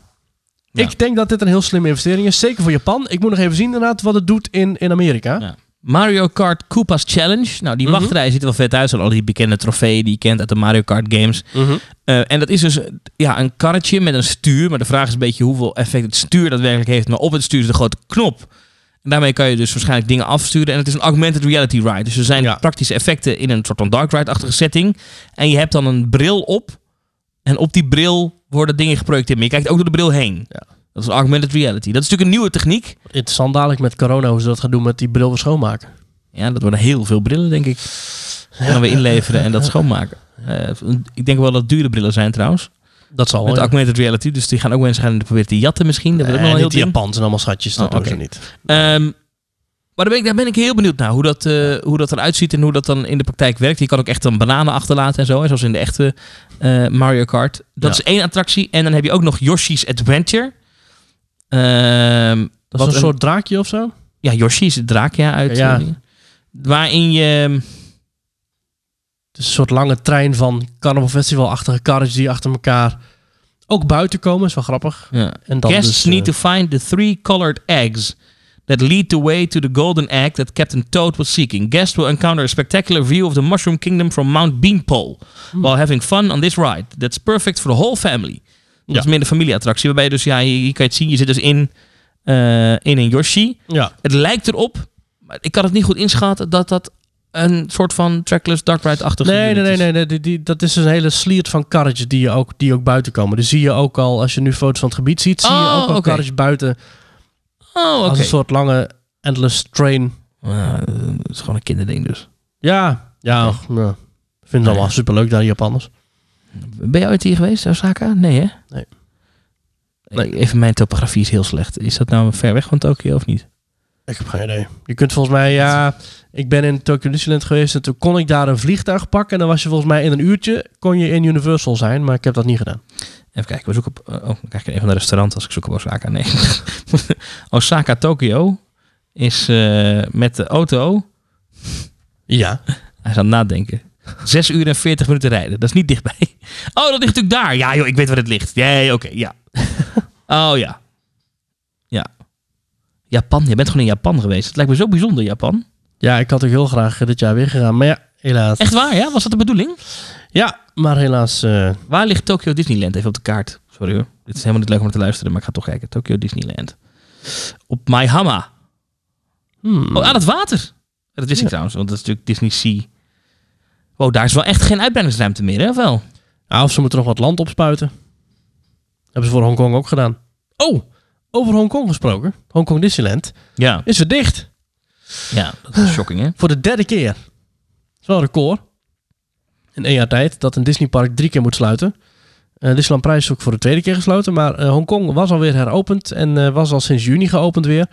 Ja.
Ik denk dat dit een heel slimme investering is. Zeker voor Japan. Ik moet nog even zien inderdaad wat het doet in, in Amerika.
Ja. Mario Kart Koopa's Challenge. Nou, die
Mhm.
wachtrij ziet er wel vet uit. Zijn al die bekende trofeeën die je kent uit de Mario Kart games. Eh, en dat is dus eh, ja, een karretje met een stuur. Maar de vraag is een beetje hoeveel effect het stuur daadwerkelijk heeft. Maar op het stuur is de grote knop. En daarmee kan je dus waarschijnlijk dingen afsturen. En het is een augmented reality ride. Dus er zijn
Ja.
praktische effecten in een soort van dark ride-achtige setting. En je hebt dan een bril op. En op die bril worden dingen geprojecteerd. Maar je kijkt ook door de bril heen.
Ja.
Dat is een augmented reality. Dat is natuurlijk een nieuwe techniek.
Interessant dadelijk met corona hoe ze dat gaan doen met die bril weer schoonmaken.
Ja, dat worden heel veel brillen, denk ik. En dan weer inleveren en dat schoonmaken. Eh, ik denk wel dat het dure brillen zijn trouwens.
Dat zal wel.
Met
ja.
augmented reality. Dus die gaan ook mensen gaan proberen te jatten misschien. Dat wordt ook
Nee,
nog wel
niet
een
die
heel
Japans
ding.
Eh, en allemaal schatjes, dat
Oh,
doen ze
oké.
niet.
Ehm, maar daar ben, ik, daar ben ik heel benieuwd naar. Hoe dat, eh, hoe dat eruit ziet en hoe dat dan in de praktijk werkt. Je kan ook echt dan bananen achterlaten en zo. hè, Zoals in de echte eh, Mario Kart. Dat
Ja.
is één attractie. En dan heb je ook nog Yoshi's Adventure. Ehm,
Dat
wat
is een soort draakje of zo?
Ja, Yoshi is het draak, ja. Uit,
Ja.
eh, waarin je...
Het is een soort lange trein van Carnival Festival-achtige karretjes die achter elkaar ook buiten komen. Is wel grappig.
Ja.
En dan
Guests
dus, eh,
need to find the three colored eggs that lead the way to the golden egg that Captain Toad was seeking. Guests will encounter a spectacular view of the Mushroom Kingdom from Mount Beanpole
Hmm.
while having fun on this ride. That's perfect for the whole family. Dat
Ja.
is meer een familieattractie, waarbij je dus, ja, hier, hier kan je het zien, je zit dus in, eh, in een Yoshi.
ja.
Het lijkt erop, maar ik kan het niet goed inschatten, dat dat een soort van trackless dark ride-achtige
Nee, nee,
unit
nee,
is.
nee, nee, die, die- dat is dus een hele sliert van karretjes die, je ook, die ook buiten komen. Dus zie je ook al, als je nu foto's van het gebied ziet, zie je
Oh,
ook al
oké.
karretjes buiten.
Oh, oké.
Als een soort lange endless train.
Ah, eh, het is gewoon een kinderding dus.
Ja, ja. och, nou, Ik vind het allemaal superleuk daar, die Japanners.
Ben jij ooit hier geweest, Osaka? Nee, hè?
Nee.
Nee, Even mijn topografie is heel slecht. Is dat nou ver weg van Tokio of niet?
Ik heb geen idee. Je kunt volgens mij, ja, ik ben in Tokyo Disneyland geweest en toen kon ik daar een vliegtuig pakken. En dan was je volgens mij in een uurtje, kon je in Universal zijn, maar ik heb dat niet gedaan.
Even kijken, we zoeken op... Oh, dan krijg ik een van de restaurants als ik zoek op Osaka. Nee. Osaka, Tokio is eh, met de auto...
Ja.
Hij is aan het nadenken. 6 uur en 40 minuten rijden. Dat is niet dichtbij. Oh, dat ligt natuurlijk daar. Ja, joh, ik weet waar het ligt. Ja, ja, oké, ja. Oh, ja. Ja. Japan. Je bent gewoon in Japan geweest. Het lijkt me zo bijzonder, Japan.
Ja, ik had ook heel graag eh, dit jaar weer gegaan, maar ja, helaas.
Echt waar, ja? Was dat de bedoeling?
Ja, maar helaas, eh,
Waar ligt Tokyo Disneyland? Even op de kaart. Sorry hoor. Dit is helemaal niet leuk om naar te luisteren, maar ik ga toch kijken. Tokyo Disneyland. Op Maihama.
hmm,
Oh, aan het water. Dat wist ik trouwens, want dat is natuurlijk Disney Sea. Wow, daar is wel echt geen uitbreidingsruimte meer, hè? Of wel?
Ja, of ze moeten nog wat land opspuiten. Hebben ze voor Hongkong ook gedaan. Oh, over Hongkong gesproken. Hongkong Disneyland
Ja.
is weer dicht.
Ja, dat is shocking, hè?
Voor de derde keer. Dat is wel een record. In één jaar tijd dat een Disneypark drie keer moet sluiten. Eh Disneyland Parijs is ook voor de tweede keer gesloten. Maar eh, Hongkong was alweer heropend. En eh, was al sinds juni geopend weer.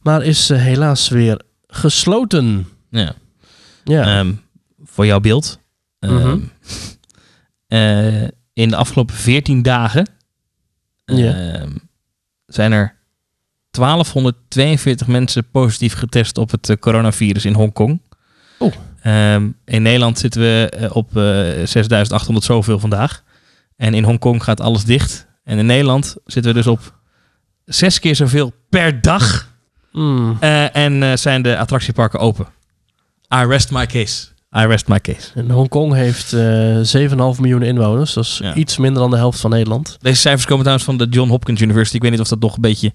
Maar is eh, helaas weer gesloten.
Ja.
Ja.
Ehm, voor jouw beeld. Ehm,
Mhm.
eh, in de afgelopen 14 dagen
Ja.
ehm, zijn er 1242 mensen positief getest op het eh, coronavirus in Hongkong.
Oh.
Ehm, in Nederland zitten we eh, op eh, 6800 zoveel vandaag. En in Hongkong gaat alles dicht. En in Nederland zitten we dus op zes keer zoveel per dag.
Hmm.
Eh, en eh, zijn de attractieparken open. I rest my case. I rest my case.
En Hongkong heeft eh 7,5 miljoen inwoners. Dat is
Ja.
iets minder dan de helft van Nederland.
Deze cijfers komen trouwens van de John Hopkins University. Ik weet niet of dat nog een beetje...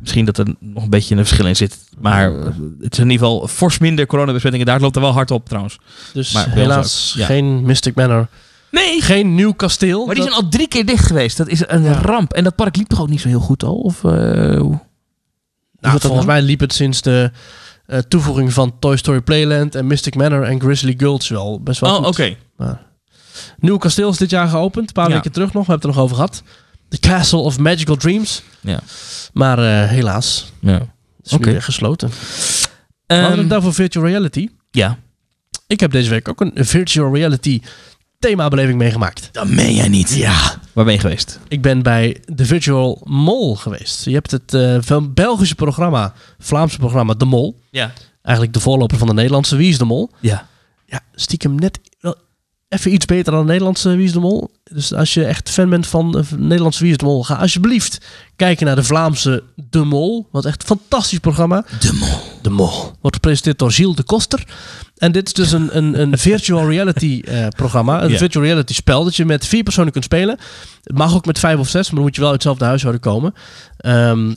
Misschien dat er nog een beetje een verschil in zit. Maar eh, het is in ieder geval fors minder coronabesmettingen. Daar Het loopt er wel hard op trouwens.
Dus
Maar bij ons
helaas
ook, ja.
geen Mystic Manor.
Nee!
Geen nieuw kasteel.
Maar die
Dat-
zijn al drie keer dicht geweest. Dat is een ramp. En dat park liep toch ook niet zo heel goed al? Of, eh, hoe?
nou,
dat
volgens
dan?
mij liep het sinds de eh, toevoeging van Toy Story Playland en Mystic Manor en Grizzly Gulch wel best wel
Oh,
goed.
oké.
Nieuw kasteel is dit jaar geopend. Een paar
Ja.
weken terug nog. We hebben het er nog over gehad. The Castle of Magical Dreams.
Ja.
Maar eh, helaas.
Ja.
Het is nu
Oké.
weer gesloten. We
Ehm,
hadden het daarvoor virtual reality.
ja.
Ik heb deze week ook een virtual reality themabeleving meegemaakt.
Dat meen jij niet.
Ja.
Waar ben je geweest?
Ik ben bij de Virtual Mol geweest. Je hebt het eh, van Belgische programma, Vlaamse programma De Mol.
Ja.
Eigenlijk de voorloper van de Nederlandse Wie is de Mol.
Ja.
Ja, stiekem net wel even iets beter dan de Nederlandse Wie is de Mol. Dus als je echt fan bent van de Nederlandse Wie is de Mol, ga alsjeblieft kijken naar de Vlaamse De Mol. Wat echt een fantastisch programma.
De mol.
De Mol. Wordt gepresenteerd door Gilles de Koster. En dit is dus een, een, een virtual reality eh, programma. Een
Ja.
virtual reality spel dat je met vier personen kunt spelen. Het mag ook met vijf of zes, maar dan moet je wel uit hetzelfde huishouden komen. Ehm,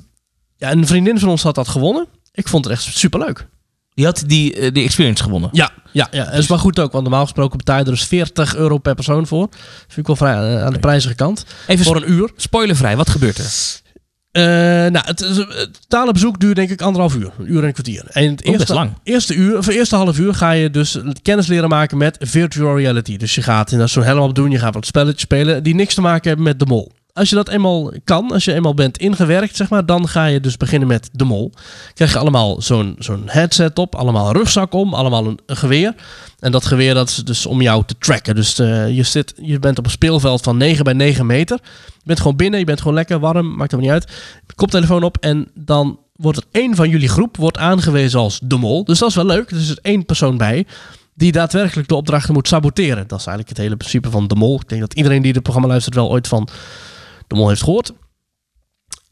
ja, een vriendin van ons had dat gewonnen. Ik vond het echt superleuk.
Die had die, eh, die experience gewonnen.
Ja, ja, ja. dat is maar goed ook, want normaal gesproken betaal je er dus 40 euro per persoon voor. Vind ik wel vrij eh, aan de prijzige kant.
Even
Voor
spo-
een uur.
spoilervrij, wat gebeurt er?
Eh, nou, het, is- het totale bezoek duurt denk ik anderhalf uur. Een uur en een kwartier. En het
best
eerste,
lang.
Eerste, uur, of eerste half uur ga je dus kennis leren maken met virtual reality. Dus je gaat inderdaad zo'n helm op doen. Je gaat wat spelletjes spelen die niks te maken hebben met de mol. Als je dat eenmaal kan, als je eenmaal bent ingewerkt, zeg maar, dan ga je dus beginnen met de mol. Krijg je allemaal zo'n zo'n headset op, allemaal een rugzak om, allemaal een, een geweer. En dat geweer dat is dus om jou te tracken. Dus eh, je, zit, je bent op een speelveld van 9 bij 9 meter. Je bent gewoon binnen, je bent gewoon lekker warm, maakt helemaal niet uit. Koptelefoon op en dan wordt er één van jullie groep wordt aangewezen als de mol. Dus dat is wel leuk. Er zit één persoon bij die daadwerkelijk de opdrachten moet saboteren. Dat is eigenlijk het hele principe van de mol. Ik denk dat iedereen die dit programma luistert wel ooit van de mol heeft gehoord.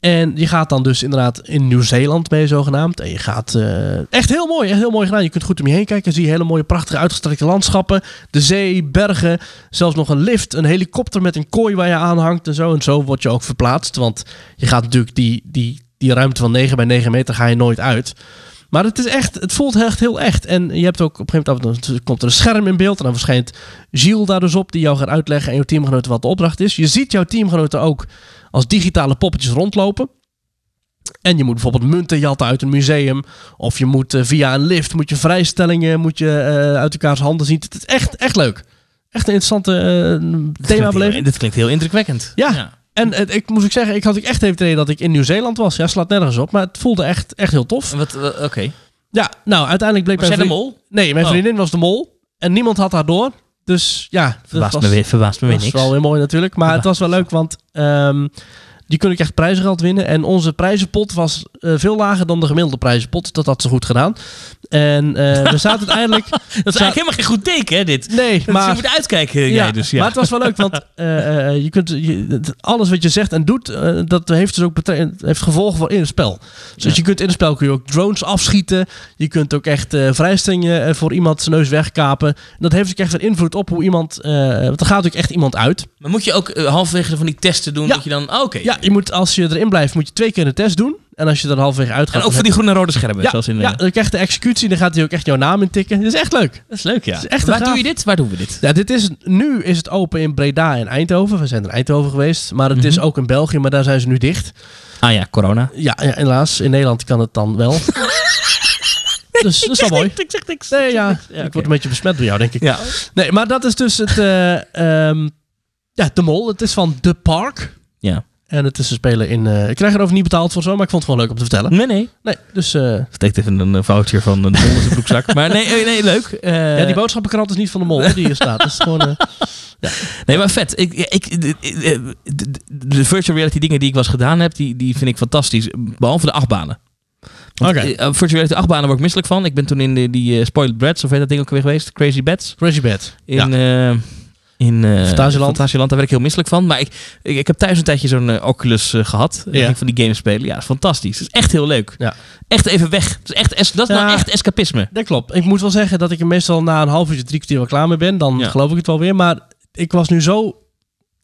En je gaat dan dus inderdaad in Nieuw-Zeeland mee, zogenaamd. En je gaat eh, echt heel mooi, echt heel mooi gedaan. Je kunt goed om je heen kijken. Zie je hele mooie, prachtige, uitgestrekte landschappen. De zee, bergen, zelfs nog een lift, een helikopter met een kooi waar je aan hangt en zo. En zo word je ook verplaatst. Want je gaat natuurlijk die, die, die ruimte van 9 bij 9 meter ga je nooit uit. Maar het is echt, het voelt echt heel echt. En je hebt ook op een gegeven moment af en toe- komt er een scherm in beeld. En dan verschijnt Gilles daar dus op, die jou gaat uitleggen en jouw teamgenoten wat de opdracht is. Je ziet jouw teamgenoten ook als digitale poppetjes rondlopen. En je moet bijvoorbeeld munten jatten uit een museum. Of je moet eh, via een lift, moet je vrijstellingen moet je, eh, uit elkaars handen zien. Het is echt, echt leuk. Echt een interessante eh,
Dit
thema
klinkt heel-
beleven.
Dit klinkt heel indrukwekkend.
Ja. En eh, ik moest ik zeggen, ik had ook echt even het idee dat ik in Nieuw-Zeeland was. Ja, slaat nergens op, maar het voelde echt, echt heel tof.
En Wat, wat- Oké.
Ja, nou, uiteindelijk bleek
Was jij
mijn
de
vriend-
mol?
Nee, mijn
Oh.
vriendin was de mol. En niemand had haar door. Dus ja, dat
Verbaast
was-
me weer, verbaast me weer
dat is
niks.
wel weer mooi natuurlijk. Maar het was wel leuk, want ehm, die kon ik echt prijzengeld winnen. En onze prijzenpot was eh, veel lager dan de gemiddelde prijzenpot. Dat had ze goed gedaan. En eh, we zaten uiteindelijk...
Dat is eigenlijk helemaal geen goed teken, hè, dit.
Nee,
Maar, je
maar...
moet uitkijken, jij dus. Ja.
Maar het was wel leuk, want eh, eh, je kunt, je- het- alles wat je zegt en doet, eh, dat heeft dus ook betre- heeft gevolgen voor in het spel. Dus
Ja.
je kunt in het spel kun je ook drones afschieten. Je kunt ook echt eh vrijstellingen eh, voor iemand zijn neus wegkapen. En dat heeft ook echt weer invloed op hoe iemand. eh, want er gaat ook echt iemand uit.
Maar moet je ook eh, halverwege van die testen doen
Ja.
dat je dan... oh, Oké.
Ja, je moet, als je erin blijft, moet je twee keer een test doen. En als je er halverwege uitgaat.
En ook
dan
voor die groene en rode schermen.
heb-
zoals
ja,
in,
ja,
eh,
dan krijgt de executie. Dan gaat hij ook echt jouw naam intikken. Dat is echt leuk.
dat is leuk, ja.
is echt een
Waar
gaaf-
doe je dit? Waar doen we dit?
Ja, dit is, nu is het open in Breda en Eindhoven. We zijn in Eindhoven geweest. Maar het is
Mhm.
ook in België, maar daar zijn ze nu dicht.
Ah ja, corona.
Ja, ja, helaas. In Nederland kan het dan wel. dus dat is wel mooi.
Ik zeg niks.
Nee, ja,
oké.
ik word een beetje besmet door jou, denk ik.
Ja.
Nee, maar dat is dus het... eh, ehm, ja, De Mol. Het is van The Park.
Ja.
En het is te spelen in... eh, ik krijg erover niet betaald voor zo, maar ik vond het gewoon leuk om te vertellen.
Nee, nee.
Nee, dus... eh,
Steekt even een eh, voucher van een onderste broekzak. Maar nee, eh, nee leuk. Eh,
ja, die boodschappenkrant is niet van De Mol, hè, die hier staat. Dat is gewoon... eh,
Nee, maar vet. Ik, ja, ik, de, de- de- de virtual reality dingen die ik was gedaan heb, die, die vind ik fantastisch. Behalve de achtbanen. Want,
Oké.
eh, virtual reality achtbanen word ik misselijk van. Ik ben toen in de, die eh, Spoiled Breads, of heet dat ding ook weer geweest? Crazy Bats.
Crazy Bad. ja.
In, eh in eh,
Fantasieland.
Fantasieland. Daar werd ik heel misselijk van. Maar ik, ik, ik heb thuis een tijdje zo'n eh, Oculus eh, gehad.
Ja.
Ja. Van die games spelen. Ja, dat is fantastisch. Dat is echt heel leuk.
Ja.
Echt even weg. Dat is, echt, es- dat is nou
Ja.
echt escapisme.
Dat klopt. Ik moet wel zeggen dat ik er meestal na een half uurtje, drie kwartier wel klaar mee ben. Dan
Ja.
geloof ik het wel weer. Maar ik was nu zo...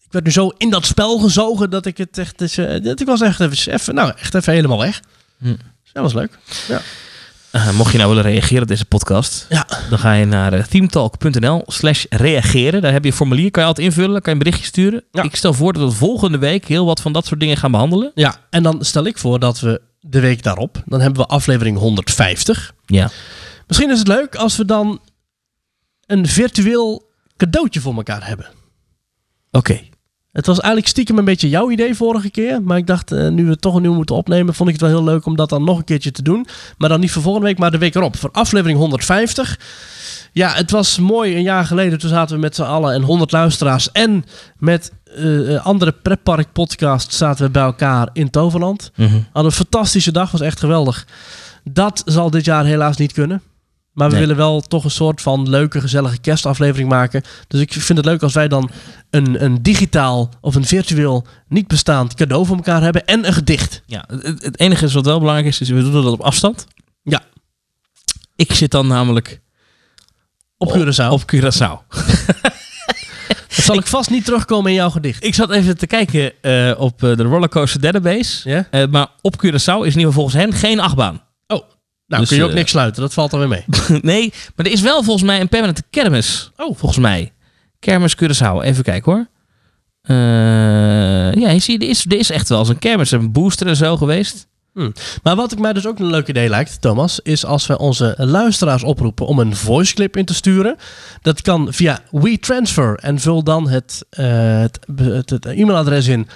Ik werd nu zo in dat spel gezogen dat ik het echt... Dus, eh, dat ik was echt even, even, nou, echt even helemaal weg.
Hm.
Dus dat was leuk.
Eh, mocht je nou willen reageren op deze podcast,
Ja.
dan ga je naar eh, themetalk.nl slash reageren. Daar heb je een formulier, kan je altijd invullen, kan je een berichtje sturen.
Ja.
Ik stel voor dat we volgende week heel wat van dat soort dingen gaan behandelen.
Ja, en dan stel ik voor dat we de week daarop... Dan hebben we aflevering 150.
Ja.
Misschien is het leuk als we dan een virtueel cadeautje voor elkaar hebben.
Oké.
Het was eigenlijk stiekem een beetje jouw idee vorige keer. Maar ik dacht, eh, nu we het toch opnieuw moeten opnemen, vond ik het wel heel leuk om dat dan nog een keertje te doen. Maar dan niet voor volgende week, maar de week erop. Voor aflevering 150. Ja, het was mooi een jaar geleden. Toen zaten we met z'n allen en 100 luisteraars. En met eh, eh, andere pretpark podcasts zaten we bij elkaar in Toverland.
Mhm.
Hadden een fantastische dag, was echt geweldig. Dat zal dit jaar helaas niet kunnen. Maar we
Nee.
willen wel toch een soort van leuke, gezellige kerstaflevering maken. Dus ik vind het leuk als wij dan een, een digitaal of een virtueel niet bestaand cadeau voor elkaar hebben. En een gedicht.
Ja, het, het enige is wat wel belangrijk is, is we doen dat op afstand.
Ja.
Ik zit dan namelijk
Op Curaçao.
op Curaçao.
Dat zal ik vast niet terugkomen in jouw gedicht.
Ik zat even te kijken eh, op eh, de Rollercoaster Database.
Ja?
Eh, maar op Curaçao is in ieder geval volgens hen geen achtbaan.
Oh. Nou,
Dus,
kun je ook
eh,
niks sluiten. Dat valt dan weer mee.
nee, maar er is wel volgens mij een permanente kermis. Oh. Volgens mij. Kermis Curaçao. Even kijken hoor. Eh, ja, je ziet, er is, er is echt wel eens een kermis. Een booster en zo geweest.
Hmm. Maar wat ik mij dus ook een leuk idee lijkt, Thomas, is als we onze luisteraars oproepen om een voice clip in te sturen. Dat kan via WeTransfer en vul dan het, eh, het, het- het e-mailadres in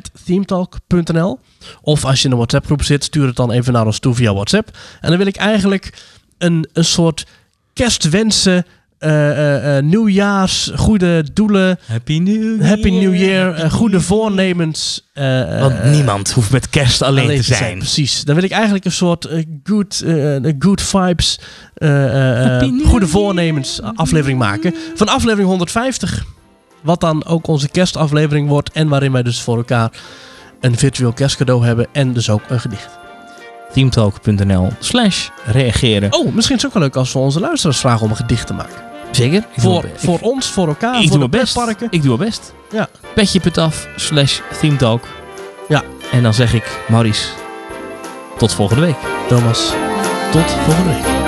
audio.themetalk.nl Of als je in een WhatsApp groep zit, stuur het dan even naar ons toe via WhatsApp. En dan wil ik eigenlijk een, een soort kerstwensen, eh, eh, eh, nieuwjaars, goede doelen,
Happy New Year.
happy new year, eh, goede voornemens. eh,
Want niemand hoeft met kerst alleen,
alleen
te zijn.
Precies. Dan wil ik eigenlijk een soort eh, good, eh, eh, good vibes, eh, eh, eh,
Happy New
goede
Year.
voornemens eh, aflevering maken. Van aflevering 150. Wat dan ook onze kerstaflevering wordt. En waarin wij dus voor elkaar een virtueel kerstcadeau hebben. En dus ook een gedicht.
Teamtalk.nl slash reageren.
Oh, misschien is het ook wel leuk als we onze luisteraars vragen om een gedicht te maken.
Zeker. Ik
voor
doe,
voor ons, voor elkaar,
ik, ik
Ah, voor
doe
de
mijn best.
pretparken.
Ik doe mijn best.
Ja.
Petje.af slash teamtalk.
Ja.
En dan zeg ik, Maurice, tot volgende week.
Thomas, tot volgende week.